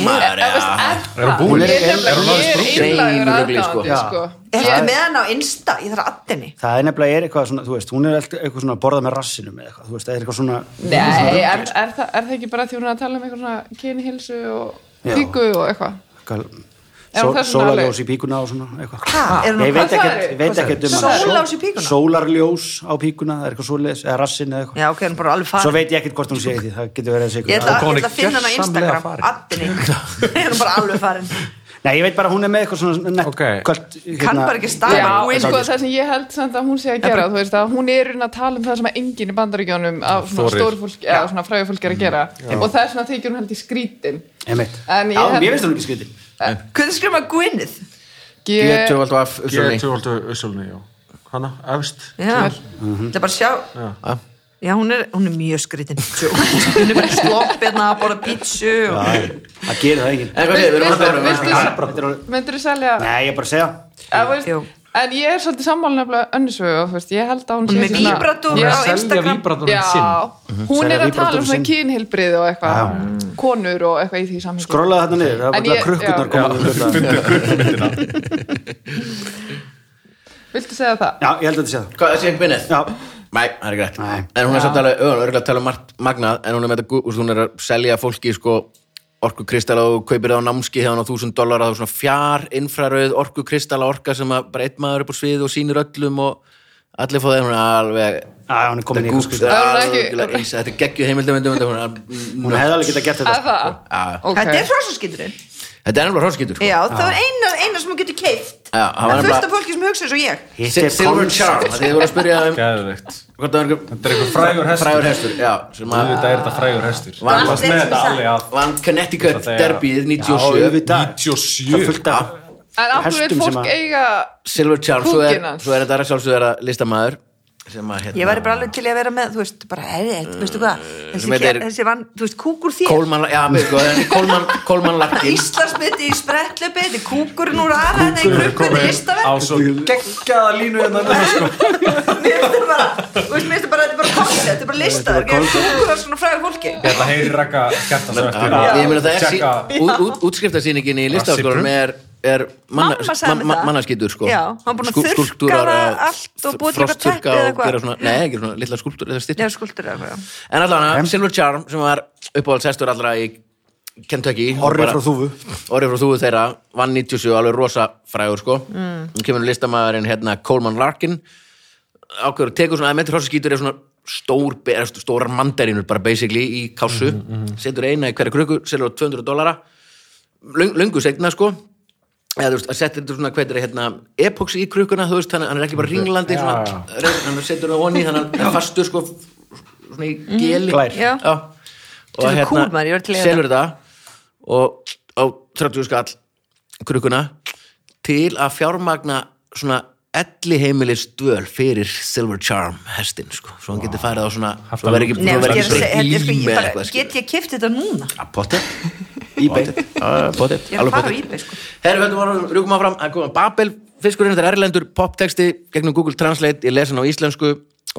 Speaker 1: Maður,
Speaker 3: Þú veist,
Speaker 1: já.
Speaker 3: Edda,
Speaker 5: Er hún búin?
Speaker 3: Ég
Speaker 5: Er- er hún
Speaker 3: nefnilega-
Speaker 5: orðin
Speaker 3: ég er einlægur
Speaker 1: Hrein rugli, sko.
Speaker 3: aðdáðandi, sko.
Speaker 4: Ertu með hann á Insta? Ég þarf að addinni
Speaker 2: það er nefnilega er eitthvað svona, þú veist, hún er alltaf eitthvað svona að borða með rassinum eða eitthvað, þú veist, það er eitthvað svona
Speaker 3: Nei, er, er, það, er það ekki bara því hún er að tala um eitthvað svona kynhilsu og
Speaker 2: Já.
Speaker 3: píku og eitthvað? Er hún
Speaker 2: eitthvað,
Speaker 3: þess vegna
Speaker 2: sólarljós
Speaker 3: alveg?
Speaker 2: í píkuna og svona eitthvað
Speaker 4: Ha, er hún
Speaker 2: Ég veit
Speaker 4: að-
Speaker 3: hvað
Speaker 2: ekkert,
Speaker 3: sagði?
Speaker 2: veit ekkert um hana.
Speaker 4: Sólarljós í píkuna?
Speaker 2: Sólarljós á píkuna, það er eitthvað svoleiðis, eða rassin eða eitthvað
Speaker 4: Já, ok, hann er bara alveg
Speaker 2: Svo
Speaker 4: farin
Speaker 2: veit ég ekkert hvort hún sé í því, það getur verið að sé
Speaker 4: Ég ætla,
Speaker 5: Hún
Speaker 4: ég
Speaker 5: er
Speaker 4: ætla að finna hann á
Speaker 5: gjörsamlega
Speaker 4: Instagram
Speaker 5: farin.
Speaker 4: Addinni Ég er nú bara alveg farin
Speaker 2: Nei, ég veit bara að hún er með eitthvað svona nett hérna-
Speaker 5: Ok.
Speaker 2: kvöld
Speaker 4: kann bara ekki staða
Speaker 3: Já,
Speaker 4: hún
Speaker 3: en
Speaker 4: er-
Speaker 3: sko það sem ég held samt að hún sé að gera þú veist að hún er í raun að tala um það sem að enginn í bandaríkjónum af svona
Speaker 5: Þorir.
Speaker 3: stórfólk eða svona fræðufólk er að gera og það er svona þykir hún held í skrítin
Speaker 2: Einmitt.
Speaker 3: En ég
Speaker 2: Já,
Speaker 3: held-
Speaker 2: mér finnst hún ekki skritin
Speaker 3: eh,
Speaker 4: hvernig skrifum maður Gwyneth
Speaker 1: Ég
Speaker 3: G-
Speaker 1: tjóvaldu af
Speaker 5: Ég
Speaker 1: Ussoni.
Speaker 5: tjóvaldu Ussulni, já. Hanna, efst.
Speaker 4: já, það er bara að sjá
Speaker 1: Já.
Speaker 4: já, hún er, hún er mjög skritin hún er bara sloppirna að borða pítsu og...
Speaker 2: Það gerir það enginn
Speaker 1: En hvað segir, við erum að um stóra
Speaker 3: Viltu- viltu-
Speaker 1: með
Speaker 2: Það er bara- þetta er alveg-
Speaker 3: myndirðu selja
Speaker 2: Nei, ég er bara að segja
Speaker 3: að, veist,
Speaker 4: Jú.
Speaker 3: en ég er svolítið sammála nefnilega önnusögu og þú veist, ég held að hún
Speaker 4: Hún er með
Speaker 3: svona-
Speaker 4: víbrató
Speaker 3: Já.
Speaker 4: á
Speaker 5: Selja
Speaker 4: Instagram.
Speaker 5: víbratorinn sinn.
Speaker 3: Já, hún
Speaker 2: Selja
Speaker 3: er að tala
Speaker 2: víbrató
Speaker 3: um svona
Speaker 2: sinn.
Speaker 3: kynhilbrið og eitthvað, konur og eitthvað í því samhengi
Speaker 2: Skrollaði þarna niður, það
Speaker 3: En
Speaker 2: var bara
Speaker 3: ég-
Speaker 2: krukkurnar
Speaker 3: já.
Speaker 2: komið
Speaker 3: Viltu segja það?
Speaker 2: Já, ég held að þetta sé það
Speaker 1: Hvað, það sé ekki bennið?
Speaker 2: Já,
Speaker 1: Nei, það er ekki rétt
Speaker 2: Nei.
Speaker 1: En hún er samt alveg, hún er örgulega að tala um margt magnað En hún er með þetta, gu- þú veist, hún er að selja fólki sko, orku kristalla og kaupir það á námski hefðan á þúsund dollara, það er svona fjár infrarauð orku kristalla orka sem að bara einn maður upp á svið og sýnir öllum og allir fóða þeir hún er alveg
Speaker 2: Já, hún er komin í
Speaker 1: Gúps,
Speaker 2: eitthvað skritin
Speaker 1: það
Speaker 3: Það er
Speaker 1: er
Speaker 3: ekki-
Speaker 1: algjörlega eins, þetta er geggju heimildamöndu hún er
Speaker 2: Hún hefði alveg getað gert
Speaker 3: Að
Speaker 2: þetta
Speaker 3: það?
Speaker 1: Já.
Speaker 3: Ok.
Speaker 4: þetta er hrósaskindurinn
Speaker 1: Þetta er alveg hróskýtur sko.
Speaker 4: já, það er eina, eina sem hún getur keift
Speaker 1: Já, hann var
Speaker 4: það er fullt
Speaker 1: nefnilega-
Speaker 4: af fólki sem hugsa eins og ég
Speaker 2: Hitt
Speaker 1: Si-
Speaker 2: er
Speaker 1: Silver
Speaker 2: koncept.
Speaker 1: Charm, þegar ég voru að spyrja um
Speaker 5: Gæðveikt.
Speaker 1: hvort það var einhver
Speaker 5: Þetta er eitthvað frægur hestur.
Speaker 1: frægur hestur já, sem að
Speaker 5: Þetta er þetta frægur hestur.
Speaker 1: Var-
Speaker 5: Þú varst með þetta alveg að.
Speaker 1: vann Connecticut
Speaker 5: Þetta er-
Speaker 1: derbyið
Speaker 2: Já,
Speaker 1: 97
Speaker 2: auðvitað. Það er
Speaker 5: 97.
Speaker 2: fullt af
Speaker 3: En af hverju
Speaker 2: Hestum
Speaker 3: vil
Speaker 2: sem
Speaker 3: fólk
Speaker 2: að-
Speaker 3: eiga
Speaker 1: Silver Charm, svo er,
Speaker 3: Kúkinn hans.
Speaker 1: svo er þetta sjálfsögðara listamaður sem að hérna
Speaker 4: ég væri bara alveg til í að vera með, þú veist, bara hey, hey, veistu hvað, þessi,
Speaker 1: sem
Speaker 4: þessi,
Speaker 1: heitir-
Speaker 4: þessi vann, þú veist, kúkur þér
Speaker 1: Kólmann, já, mér sko, en Kólmann, Kólmann Larkin
Speaker 4: Íslandsmeti í spretlupi, þetta er kúkurinn úr aðra þetta er gruppunni
Speaker 5: á
Speaker 4: listaverk
Speaker 5: svo geggjaða línu hérna.
Speaker 4: mér finnst þetta bara, þú veist, mér finnst þetta bara þetta er bara koncept, þetta er bara listaverk ég er kúkur af svona fræðu fólki
Speaker 5: Þetta Hérna, heyri rakka kjarta svo eftir
Speaker 1: Já, ég meina það er sí,
Speaker 5: tjekka
Speaker 1: út, út, útskriftasýningin í listaskólanum er, er manna,
Speaker 4: Mamma sagði mér
Speaker 1: ma- ma-
Speaker 4: það.
Speaker 1: mannaskýtur sko
Speaker 4: Já, hann var búinn að
Speaker 1: Skú-
Speaker 4: þurrka
Speaker 1: skúlptúrar
Speaker 4: það
Speaker 1: að
Speaker 4: allt og búa til eitthvað
Speaker 1: frostþurrka
Speaker 4: teppi eða
Speaker 1: og gera
Speaker 4: eitthvað.
Speaker 1: svona, nei, ekki svona litla skúlptúr eða styttur
Speaker 4: já, skuldur eða eitthvað
Speaker 1: En allavega, Silver Charm sem var uppáhaldshestur allra í Kentucky
Speaker 2: Orri
Speaker 1: Bara-
Speaker 2: frá þúfu.
Speaker 1: Orri frá þúfu þeirra, vann 97 alveg rosa frægur sko mm. kemur listamaðurinn hérna Coleman Larkin ákveður, tekur svona að með hrósaskítur er svona stór, er svona stórar mandarínur bara basically í kásu setur eina í hverja kruku, selur á 200 dollara Löng, löngu segna sko eða þú veist, að setja þetta svona hvað er hérna epoxi í krukuna, þú veist, þannig að hann er ekki bara ringlandi
Speaker 5: Já,
Speaker 1: svona,
Speaker 5: já.
Speaker 1: reyður, hann setur það onni þannig að hann er fastur sko svona í geli
Speaker 2: Glær.
Speaker 4: Já.
Speaker 1: Já. og
Speaker 4: Þetta er svo cool, maður, ég var til í hérna- þetta.
Speaker 1: selur þetta og á 30 skall krukuna til að fjármagna svona elli heimilis dvöl fyrir Silver Charm hestin sko, svo hann getur farið á svona
Speaker 5: Haft
Speaker 1: svo verður
Speaker 5: hann-
Speaker 1: ekki,
Speaker 4: Nei,
Speaker 1: svo verður
Speaker 4: ég er
Speaker 1: ekki
Speaker 4: að
Speaker 1: breytt
Speaker 4: segja,
Speaker 1: lím
Speaker 4: þetta er sko, ég
Speaker 1: eða
Speaker 4: bara,
Speaker 1: eitthvað, skilur.
Speaker 4: get ég kæft þetta núna?
Speaker 1: Ja, pottet eBay Pottet,
Speaker 4: Ég er að
Speaker 1: alveg
Speaker 4: fara á
Speaker 1: pottet
Speaker 4: eBay, sko.
Speaker 1: Herru, höndum varum, rjúkum áfram Það er komið Babel, fiskurinn, þetta er erlendur poptexti gegnum Google Translate, ég les hann á íslensku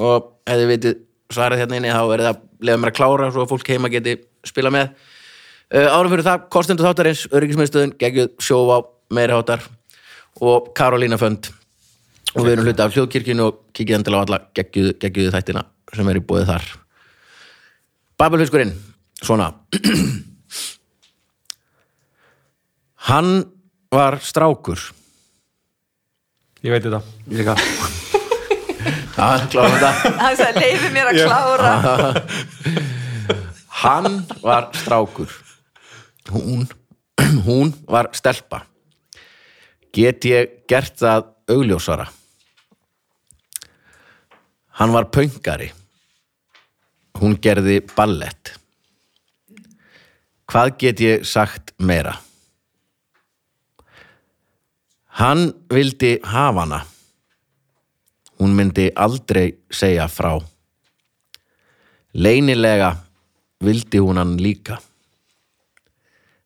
Speaker 1: og hefði vitið svarið hérna inni þá er það, lefum mér að klára svo að fólk heima geti spila með uh, Árum fyrir það, kostendur þáttarins öryggismiðstöðin, geggjuð sjóvá meiri hátar og Karolína Fönd og við erum hluti af hljóðkirkjunni og kikið endilega á alla geggjuð, geggjuð þættina sem er í búið þar Babelfiskurinn, svona Hann var strákur
Speaker 5: Ég veit þetta
Speaker 2: Líka.
Speaker 1: Já, klárum þetta
Speaker 4: Hann sagði, leifi mér að klára
Speaker 1: Hann var strákur Hún Hún var stelpa Get ég gert það augljósara Hann var pöngari Hún gerði ballett Hvað get ég sagt meira? Hann vildi hafa hana Hún myndi aldrei segja frá Leynilega vildi hún hann líka.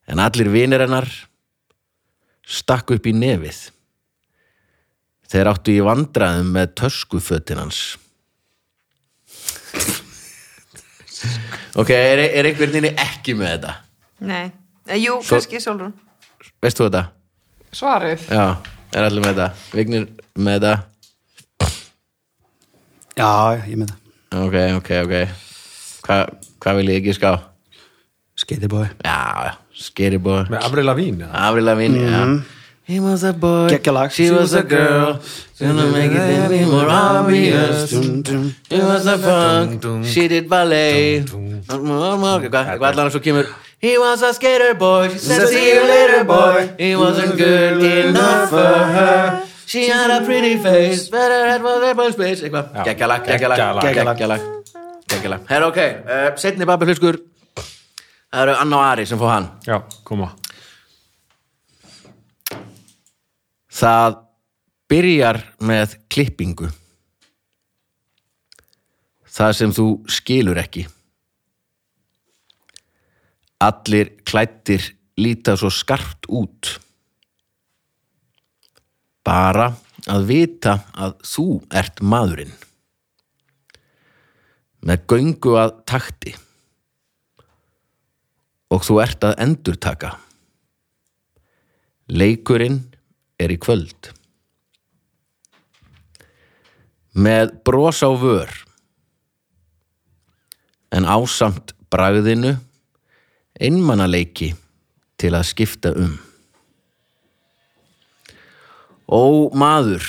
Speaker 1: En allir vinir hennar stakk upp í nefið. Þeir áttu í vandræðum með töskufötin hans. ok, er, er einhvern veginn ekki með þetta?
Speaker 4: Nei, Eh, jú, kannski Solrún
Speaker 1: Veist þú þetta?
Speaker 3: svarið?
Speaker 1: Já, er allir með þetta? Vignir með þetta?
Speaker 2: Já, ég með það
Speaker 1: Ok, ok, ok. Hva- Hvað vil ég ekki ská?
Speaker 2: Skeitibói
Speaker 1: Já, skeri búið.
Speaker 5: Með Avril Lavín
Speaker 1: Avril Lavigne, já He was a boy,
Speaker 2: Gekkja lag.
Speaker 1: Mhm. she was a girl Gonna make it a bit more obvious
Speaker 2: Þetta
Speaker 1: He was a punk, she did ballet Hvað allan svo kemur He was a skater boy, she said see you later boy He wasn't good enough for her She had a pretty face, but her head was a boy's place Eitthvað,
Speaker 5: Já.
Speaker 1: geggjalag, geggjalag,
Speaker 5: Geggjalag.
Speaker 1: geggjalag Geggjalag, herra ok, uh, setni babbi hluskur Það eru Anna og Ari sem fá hann
Speaker 5: Já, koma
Speaker 1: Það byrjar með klippingu Það sem þú skilur ekki Allir klættir líta svo skarpt út Bara að vita að þú ert maðurinn Með göngu að takti Og þú ert að endurtaka Leikurinn er í kvöld. Með bros á vör, en ásamt bragðinu, einmanaleiki til að skipta um. Ó maður,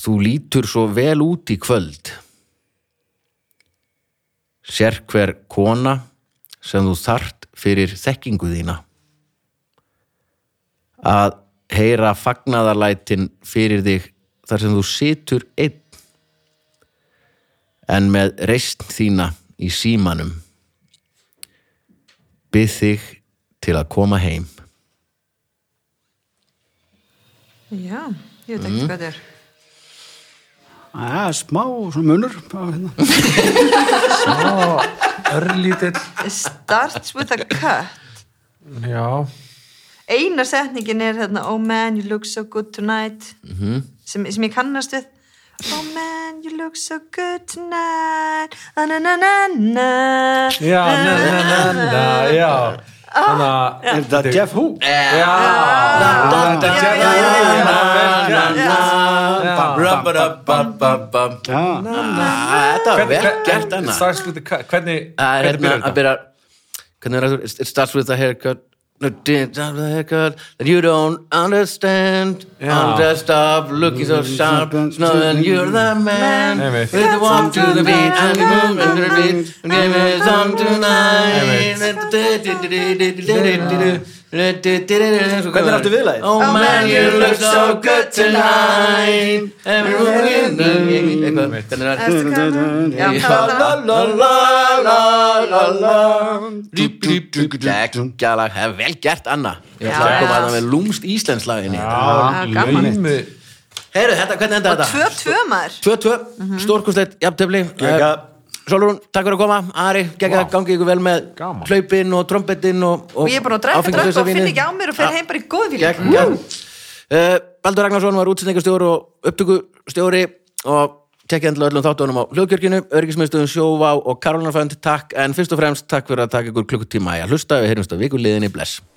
Speaker 1: þú lítur svo vel út í kvöld. Sér hver kona sem þú þart fyrir þekkingu þína að heyra fagnaðarlætin fyrir þig þar sem þú situr einn en með reist þína í símanum byð þig til að koma heim
Speaker 4: já, ég veit ekki hvað þetta er
Speaker 2: Já, smá svona munur á, hérna.
Speaker 5: Örlítill
Speaker 4: It starts with a cut
Speaker 5: Já,
Speaker 4: eina setningin er þarna oh man, you look so good tonight sem, sem ég kannast við oh man, you look so good tonight na na na na na
Speaker 5: já, na, na, na, na, já Þannig að
Speaker 2: Er þetta Jeff Hu?
Speaker 1: Eh.
Speaker 5: Já, þetta
Speaker 4: já,
Speaker 5: Jeff
Speaker 4: já, já,
Speaker 5: Hu, já, já, já.
Speaker 1: Ra-ba-da-ba-ba-bam.
Speaker 2: Já,
Speaker 1: Ah, Þetta var vel gert enna
Speaker 5: Starts with the cut, hvernig,
Speaker 1: Það er
Speaker 5: hvernig
Speaker 1: hérna að
Speaker 5: byrjar þetta?
Speaker 1: byrja Hvernig er það? It starts with a haircut No, it starts with a haircut That you don't understand
Speaker 5: Já.
Speaker 1: Under stop looking so sharp Snowing you're the man
Speaker 5: Einmitt.
Speaker 1: With the walk to the beat And the movement to the beat And give it some tonight Hvernig
Speaker 5: er aftur viðlagið?
Speaker 1: Oh man, you look so good tonight Everyone in the Eitthvað, Hvernig er það?
Speaker 4: Ertu kominn? Já,
Speaker 1: Já.
Speaker 4: það var það.
Speaker 1: la la la la la Gekkjalag, það er vel gert Anna Ég ætla að
Speaker 4: Já.
Speaker 1: koma að það með lúmst íslensklaginni Ah,
Speaker 5: Já,
Speaker 4: gaman.
Speaker 5: laumi.
Speaker 1: Heyrðu, þetta, hvernig enda þetta?
Speaker 4: tvö, Mhm. tvö maður
Speaker 1: 2-2, stórkustleit, jafntefli
Speaker 2: Geggjað.
Speaker 1: Solrún, takk fyrir að koma Ari, gekkja það, gangi ykkur vel með
Speaker 5: Gaman.
Speaker 1: hlaupin og trombetin og,
Speaker 4: og ég er búin að drekka
Speaker 1: áfengislausa
Speaker 4: drekka og finn
Speaker 1: vínið.
Speaker 4: ekki á mér og fer heim bara í góðvíl
Speaker 1: Gegn, gegn. Uh, Baldur Ragnarsson var útsendingastjóri og upptökustjóri og tekja endilega öllum þáttunum á hljóðkjörginu, örgismiðstöðum sjóvá og Karolina Fönd, takk en fyrst og fremst takk fyrir að taka ykkur klukkutíma í að hlusta, við heyrjumst á vikuliðinni, bless